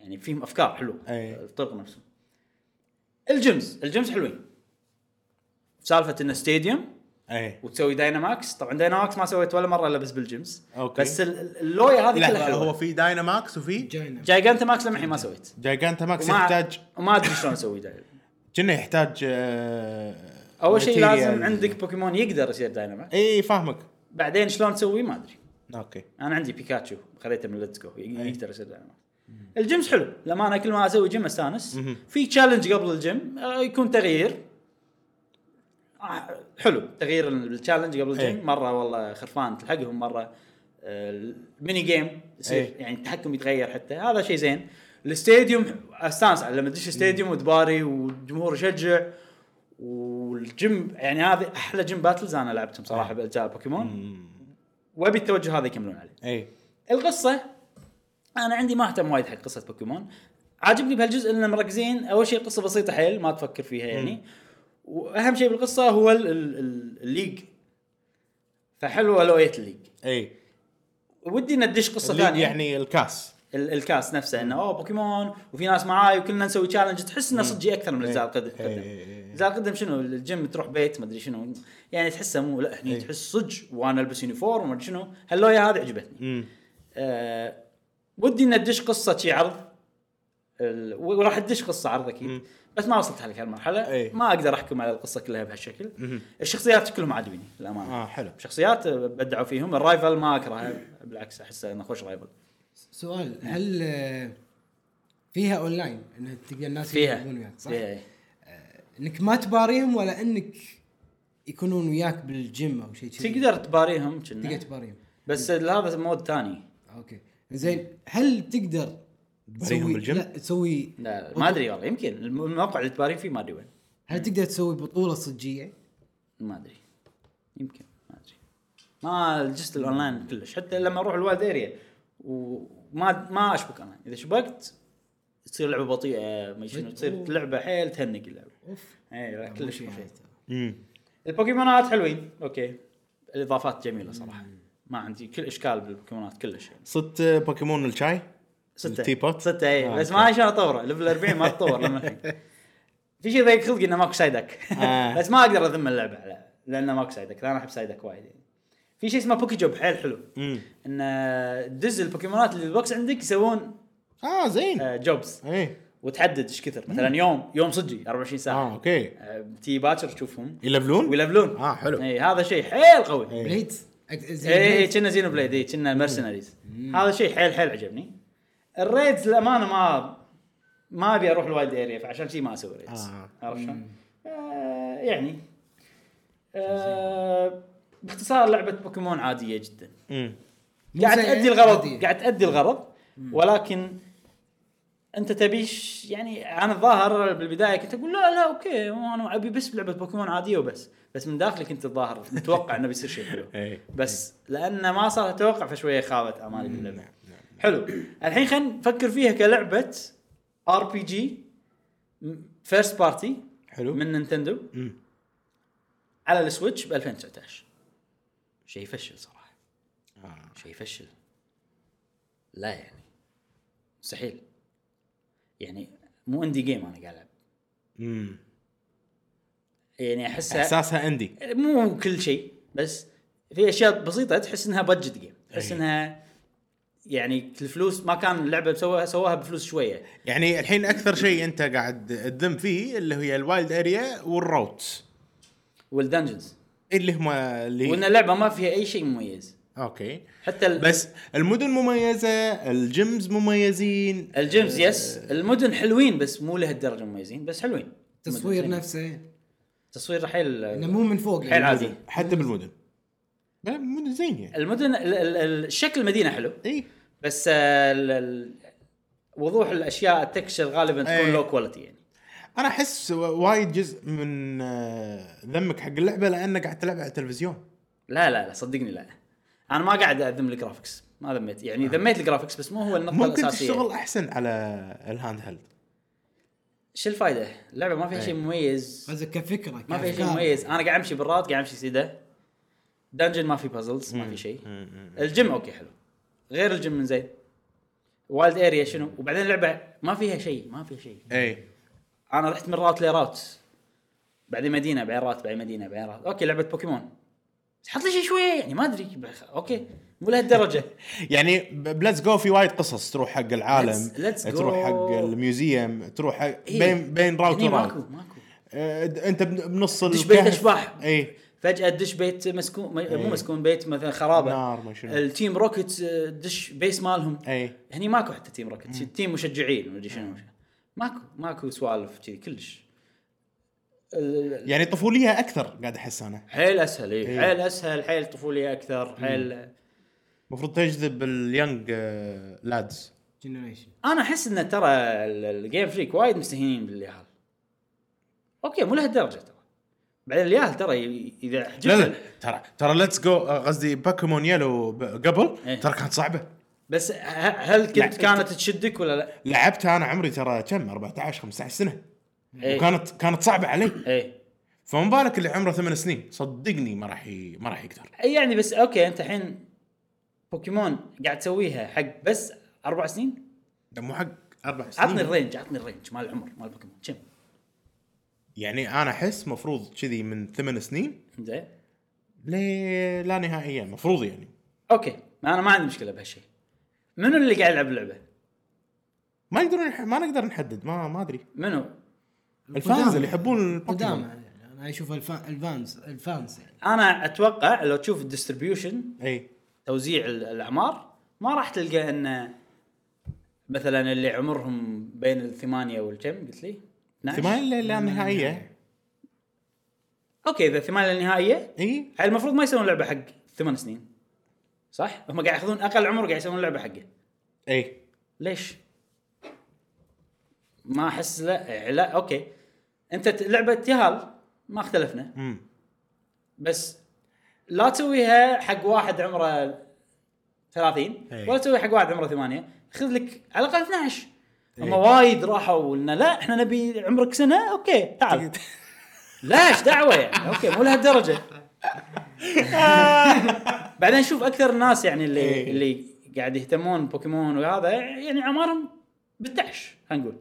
S1: يعني فيهم افكار حلوه
S3: أي.
S1: الطرق نفسهم الجيمز الجيمز حلوين سالفه انه ستاديوم
S3: اي
S1: وتسوي دايناماكس طبعا دايناماكس ما سويت ولا مره الا بس بالجيمز
S3: أوكي.
S1: بس ال- ال- اللوية هذه كلها
S3: لحظه
S1: حلوه
S3: هو في دايناماكس وفي
S2: جاينا
S1: جايجانتا ماكس لمحي ما سويت
S3: جايجانتا ماكس
S1: وما-
S3: يحتاج
S1: وما ادري شلون اسوي داي-
S3: كنا يحتاج آه،
S1: اول شيء لازم
S3: material.
S1: عندك بوكيمون يقدر يصير دايناماكس
S3: اي فاهمك
S1: بعدين شلون تسوي ما ادري
S3: اوكي
S1: انا عندي بيكاتشو خذيته من ليتس جو يقدر يصير دايناماكس الجيمز حلو لما انا كل ما اسوي جيم استانس في تشالنج قبل الجيم آه، يكون تغيير آه، حلو تغيير التشالنج قبل
S3: إيه.
S1: الجيم مره والله خرفان تلحقهم مره آه، الميني جيم يصير
S3: إيه.
S1: يعني التحكم يتغير حتى هذا شيء زين الاستاديوم استانس على لما تدش استاديوم وتباري والجمهور يشجع والجيم يعني هذه احلى جيم باتلز انا لعبتهم صراحه باجزاء بوكيمون وابي التوجه هذا يكملون عليه
S3: اي
S1: القصه انا عندي ما اهتم وايد حق قصه بوكيمون عاجبني بهالجزء ان مركزين اول شيء قصه بسيطه حيل ما تفكر فيها يعني واهم شيء بالقصه هو ال- ال- ال- الليج فحلوه لويه الليج
S3: اي
S1: ودي ان ادش قصه
S3: اللي
S1: ثانيه
S3: يعني الكاس
S1: ال- الكاس نفسه انه اوه بوكيمون وفي ناس معاي وكلنا نسوي تشالنج تحس انه صدق اكثر من الاجزاء القد-
S3: إيه.
S1: القدم الاجزاء القدم شنو الجيم تروح بيت ما ادري شنو يعني تحسه مو لا
S3: إيه.
S1: هني تحس صدق وانا البس يونيفورم وما ادري شنو هاللويه هذه عجبتني آه ودي ان ادش قصه شي عرض ال- و- وراح ادش قصه عرض اكيد بس ما وصلت على هالمرحله
S3: إيه.
S1: ما اقدر احكم على القصه كلها بهالشكل الشخصيات كلهم عاجبيني للامانه
S3: اه حلو
S1: شخصيات بدعوا فيهم الرايفل ما اكرهه بالعكس احسه انه خوش رايفل
S2: سؤال هل آه، فيها اونلاين ان تقدر الناس يلعبون
S1: فيها
S2: وياك صح؟
S1: فيها إيه.
S2: انك ما تباريهم ولا انك يكونون وياك بالجيم او شيء كذي.
S1: تقدر تباريهم كنا.
S2: تقدر تباريهم
S1: بس هذا مود ثاني
S2: اوكي زين هل تقدر
S3: تباريهم
S2: تسوي
S3: بالجيم؟
S2: لا تسوي
S1: لا ما ادري والله يمكن الم- الموقع اللي تبارين فيه ما ادري وين
S2: هل تقدر تسوي بطوله صجيه؟
S3: إيه.
S1: ما ادري يمكن ما ادري ما جست الاونلاين كلش حتى لما اروح الوالد اريا وما ما اشبك انا اذا شبكت تصير لعبه بطيئه ما شنو تصير لعبه حيل تهنق اللعبه
S2: اوف
S1: اي كلش
S2: مو
S1: ما
S2: شيء.
S1: فيها.
S3: امم
S1: البوكيمونات حلوين اوكي الاضافات جميله صراحه ما عندي كل اشكال بالبوكيمونات كلش يعني
S3: صدت آه، بوكيمون الشاي
S1: ستة
S3: التي بوت؟
S1: ستة اي
S3: آه،
S1: بس
S3: أوكي.
S1: ما عشان اطوره ليفل 40 ما تطور لما الحين. في شيء ضيق خلقي انه ماكو سايدك
S3: آه.
S1: بس ما اقدر اذم اللعبه على لانه ماكو سايدك انا احب سايدك وايد يعني. في شيء اسمه بوكي جوب حيل حلو
S3: امم
S1: انه تدز البوكيمونات اللي بالبوكس عندك يسوون
S3: اه زين
S1: آه، جوبز
S3: اي
S1: وتحدد ايش كثر مثلا يوم يوم صجي 24
S3: اه
S1: ساعه
S3: اوكي
S1: آه، تي باكر تشوفهم
S3: يلفلون؟
S1: ويلفلون
S3: آه، حلو.
S1: اي هذا شيء حيل قوي
S3: إيه.
S2: بليد أك- زين
S1: اي اي
S2: بليد.
S1: إيه، كنا زينو بليد اي كنا مرسنريز هذا شيء حيل حيل عجبني الريدز للامانه ما ما ابي اروح الوايلد اريا فعشان شي ما اسوي ريدز
S3: آه.
S1: عرفت شلون؟ آه، يعني آه، باختصار لعبه بوكيمون عاديه جدا
S3: امم
S2: مو
S1: قاعد
S2: زين،
S1: تأدي الغرض
S2: عادية.
S1: قاعد تأدي الغرض ولكن انت تبيش يعني انا الظاهر بالبدايه كنت اقول لا لا اوكي انا ابي بس لعبه بوكيمون عاديه وبس بس من داخلي كنت الظاهر متوقع انه بيصير شيء حلو
S3: إيه.
S1: بس لانه ما صار اتوقع فشويه خابت امالي باللعبه
S3: نعم نعم
S1: حلو الحين خلينا نفكر فيها كلعبه ار بي جي فيرست بارتي
S3: حلو
S1: من نينتندو
S3: مم.
S1: على السويتش ب 2019 شيء يفشل صراحه
S3: آه.
S1: شيء يفشل لا يعني مستحيل يعني مو اندي جيم انا قاعد العب
S3: مم.
S1: يعني احسها
S3: احساسها عندي
S1: مو كل شيء بس في اشياء بسيطه تحس انها بادجت جيم تحس
S3: أي.
S1: انها يعني الفلوس ما كان اللعبه سواها سواها بفلوس شويه
S3: يعني الحين اكثر شيء انت قاعد تذم فيه اللي هي الوايلد اريا والروتس
S1: والدنجنز
S3: اللي هم اللي
S1: وان اللعبه ما فيها اي شيء مميز
S3: اوكي
S1: حتى ال-
S3: بس المدن مميزه الجيمز مميزين
S1: الجيمز يس المدن حلوين بس مو لهالدرجه مميزين بس حلوين
S2: تصوير
S1: المدن.
S2: نفسه
S1: تصوير حيل
S2: انه مو من فوق يعني
S1: حيل عادي
S3: حتى بالمدن لا المدن زين يعني إيه.
S1: المدن ال- ال- ال- الشكل المدينه حلو
S3: اي
S1: بس آه، ال- ال- وضوح الاشياء التكشر غالبا تكون
S3: إيه.
S1: لو كواليتي يعني
S3: انا احس وايد جزء من آه، ذمك حق اللعبه لانك قاعد تلعب على التلفزيون
S1: لا لا لا صدقني لا انا ما قاعد اذم الجرافكس ما ذميت يعني ذميت الجرافكس بس مو هو النقطه
S3: آه. ممكن
S1: الاساسيه
S3: تشتغل احسن على الهاند هيلد
S1: شو الفائده؟ اللعبه ما فيها
S3: إيه.
S1: شيء مميز
S2: قصدك كفكره
S1: ما فيها شيء
S2: كأفكار.
S1: مميز انا قاعد امشي بالرات قاعد امشي سيده دنجن ما في بازلز ما في شيء الجيم اوكي حلو غير الجيم من زين وايلد اريا شنو وبعدين اللعبه ما فيها شيء ما فيها شيء
S3: اي
S1: انا رحت من رات لرات بعدين مدينه بعدين رات بعدين مدينه بعدين رات اوكي لعبه بوكيمون بس حط لي شيء شويه يعني ما ادري بخ- اوكي مو لهالدرجه
S3: يعني بليتس جو في وايد قصص تروح حق العالم
S1: Let's- Let's Go.
S3: تروح حق الميوزيوم تروح حق
S1: إيه.
S3: بين بين راوت
S1: هني ماكو
S3: وراوت
S1: ماكو
S3: آه، د- انت بن- بنص
S1: دش بيت
S3: الكهف. إيه.
S1: اشباح
S3: اي
S1: فجاه تدش بيت مسكون م-
S3: إيه.
S1: مو مسكون بيت مثلا خرابه
S3: نار ما شنو. إيه.
S1: التيم روكيت آه، دش بيس مالهم
S3: اي
S1: هني ماكو حتى تيم روكيت تيم مشجعين ما ادري شنو ماكو ماكو سوالف كذي كلش ال-
S3: يعني طفوليه اكثر قاعد احس انا
S1: حيل اسهل إيه.
S3: إيه.
S1: حيل اسهل حيل طفوليه اكثر حيل
S3: المفروض تجذب أه، اليونج لادز
S2: جنريشن
S1: انا احس ان ترى ال- الجيم فريك وايد مستهينين بالياهل اوكي مو لهالدرجه ترى بعدين الياهل ترى ي- اذا
S3: لا
S1: حجبت
S3: لا ترى ترى ليتس جو قصدي باكيمون يلو ب- قبل
S1: إيه.
S3: ترى كانت صعبه
S1: بس ه- هل
S3: لا.
S1: كنت كانت تشدك ولا لا؟
S3: لعبتها انا عمري ترى كم 14 15 سنه
S1: إيه.
S3: وكانت كانت صعبه علي
S1: ايه
S3: فما بالك اللي عمره ثمان سنين صدقني ما راح ي... ما راح يقدر
S1: أي يعني بس اوكي انت الحين بوكيمون قاعد تسويها حق بس اربع سنين؟
S3: ده مو حق اربع سنين
S1: عطني الرينج عطني الرينج مال العمر مال بوكيمون كم؟
S3: يعني انا احس مفروض كذي من ثمان سنين
S1: زين
S3: لي... لا نهائيا مفروض يعني
S1: اوكي ما انا ما عندي مشكله بهالشيء منو اللي قاعد يلعب اللعبه؟
S3: ما يقدرون يح... ما نقدر نحدد ما ما ادري
S1: منو؟
S3: الفانز اللي يحبون
S2: قدام
S3: البوكيمون
S2: انا اشوف الفا- الفانز الفانز يعني
S1: انا اتوقع لو تشوف الديستربيوشن
S3: اي
S1: توزيع ال- الاعمار ما راح تلقى ان مثلا اللي عمرهم بين الثمانيه والكم قلت لي؟ نعم. 12.
S3: ثمان لا- لا نهائيه
S1: اوكي اذا ثمانيه النهائيه
S3: اي
S1: هاي المفروض ما يسوون لعبه حق ثمان سنين صح؟ هم قاعد ياخذون اقل عمر قاعد يسوون لعبه حقه
S3: اي
S1: ليش؟ ما احس لا لا اوكي انت ت- لعبه يهال ما اختلفنا
S3: امم
S1: بس لا تسويها حق واحد عمره 30
S3: إي.
S1: ولا تسويها حق واحد عمره 8 خذ لك على الاقل 12 اما وايد راحوا لنا لا احنا نبي عمرك سنه اوكي تعال لا ايش دعوه يعني اوكي مو لهالدرجه بعدين شوف اكثر الناس يعني اللي
S3: إي.
S1: اللي قاعد يهتمون بوكيمون وهذا يعني اعمارهم بالتعش خلينا نقول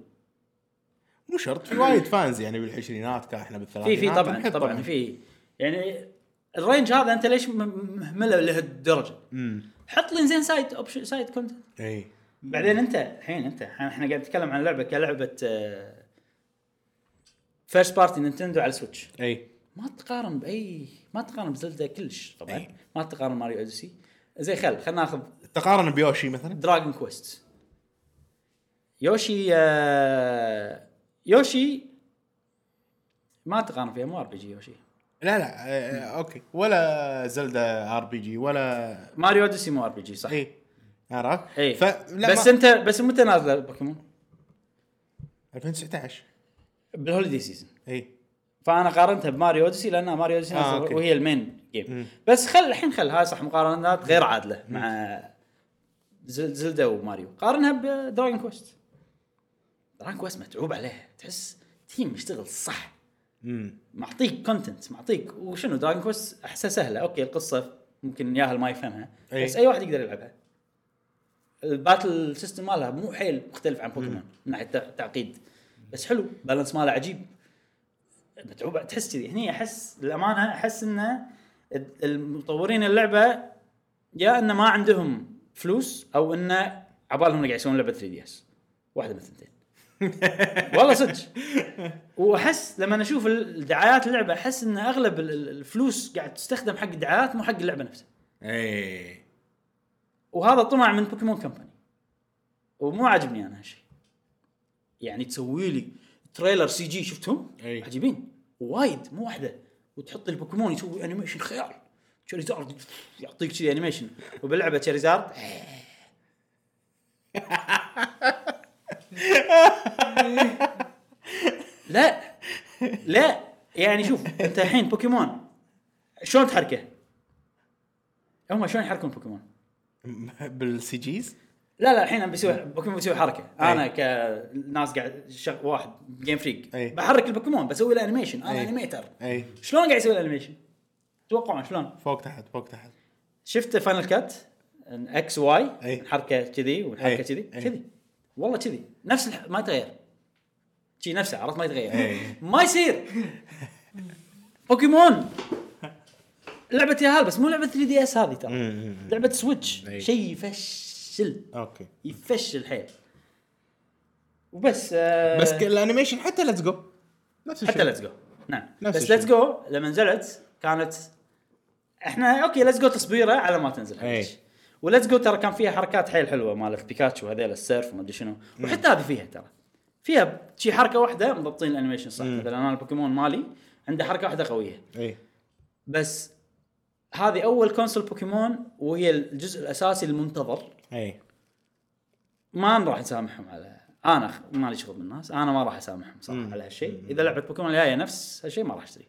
S3: مو شرط في وايد فانز يعني بالعشرينات كان احنا
S1: في
S3: بالثلاثينات
S1: في طبعا
S3: نحب
S1: طبعا في يعني الرينج هذا انت ليش م- مهمله لهالدرجه؟
S3: امم
S1: حط لي زين سايد اوبشن سايد كونتنت
S3: اي
S1: بعدين انت الحين انت الحين احنا قاعد نتكلم عن آه، لعبه كلعبه فيرست بارتي نينتندو على السويتش
S3: اي
S1: ما تقارن باي ما تقارن بزلدا كلش طبعا
S3: أي.
S1: ما تقارن ماريو اوديسي زي خل خلينا ناخذ
S3: تقارن بيوشي مثلا
S1: دراجون كويست يوشي آه، يوشي ما تقارن فيها مو ار بي جي يوشي
S3: لا لا آه، اوكي ولا زلدا ار بي جي ولا
S1: ماريو اوديسي مو ار بي جي صح
S3: اي عرفت؟
S1: اي
S3: فلا
S1: بس
S3: إيه. ما-
S1: انت بس متى نازله بوكيمون؟
S3: 2019
S1: بالهوليدي سيزون
S3: اي
S1: فانا قارنتها بماريو اوديسي لان ماريو اوديسي
S3: آه، أوكي.
S1: وهي المين جيم بس خل الحين خل هاي صح مقارنات غير عادله مع زل زلدا وماريو قارنها بدراجون كويست دراجون كويست متعوب عليها تحس تيم يشتغل صح
S3: امم
S1: معطيك كونتنت معطيك وشنو دراجون كويست احسها سهله اوكي القصه ممكن ياهل ما يفهمها
S3: أي.
S1: بس اي واحد يقدر يلعبها الباتل سيستم مالها مو حيل مختلف عن بوكيمون من ناحيه التع- التعقيد بس حلو بالانس ماله عجيب متعوب تحس كذي هني احس للامانه احس ان المطورين اللعبه يا ان ما عندهم فلوس او ان عبالهم قاعد يسوون لعبه 3 دي اس واحده من الثنتين والله صدق واحس لما اشوف الدعايات اللعبه احس ان اغلب ال- ال- الفلوس قاعد تستخدم حق الدعايات مو حق اللعبه نفسها إيه.
S3: اي
S1: وهذا طمع من بوكيمون كمباني ومو عاجبني انا هالشيء يعني تسوي لي تريلر سي جي شفتهم؟
S3: أي.
S1: عجيبين وايد مو واحده وتحط البوكيمون يسوي انيميشن خيال تشاريزارد يعطيك شي انيميشن وباللعبه تشاريزارد لا لا يعني شوف انت الحين بوكيمون شلون تحركه؟ هم شلون يحركون بوكيمون؟
S3: بالسي جيز
S1: لا لا الحين أنا بسوي بوكيمون بسوي حركه انا
S3: أي.
S1: كناس قاعد شغ... واحد جيم فريك
S3: أي.
S1: بحرك البوكيمون بسوي له انيميشن انا
S3: أي.
S1: انيميتر
S3: اي
S1: شلون قاعد يسوي الانيميشن؟ توقعون شلون؟
S3: فوق تحت فوق تحت
S1: شفت فاينل كات اكس واي
S3: أي.
S1: الحركه كذي والحركه
S3: أي.
S1: كذي
S3: أي.
S1: كذي والله كذي نفس الح... ما يتغير شي نفسه عرفت ما يتغير
S3: أي.
S1: ما يصير بوكيمون لعبه ياهال بس مو لعبه 3 دي اس هذه ترى
S3: أمم.
S1: لعبه سويتش
S3: أي.
S1: شيء يفشل
S3: اوكي
S1: يفشل حيل وبس آه
S3: بس ك- الانيميشن حتى ليتس جو نفس
S1: حتى ليتس جو نعم
S3: نفس
S1: بس
S3: الشيء.
S1: ليتس جو لما نزلت كانت احنا اوكي ليتس جو تصبيره على ما تنزل
S3: أي.
S1: وليتس جو ترى كان فيها حركات حيل حلوه مالت بيكاتشو هذيل السيرف وما ادري شنو وحتى هذه فيها ترى فيها شي حركه واحده مضبطين الانيميشن صح مثلا انا البوكيمون مالي عنده حركه واحده قويه
S3: اي
S1: بس هذه اول كونسول بوكيمون وهي الجزء الاساسي المنتظر
S3: اي
S1: ما أنا راح اسامحهم على انا خ- مالي شغل بالناس انا ما راح اسامحهم صراحه على هالشيء اذا لعبه بوكيمون الجايه نفس هالشيء ما راح اشتري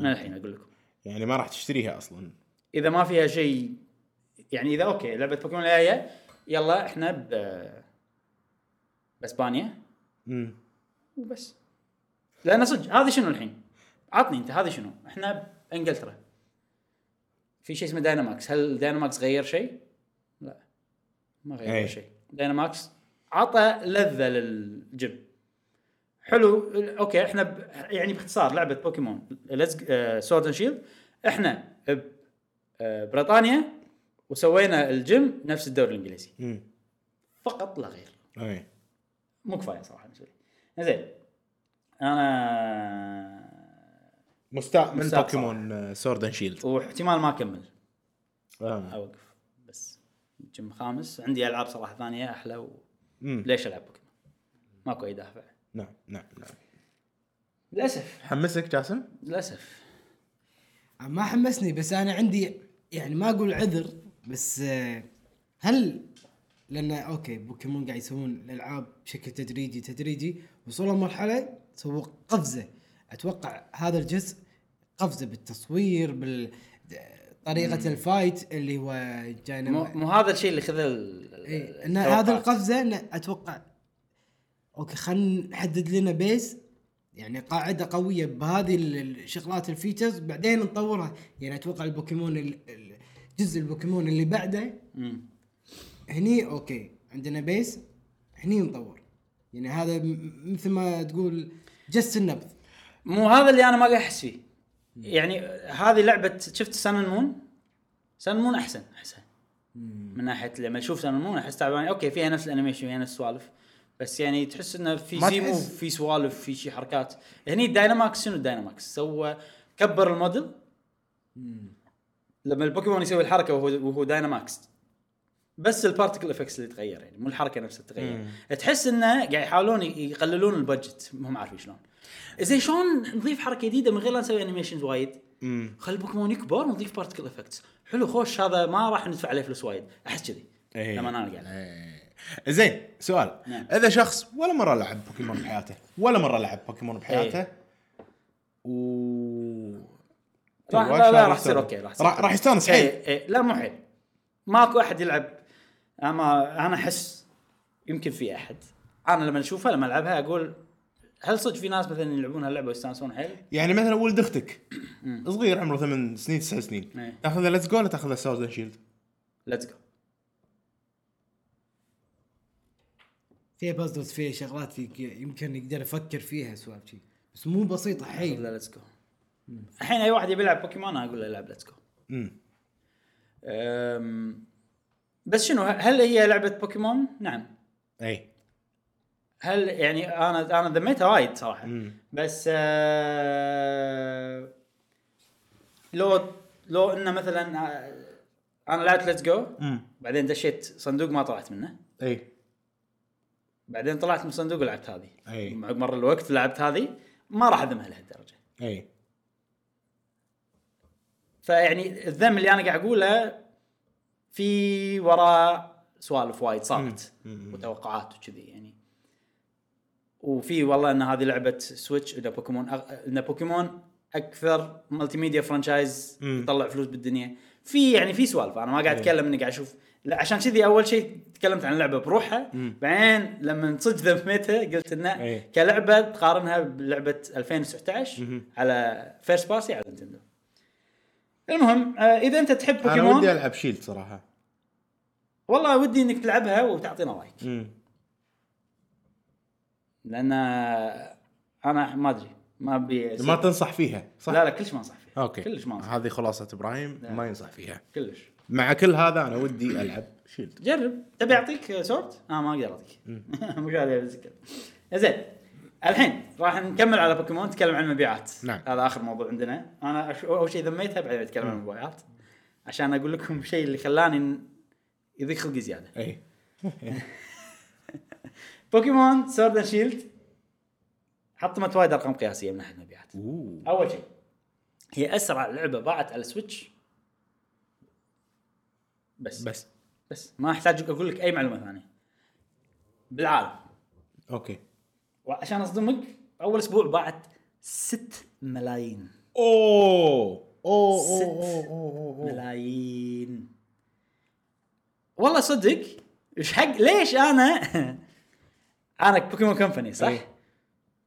S1: من الحين اقول لكم
S3: يعني ما راح تشتريها اصلا
S1: اذا ما فيها شيء يعني اذا اوكي لعبه بوكيمون الجايه يلا احنا ب باسبانيا
S3: امم
S1: وبس لان صدق هذا شنو الحين؟ عطني انت هذا شنو؟ احنا بانجلترا في شيء اسمه دايناماكس، هل دايناماكس غير شيء؟ لا ما غير
S3: أي.
S1: شيء، دايناماكس عطى لذه للجيم حلو اوكي احنا ب... يعني باختصار لعبه بوكيمون آه، ليتس سورد اند شيلد احنا ب... آه، بريطانيا وسوينا الجيم نفس الدوري الانجليزي
S3: امم
S1: فقط لا غير
S3: اي
S1: مو كفايه صراحه بالنسبه لي. زين انا
S3: مستاء من
S1: مستاء
S3: بوكيمون سورد اند شيلد
S1: واحتمال ما اكمل
S3: آه.
S1: اوقف بس جيم خامس عندي العاب صراحه ثانيه احلى و...
S3: امم
S1: ليش العب بوكيمون؟ ماكو اي دافع
S3: نعم نعم نعم.
S1: للاسف
S3: حمسك جاسم؟
S1: للاسف
S2: ما حمسني بس انا عندي يعني ما اقول عذر بس آه، هل لان اوكي بوكيمون قاعد يسوون الالعاب بشكل تدريجي تدريجي وصلوا مرحله سووا قفزه اتوقع هذا الجزء قفزه بالتصوير بال طريقه الفايت اللي هو
S1: مو,
S2: جاينا
S1: مو هذا الشيء اللي خذ ال...
S2: إيه، ان
S1: التوقعات.
S2: هذا القفزه إن اتوقع اوكي خلينا نحدد لنا بيس يعني قاعده قويه بهذه ال- الشغلات الفيتشرز بعدين نطورها يعني اتوقع البوكيمون ال- ال- جزء البوكيمون اللي بعده
S1: مم.
S2: هني اوكي عندنا بيس هني نطور يعني هذا م- مثل ما تقول جس النبض
S1: مو هذا اللي انا ما قاعد احس فيه يعني هذه لعبه شفت سان مون سان مون احسن احسن من ناحيه لما اشوف سان مون احس تعبان اوكي فيها نفس الانيميشن فيها نفس السوالف بس يعني تحس انه في
S3: ما
S1: زيمو
S3: تحس.
S1: في سوالف في شي حركات هني دايناماكس شنو دايناماكس سوى كبر الموديل لما البوكيمون يسوي الحركه وهو وهو دايناماكس بس البارتكل افكس اللي تغير يعني مو الحركه نفسها تتغير تحس انه قاعد يحاولون ي- يقللون البادجت ما هم عارفين شلون زين شلون نضيف حركه جديده من غير لا نسوي انيميشنز وايد
S3: امم
S1: خلي البوكيمون يكبر ونضيف بارتكل افكتس حلو خوش هذا ما راح ندفع عليه فلوس وايد احس كذي
S3: إيه.
S1: لما انا قاعد
S3: إيه. زين سؤال
S1: نعم.
S3: اذا شخص ولا مره لعب بوكيمون بحياته ولا مره لعب بوكيمون بحياته
S1: إيه.
S3: و طيب،
S1: راح لا, لا راح يصير اوكي راح يصير
S3: راح راح يستانس حيل
S1: إيه إيه لا مو حيل ماكو احد يلعب اما انا احس يمكن في احد انا لما اشوفها لما العبها اقول هل صدق في ناس مثلا يلعبون هاللعبه ويستانسون حيل؟
S3: يعني مثلا ولد اختك صغير عمره ثمان سنين تسع سنين
S1: إيه.
S3: تاخذه ليتس جو ولا تاخذه سورد اند شيلد؟
S1: ليتس جو
S2: فيها بازلز فيها شغلات يك- يمكن يقدر يفكر فيها سوالف شي بس مو بسيطه حيل
S1: ليتس جو الحين اي واحد يبي يلعب بوكيمون أنا اقول له العب ليتس جو
S3: امم
S1: أم، بس شنو هل هي لعبه بوكيمون؟ نعم
S3: اي
S1: هل يعني انا انا ذميتها وايد صراحه
S3: مم.
S1: بس آه لو لو انه مثلا آه، انا لعبت ليتس جو
S3: امم
S1: بعدين دشيت صندوق ما طلعت منه
S3: اي
S1: بعدين طلعت من الصندوق ولعبت هذه
S3: أي.
S1: مع مر الوقت لعبت هذه ما راح اذمها لهالدرجه
S3: اي
S1: فيعني الذم اللي انا قاعد اقوله في وراه سوالف وايد صارت وتوقعات وكذي يعني وفي والله ان هذه لعبه سويتش ان بوكيمون أغ... ان بوكيمون اكثر ملتي ميديا فرانشايز
S3: مم. إيه.
S1: يطلع فلوس بالدنيا في يعني في سوالف انا ما قاعد اتكلم اني قاعد اشوف لا عشان كذي اول شيء تكلمت عن اللعبه بروحها
S3: مم.
S1: بعدين لما صدق ذميتها قلت انه
S3: إيه.
S1: كلعبه تقارنها بلعبه 2019
S3: مهم.
S1: على فيرست باسي على نتندو المهم آه، اذا انت تحب
S3: انا ودي
S1: بوكيمون
S3: العب شيلد صراحه
S1: والله ودي انك تلعبها وتعطينا رايك
S3: امم
S1: لان انا آه، ما ادري ما ابي
S3: ما تنصح فيها صح؟
S1: لا لا كلش ما انصح فيها
S3: اوكي
S1: كلش ما انصح
S3: هذه خلاصه ابراهيم ما ينصح فيها
S1: كلش
S3: مع كل هذا انا ودي العب شيلد
S1: جرب تبي اعطيك سورد؟ اه ما اقدر اعطيك ما اقدر امسك زين الحين راح نكمل على بوكيمون نتكلم عن المبيعات
S3: نعم.
S1: هذا اخر موضوع عندنا انا أش- اول شيء ذميتها بعدين بتكلم عن المبيعات عشان اقول لكم شيء اللي خلاني ن- يضيق خلقي زياده
S3: اي
S1: بوكيمون سورد اند شيلد حطمت وايد ارقام قياسيه من ناحيه المبيعات
S3: اوه
S1: اول شيء هي اسرع لعبه باعت على سويتش بس بس,
S3: بس
S1: بس. ما احتاج اقول لك اي معلومه ثانيه بالعالم
S3: اوكي
S1: وعشان اصدمك اول اسبوع باعت 6 ملايين
S3: اوه اوه اوه
S1: ست
S3: اوه اوه أوه.
S1: ملايين والله صدق ايش حق ليش انا انا بوكيمون كمباني صح؟
S3: أي.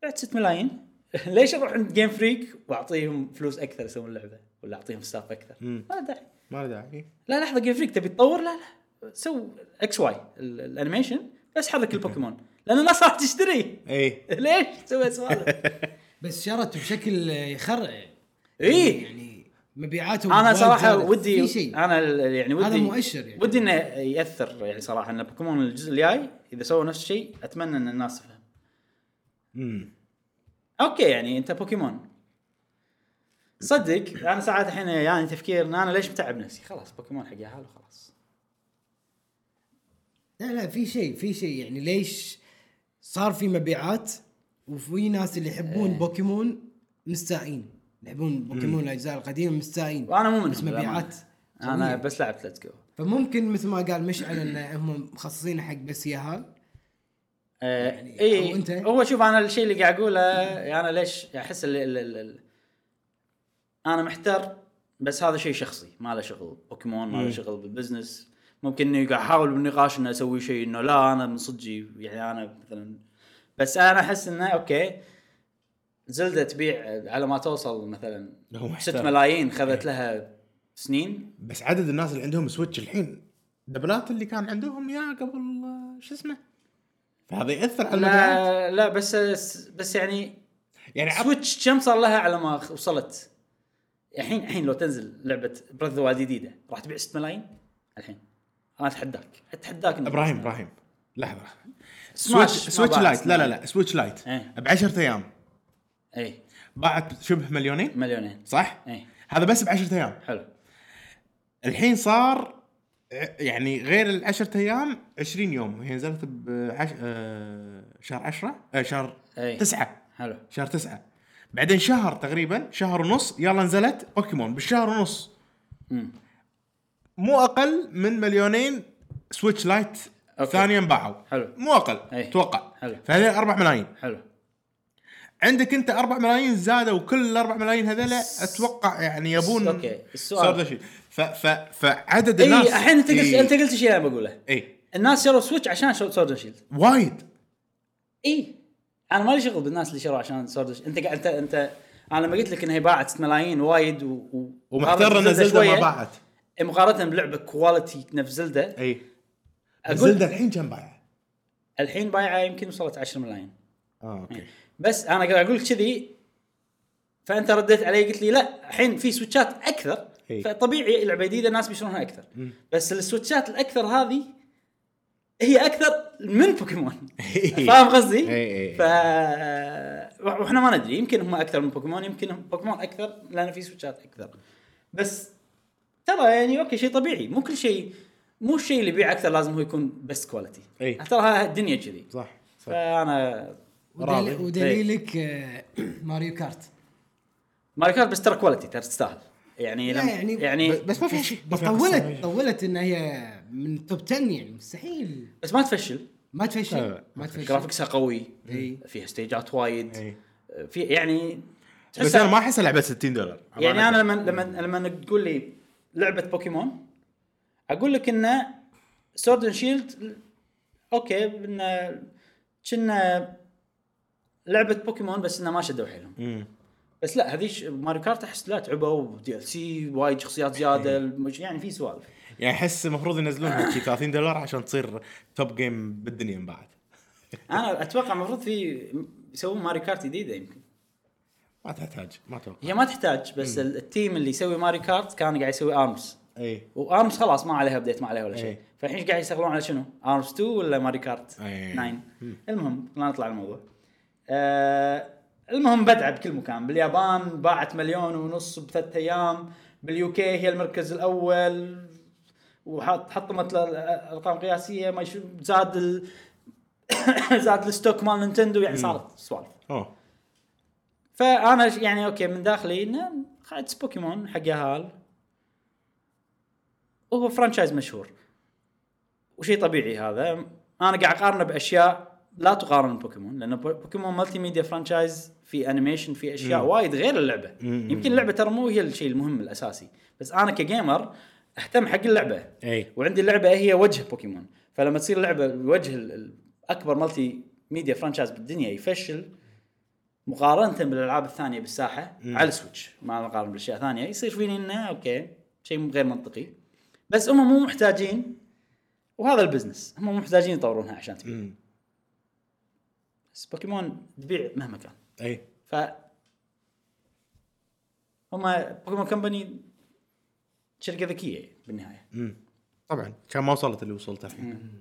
S1: بعت 6 ملايين ليش اروح عند جيم فريك واعطيهم فلوس اكثر يسوون لعبه ولا اعطيهم ستاف اكثر؟
S3: مم.
S1: ما داعي
S3: ما إيه. له داعي
S1: لا لحظه جيم فريك تبي تطور لا لا سو اكس واي ال- الانيميشن بس حرك البوكيمون لان الناس راح تشتري
S3: اي
S1: ليش تسوي سوالف؟
S2: بس شرت بشكل يخرع
S1: إيه.
S2: يعني مبيعاته
S1: انا
S2: وايد
S1: صراحه
S2: زادت.
S1: ودي
S2: في شيء
S1: انا ال- يعني ودي
S2: هذا مؤشر يعني.
S1: ودي انه ياثر يعني صراحه ان بوكيمون الجزء الجاي اذا سووا نفس الشيء اتمنى ان الناس تفهم
S3: امم
S1: اوكي يعني انت بوكيمون صدق انا ساعات الحين يعني تفكير ان انا ليش متعب نفسي خلاص بوكيمون حق حاله خلاص
S2: لا لا في شيء في شيء يعني ليش صار في مبيعات وفي ناس اللي يحبون
S1: إيه.
S2: بوكيمون مستائين يحبون بوكيمون الاجزاء القديمه مستائين
S1: وانا مو منهم
S2: بس مبيعات
S1: للأمانة. انا
S2: قوية.
S1: بس لعبت ليتس جو
S2: فممكن مثل ما قال مشعل ان هم مخصصين حق بس ياهال
S1: يعني
S2: أو أنت-
S1: اي هو شوف انا الشيء اللي قاعد اقوله انا ليش احس ال ال ال ال انا محتار بس هذا شيء شخصي ما له شغل بوكيمون ما له شغل بالبزنس ممكن اني قاعد احاول بالنقاش اني اسوي شيء انه لا انا من صدقي يعني انا مثلا بس انا احس انه اوكي زلدة تبيع على ما توصل مثلا
S3: هو
S1: 6
S3: محتار.
S1: ملايين خذت لها سنين
S3: بس عدد الناس اللي عندهم سويتش الحين دبلات اللي كان عندهم يا قبل آه، شو اسمه فهذا ياثر على المبيعات
S1: لا لا بس بس يعني
S3: يعني عط-
S1: سويتش كم صار لها على ما خ- وصلت؟ الحين الحين لو تنزل لعبه بريث وايد جديده راح تبيع 6 ملايين الحين انا اتحداك اتحداك إنه
S3: ابراهيم
S1: 6
S3: ابراهيم لحظه لحظة.
S1: سماش
S3: سويتش
S1: ما
S3: سويتش
S1: باعت
S3: لايت لا لا
S1: سماش.
S3: لا سويتش لايت
S1: إيه.
S3: ب 10 ايام
S1: ملايين. اي
S3: باعت شبه مليونين
S1: إيه، مليونين
S3: صح؟
S1: إيه.
S3: هذا بس ب 10 ايام
S1: حلو
S3: الحين صار ع- يعني غير العشرة ايام 20 يوم هي نزلت بعش... آه، شهر 10 آه، شهر
S1: أي.
S3: 9
S1: إيه، حلو
S3: شهر 9 بعدين شهر تقريبا شهر ونص يلا نزلت بوكيمون بالشهر ونص
S1: مم.
S3: مو اقل من مليونين سويتش لايت
S1: أوكي.
S3: ثانيا باعوا
S1: حلو.
S3: مو اقل
S1: أي.
S3: اتوقع
S1: حلو.
S3: فهذول 4 ملايين
S1: حلو
S3: عندك انت 4 ملايين زادوا وكل ال 4 ملايين هذول اتوقع يعني يبون
S1: أوكي. السؤال.
S3: صار ذا الشيء. ف ف فعدد
S1: اي
S3: الناس
S1: إيه، الحين انت قلت
S3: إي.
S1: انت قلت شيء انا بقوله
S3: اي
S1: الناس شروا سويتش عشان سورد شيلد
S3: وايد
S1: اي انا إيه. مالي شغل بالناس اللي شروا عشان سورد انت قاعد- انت انت انا لما قلت لك انها باعت 6 ملايين وايد و... و...
S3: ومحتر ان
S1: زلدة
S3: زلده ما
S1: شوية. إيه،
S3: باعت
S1: مقارنه بلعبه كواليتي نفس زلده
S3: اي
S1: أقول-
S3: زلده الحين كم باع؟
S1: الحين بايعه يمكن وصلت 10 ملايين
S3: اه اوكي
S1: بس انا قاعد اقول لك كذي فانت رديت علي قلت لي لا الحين في سويتشات اكثر
S3: إي.
S1: فطبيعي لعبه جديده الناس بيشترونها اكثر بس السويتشات الاكثر هذه هي اكثر من بوكيمون فاهم قصدي؟
S3: إي إي.
S1: ف واحنا ما ندري يمكن هم اكثر من بوكيمون يمكن هم بوكيمون اكثر لان في سويتشات اكثر بس ترى يعني اوكي شيء طبيعي مو كل شيء مو الشيء اللي يبيع اكثر لازم هو يكون بس كواليتي
S3: إي.
S1: ترى الدنيا كذي
S3: صح صح
S1: فانا
S3: راضي.
S2: ودليل- ودليلك
S1: إيه.
S2: آه، ماريو كارت
S1: ماري كارت بس ترى كواليتي ترى تستاهل يعني
S2: لا
S1: لم
S2: يعني-
S1: يعني,
S3: ب-
S1: يعني
S3: بس ما فيها شيء ما
S2: بس
S3: فيها
S2: طولت
S3: قصة.
S2: طولت ان هي من توب 10 يعني مستحيل
S1: بس ما تفشل
S2: ما
S3: لا،
S2: تفشل
S3: لا،
S2: ما تفشل
S1: جرافيكسها قوي
S2: إي.
S1: فيها ستيجات وايد
S3: إي.
S1: في يعني
S3: بس
S1: تحسها-
S3: انا ما احسها لعبه 60 دولار
S1: يعني انا لما لما لما تقول لي لعبه بوكيمون اقول لك انه سورد اند شيلد اوكي انه كنا لعبه بوكيمون بس انه ما شدوا حيلهم
S3: مم.
S1: بس لا هذيش ماريو كارت احس لا تعبوا ودي ال سي وايد شخصيات زياده المج- يعني في سوالف
S3: يعني احس المفروض ينزلونها شي 30 دولار عشان تصير توب جيم بالدنيا من بعد
S1: انا اتوقع المفروض في يسوون ماري كارت جديده يمكن
S3: ما تحتاج ما اتوقع
S1: هي ما تحتاج بس ال- التيم اللي يسوي ماري كارت كان قاعد يسوي ارمز
S3: اي
S1: وارمز إيه. خلاص ما عليها ابديت ما عليها ولا شيء
S3: إيه.
S1: فالحين إيش قاعد يشتغلون على شنو؟ ارمز 2 ولا ماري كارت
S3: إيه.
S1: 9 المهم لا نطلع عن الموضوع آه المهم بدعه بكل مكان باليابان باعت مليون ونص بثلاث ايام باليوكي هي المركز الاول وحط حطمت ل- ارقام قياسيه ما يشوف زاد ال... زاد الستوك مال نينتندو يعني صارت سوالف
S3: اوه
S1: فانا ش- يعني اوكي من داخلي انه خلاص بوكيمون حق ياهال وهو فرانشايز مشهور وشيء طبيعي هذا انا قاعد اقارنه باشياء لا تقارن بوكيمون لان بو- بوكيمون مالتي ميديا فرانشايز في انيميشن في اشياء وايد غير اللعبه يمكن اللعبه ترى مو هي الشيء المهم الاساسي بس انا كجيمر اهتم حق اللعبه
S3: اي
S1: وعندي اللعبه هي وجه بوكيمون فلما تصير لعبه الوجه ال- ال- اكبر مالتي ميديا فرانشايز بالدنيا يفشل مقارنه بالالعاب الثانيه بالساحه على السويتش ما نقارن بالاشياء الثانيه يصير فيني انه اوكي شيء غير منطقي بس هم مو محتاجين وهذا البزنس هم مو محتاجين يطورونها عشان تبيع
S3: مم.
S1: بس بوكيمون تبيع مهما كان
S3: اي
S1: ف هم بوكيمون كمباني شركه ذكيه بالنهايه
S3: مم. طبعا كان ما وصلت اللي وصلت الحين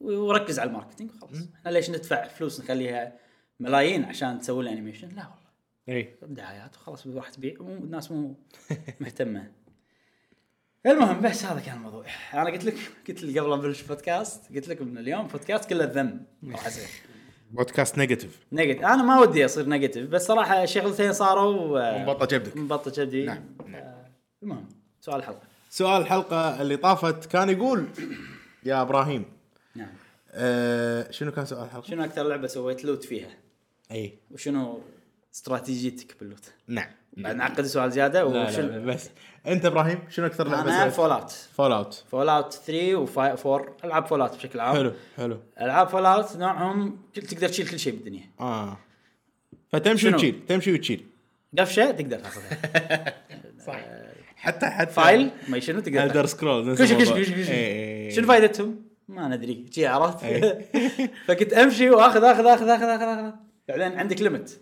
S1: و- وركز على الماركتينج وخلاص احنا ليش ندفع فلوس نخليها ملايين عشان تسوي لنا انيميشن لا والله
S3: اي
S1: دعايات وخلاص راح تبيع مو- الناس مو مهتمه المهم بس هذا كان الموضوع انا قلت لك قلت لك قبل لا نبلش بودكاست قلت لكم ان اليوم بودكاست كله ذم راح يصير
S3: بودكاست نيجاتيف
S1: نيجاتيف انا ما ودي اصير نيجاتيف بس صراحه شغلتين صاروا آه،
S3: مبطة جبدك
S1: مبطه جدي
S3: نعم،
S1: آه، المهم سؤال الحلقه
S3: سؤال الحلقه اللي طافت كان يقول يا ابراهيم
S1: نعم
S3: آه شنو كان سؤال الحلقه؟
S1: شنو اكثر لعبه سويت لوت فيها
S3: اي
S1: وشنو استراتيجيتك باللوت
S3: نعم
S1: بعد نعقد سؤال زياده
S3: لا لا
S1: وشنو
S3: لا، بس انت ابراهيم شنو اكثر
S1: انا
S3: لعبه
S1: فول اوت
S3: فول اوت
S1: فول اوت 3 و4 العاب فول اوت بشكل عام
S3: حلو حلو
S1: العاب فول اوت نوعهم كل- تقدر تشيل كل شيء بالدنيا
S3: اه فتمشي
S1: شنو؟
S3: وتشيل تمشي وتشيل
S1: قفشه تقدر تاخذها
S3: حتى حتى يعني.
S1: فايل ما شنو تقدر
S3: الدر
S1: تاخذها.
S3: سكرول
S1: كل شيء كل شيء كل شيء كل
S3: إيه،
S1: شيء شنو فائدتهم؟ ما ندري شي عرفت فكنت امشي واخذ اخذ اخذ اخذ اخذ اخذ بعدين عندك ليمت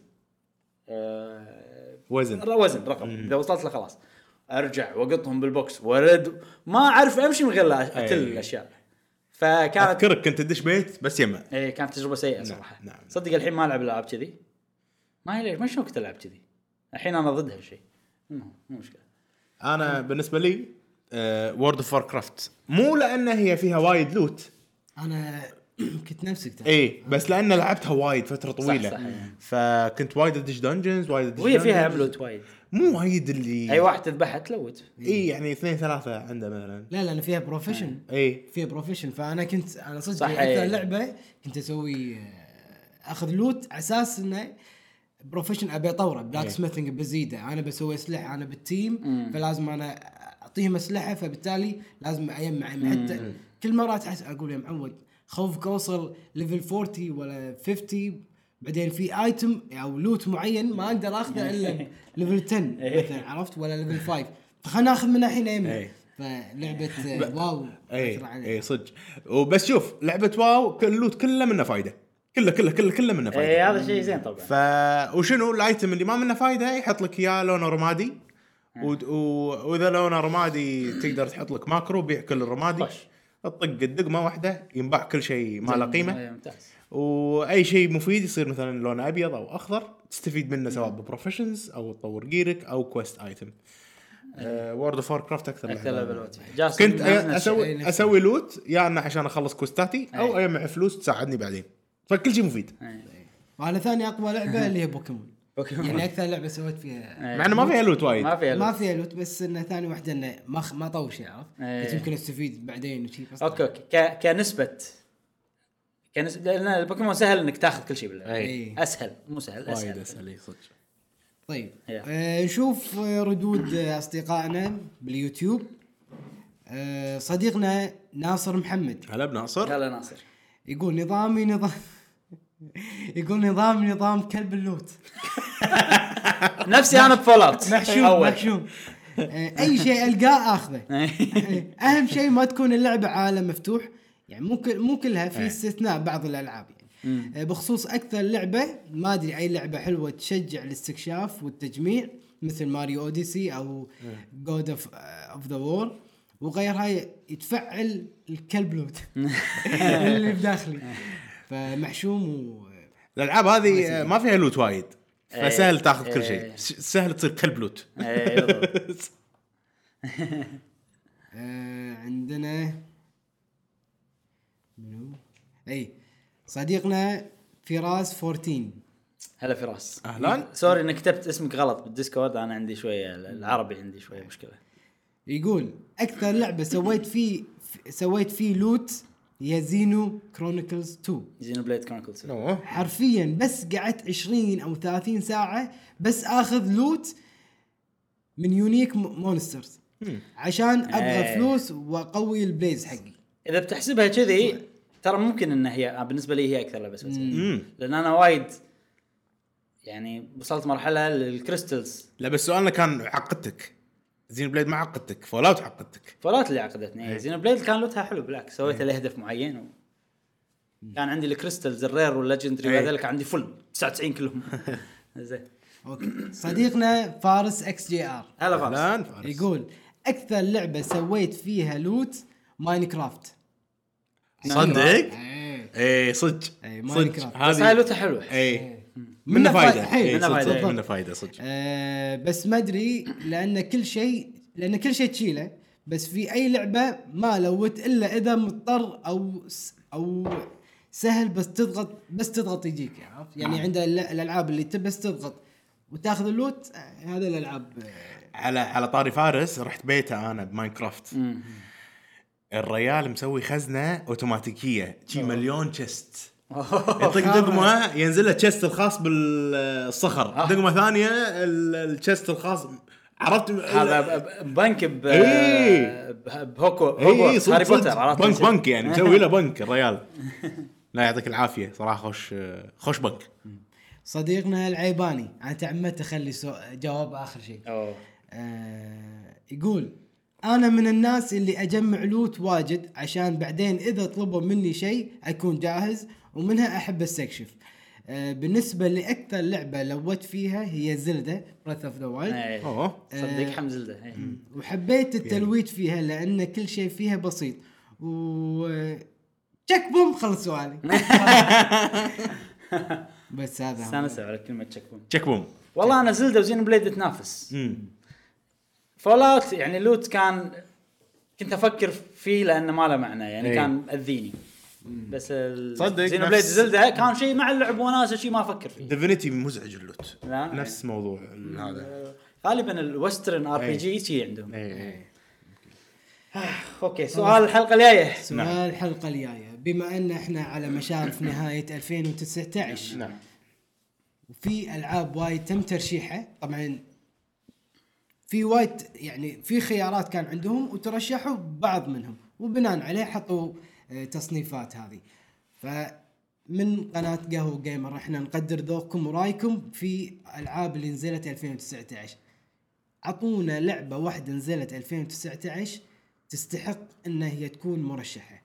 S3: وزن
S1: وزن رقم اذا وصلت له خلاص ارجع واقطهم بالبوكس وارد ما اعرف امشي من غير لا اتل
S3: أي.
S1: الاشياء فكانت
S3: اذكرك كنت تدش بيت بس يمه
S1: ايه كانت تجربه سيئه صراحه
S3: نعم، نعم.
S1: صدق الحين ما العب العاب كذي ما هي ليش ما شلون كنت العب كذي الحين انا ضد هالشيء المهم، مو مشكله
S3: انا بالنسبه لي آه، وورد اوف كرافت مو لان هي فيها وايد لوت
S2: انا كنت نفسك ترى.
S3: اي بس لان لعبتها وايد فتره طويله
S1: صح،
S3: فكنت وايد ادش دنجنز وايد ادش
S1: وهي فيها أيوة.
S3: dungeons.
S1: بلوت وايد
S3: مو وايد اللي
S1: اي واحد تذبحه تلوت
S3: اي يعني اثنين ثلاثه عنده مثلا
S2: لا لان فيها بروفيشن
S3: اي
S2: فيها بروفيشن فانا كنت انا صدق
S1: صح،
S2: اكثر
S1: إيه.
S2: لعبه كنت اسوي آه، اخذ لوت على اساس انه بروفيشن ابي اطوره بلاك
S3: إيه.
S2: سميثنج بزيده انا بسوي اسلحه انا بالتيم فلازم انا اعطيهم اسلحه فبالتالي لازم اجمع حتى كل مره اتحس اقول يا معود خوفك اوصل ليفل 40 ولا 50 بعدين في ايتم او لوت معين ما اقدر اخذه الا
S3: إيه.
S2: ليفل 10 مثلا عرفت ولا ليفل 5 فخلنا ناخذ من الحين يمنا
S3: إيه.
S2: فلعبه آه، واو
S3: اي
S1: إيه،
S2: أثر علي.
S3: اي إيه، صدق وبس شوف لعبه واو كل اللوت كله منه فايده كله كله كله كله منه فايده
S1: اي إيه، هذا شيء زين طبعا
S3: ف وشنو الايتم اللي ما منه فايده يحط لك اياه لونه رمادي ود- و... واذا لونه رمادي تقدر تحط لك ماكرو بيع كل الرمادي
S1: طش.
S3: تطق الدقمه واحده ينباع كل شيء ما له قيمه
S1: إيه، ممتاز
S3: واي شيء مفيد يصير مثلا لونه ابيض او اخضر تستفيد منه سواء ببروفيشنز او تطور جيرك او كويست ايتم وورد اوف كرافت اكثر
S1: اكثر
S3: لعبة.
S1: لبلوت جاسم نفس
S3: كنت أ-
S1: الشيء.
S2: أي
S3: اسوي
S2: نفس
S3: اسوي لوت يا انه عشان اخلص كوستاتي او
S1: يعني. أي.
S3: اجمع فلوس تساعدني بعدين فكل شيء مفيد
S1: إيه.
S2: وانا ثاني اقوى لعبه اللي هي بوكيمون
S1: بوكيمون.
S2: يعني اكثر لعبه سويت فيها
S1: إيه.
S3: مع انه ما فيها لوت وايد
S1: ما فيها
S2: ما
S1: لوت.
S2: فيها لوت بس انه ثاني واحده انه ما خ... ما طوش عرفت
S1: إيه.
S2: قلت يمكن استفيد بعدين وشي بس
S1: اوكي اوكي ك... كنسبه كنسبة لان البوكيمون سهل انك تاخذ كل شيء بالله
S2: إيه.
S1: اسهل مو سهل
S3: وايد
S1: اسهل
S3: اسهل اي صدق
S2: طيب
S1: يا.
S2: آه نشوف آه، ردود آه، اصدقائنا باليوتيوب آه صديقنا ناصر محمد
S3: هلا بناصر
S1: يلا ناصر
S2: يقول نظامي نظام يقول نظام نظام كلب اللوت
S1: نفسي انا بفول اوت
S2: محشوم
S1: أول.
S2: محشوم آه، اي شيء القاه اخذه
S1: إيه.
S2: اهم يعني شيء ما تكون اللعبه عالم مفتوح يعني مو كل- مو كلها في استثناء بعض الالعاب يعني آه، بخصوص اكثر لعبه ما ادري اي لعبه حلوه تشجع الاستكشاف والتجميع مثل ماريو اوديسي او جود اوف اوف ذا وور وغيرها يتفعل الكلب لوت اللي بداخلي فمحشوم و
S3: الالعاب هذه آه، ما فيها لوت وايد
S1: إيه.
S3: فسهل تاخذ كل
S1: إيه.
S3: شيء س- سهل تصير كلب لوت
S1: إيه، بالضبط.
S2: آه عندنا منو؟ اي صديقنا فراس 14
S1: هلا فراس إيه،
S3: أهلاً.
S1: سوري اني كتبت اسمك غلط بالديسكورد انا عندي شويه العربي عندي شويه
S3: إيه.
S1: مشكله
S2: يقول اكثر لعبه سويت فيه سويت فيه لوت هي زينو كرونيكلز 2
S1: زينو بليد كرونيكلز
S3: أوه.
S2: حرفيا بس قعدت 20 او 30 ساعه بس اخذ لوت من يونيك م- مونسترز عشان ابغى
S1: إيه.
S2: فلوس واقوي البليز حقي
S1: اذا بتحسبها كذي ترى ممكن ان هي بالنسبه لي هي اكثر لعبه سويتها
S3: مم.
S1: لان انا وايد يعني وصلت مرحله للكريستلز
S3: لا بس سؤالنا كان عقدتك زين بليد ما عقدتك فول اوت عقدتك
S1: فولات اللي
S3: إيه.
S1: عقدتني زينو بليد كان لوتها حلو بالعكس سويتها لهدف معين و... كان عندي الكريستلز الرير والليجندري
S3: أي.
S1: وهذول كان عندي فل 99 كلهم زين
S2: اوكي صديقنا فارس اكس جي ار
S1: هلا فارس
S3: الان فارس.
S2: يقول اكثر لعبه سويت فيها لوت ماينكرافت
S3: صدق؟
S2: إيه.
S3: اي صدق
S2: إي،
S3: صدق
S2: ماينكرافت.
S1: بس هاي
S3: هذه
S1: لوتها حلوه
S3: اي
S2: منه
S3: منه
S2: فايدة،
S3: فايده
S2: حيل.
S3: إي،
S1: منه
S3: صدق،
S1: فايدة،
S3: صدق،
S1: إي.
S3: منه فايده صدق
S2: آه بس ما ادري لان كل شيء لان كل شيء تشيله بس في اي لعبه ما لوت الا اذا مضطر او س- او سهل بس تضغط بس تضغط يجيك عرفت يعني عند ال- الالعاب اللي تبي بس تضغط وتاخذ اللوت آه، هذا الالعاب آه،
S3: على على طاري فارس رحت بيته انا بماينكرافت
S1: مم.
S3: الريال مسوي خزنه اوتوماتيكيه شي مليون تشست يطق دقمه ينزل له تشست الخاص بالصخر
S1: آه.
S3: دقمه ثانيه ال- التشست الخاص عرفت
S1: هذا ب- ب- بنك ب
S3: إيه.
S1: ب- بهوكو
S3: اي اي
S1: هوجورتس،
S3: صدق
S1: هاري بوتر
S3: صدق
S1: عرفت
S3: بنك بنك يعني مسوي له بنك الريال لا يعطيك العافيه صراحه خوش خوش بنك
S2: صديقنا العيباني انا تعمدت اخلي سو- جواب اخر شيء
S1: أوه.
S2: آه، يقول انا من الناس اللي اجمع لوت واجد عشان بعدين اذا طلبوا مني شيء اكون جاهز ومنها احب استكشف آه، بالنسبه لاكثر لعبه لوت فيها هي زلده براث اوف ذا وايلد
S1: إيه.
S3: اوه
S1: صدق حمزه ده إيه.
S2: وحبيت التلويت فيها لان كل شيء فيها بسيط و تشك بوم خلص سؤالي بس هذا هو.
S1: استانسوا على كلمه تشيك بوم
S3: تشيك بوم
S1: والله انا زلدا وزين بليد تنافس
S3: إيه. مم.
S1: فول اوت يعني لوت كان كنت افكر فيه لانه ما له معنى يعني
S3: إيه.
S1: كان مأذيني بس ال-
S3: صدق
S1: زين
S3: نفس-
S1: بليد زلدا كان شيء مع اللعب وناسه شيء ما افكر فيه آه.
S3: ديفينيتي مزعج اللوت
S1: لا.
S3: نفس موضوع ال- هذا
S1: غالبا الوسترن
S3: إيه.
S1: ار بي جي شي عندهم
S3: اي
S1: اوكي سؤال الحلقه الجايه
S2: سؤال الحلقه الجايه بما ان احنا على مشارف نهايه 2019
S3: نعم
S2: في العاب وايد تم ترشيحها طبعا في وايد يعني في خيارات كان عندهم وترشحوا بعض منهم وبناء عليه حطوا آه، تصنيفات هذه فمن قناه قهوه جيمر احنا نقدر ذوقكم ورايكم في العاب اللي نزلت 2019 اعطونا لعبه واحده نزلت 2019 تستحق ان هي تكون مرشحه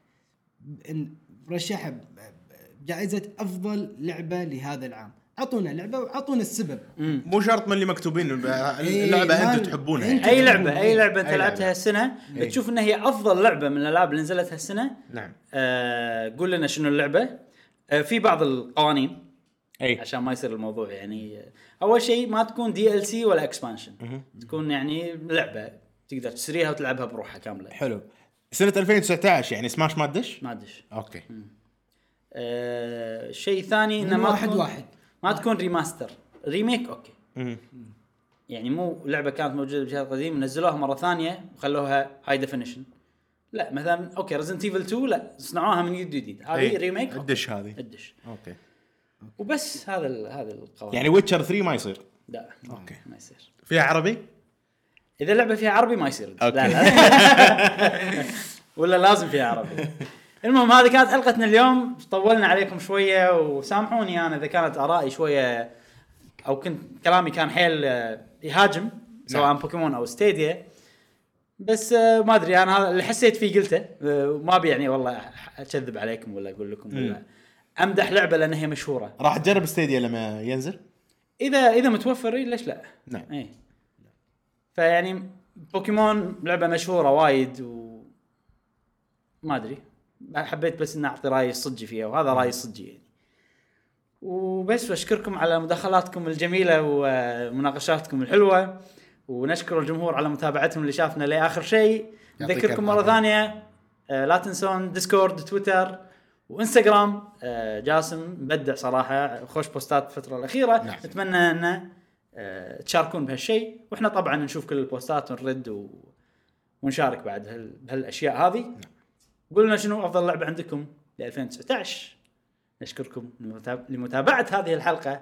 S2: إن- مرشحه ب- ب- بجائزه افضل لعبه لهذا العام اعطونا لعبه واعطونا السبب
S3: مو شرط من اللي مكتوبين الب-
S2: إيه،
S3: اللعبه
S2: ما-
S3: انتم تحبونها
S2: أنتم-
S3: يعني.
S1: اي لعبه اي لعبه انت
S3: أي لعبة.
S1: لعبتها هالسنه
S3: إيه.
S1: تشوف ان هي افضل لعبه من الالعاب اللي نزلت هالسنه
S3: نعم
S1: آه قول لنا شنو اللعبه آه في بعض القوانين
S3: اي
S1: عشان ما يصير الموضوع يعني آه، اول شيء ما تكون دي ال سي ولا اكسبانشن تكون يعني لعبه تقدر تشتريها وتلعبها بروحها كامله
S3: حلو سنه 2019 يعني سماش ما تدش؟
S1: ما ادش
S3: اوكي
S1: آه شيء ثاني انه
S2: من
S1: ما
S2: واحد
S1: تكون
S2: واحد.
S1: ما تكون ريماستر ريميك اوكي
S3: مم.
S1: يعني مو لعبه كانت موجوده بشكل قديم نزلوها مره ثانيه وخلوها هاي ديفينيشن لا مثلا اوكي ريزنت ايفل 2 لا صنعوها من جديد جديد هذه
S3: إي.
S1: ريميك أوكي.
S3: إيه. الدش هذه.
S1: الدش
S3: اوكي
S1: وبس هذا ال- هذا القوانين
S3: يعني ويتشر 3 ما يصير
S1: لا
S3: أوكي.
S1: ما يصير
S3: فيها عربي؟
S1: اذا لعبه فيها عربي ما يصير
S3: أوكي.
S1: لا لا. ولا لازم فيها عربي المهم هذه كانت حلقتنا اليوم طولنا عليكم شويه وسامحوني انا اذا كانت ارائي شويه او كنت كلامي كان حيل آه، يهاجم سواء
S3: نعم.
S1: بوكيمون او ستيديا بس آه، ما ادري انا هذا اللي حسيت فيه قلته آه، وما ابي يعني والله أح- اكذب عليكم ولا اقول لكم ولا امدح لعبه لان هي مشهوره
S3: راح تجرب ستيديا لما ينزل؟
S1: اذا اذا متوفر إيه، ليش لا؟
S3: نعم
S1: اي فيعني بوكيمون لعبه مشهوره وايد و ما ادري حبيت بس اني اعطي رايي الصجي فيها وهذا
S3: نعم.
S1: رايي الصجي يعني وبس واشكركم على مداخلاتكم الجميله ومناقشاتكم الحلوه ونشكر الجمهور على متابعتهم اللي شافنا لاخر شيء
S3: يعطيك
S1: نذكركم
S3: العافية.
S1: مره ثانيه آه، لا تنسون ديسكورد تويتر وانستغرام آه، جاسم مبدع صراحه خوش بوستات الفتره الاخيره
S3: نعم.
S1: نتمنى ان آه، تشاركون بهالشيء واحنا طبعا نشوف كل البوستات ونرد و... ونشارك بعد هال... بهالاشياء هذه قلنا شنو افضل لعبه عندكم ل 2019 نشكركم لمتاب- لمتابعه هذه الحلقه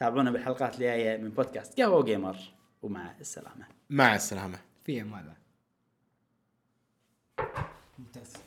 S1: تابعونا بالحلقات الجايه من بودكاست قهوه جيمر ومع السلامه
S3: مع السلامه
S2: في امان الله ممتاز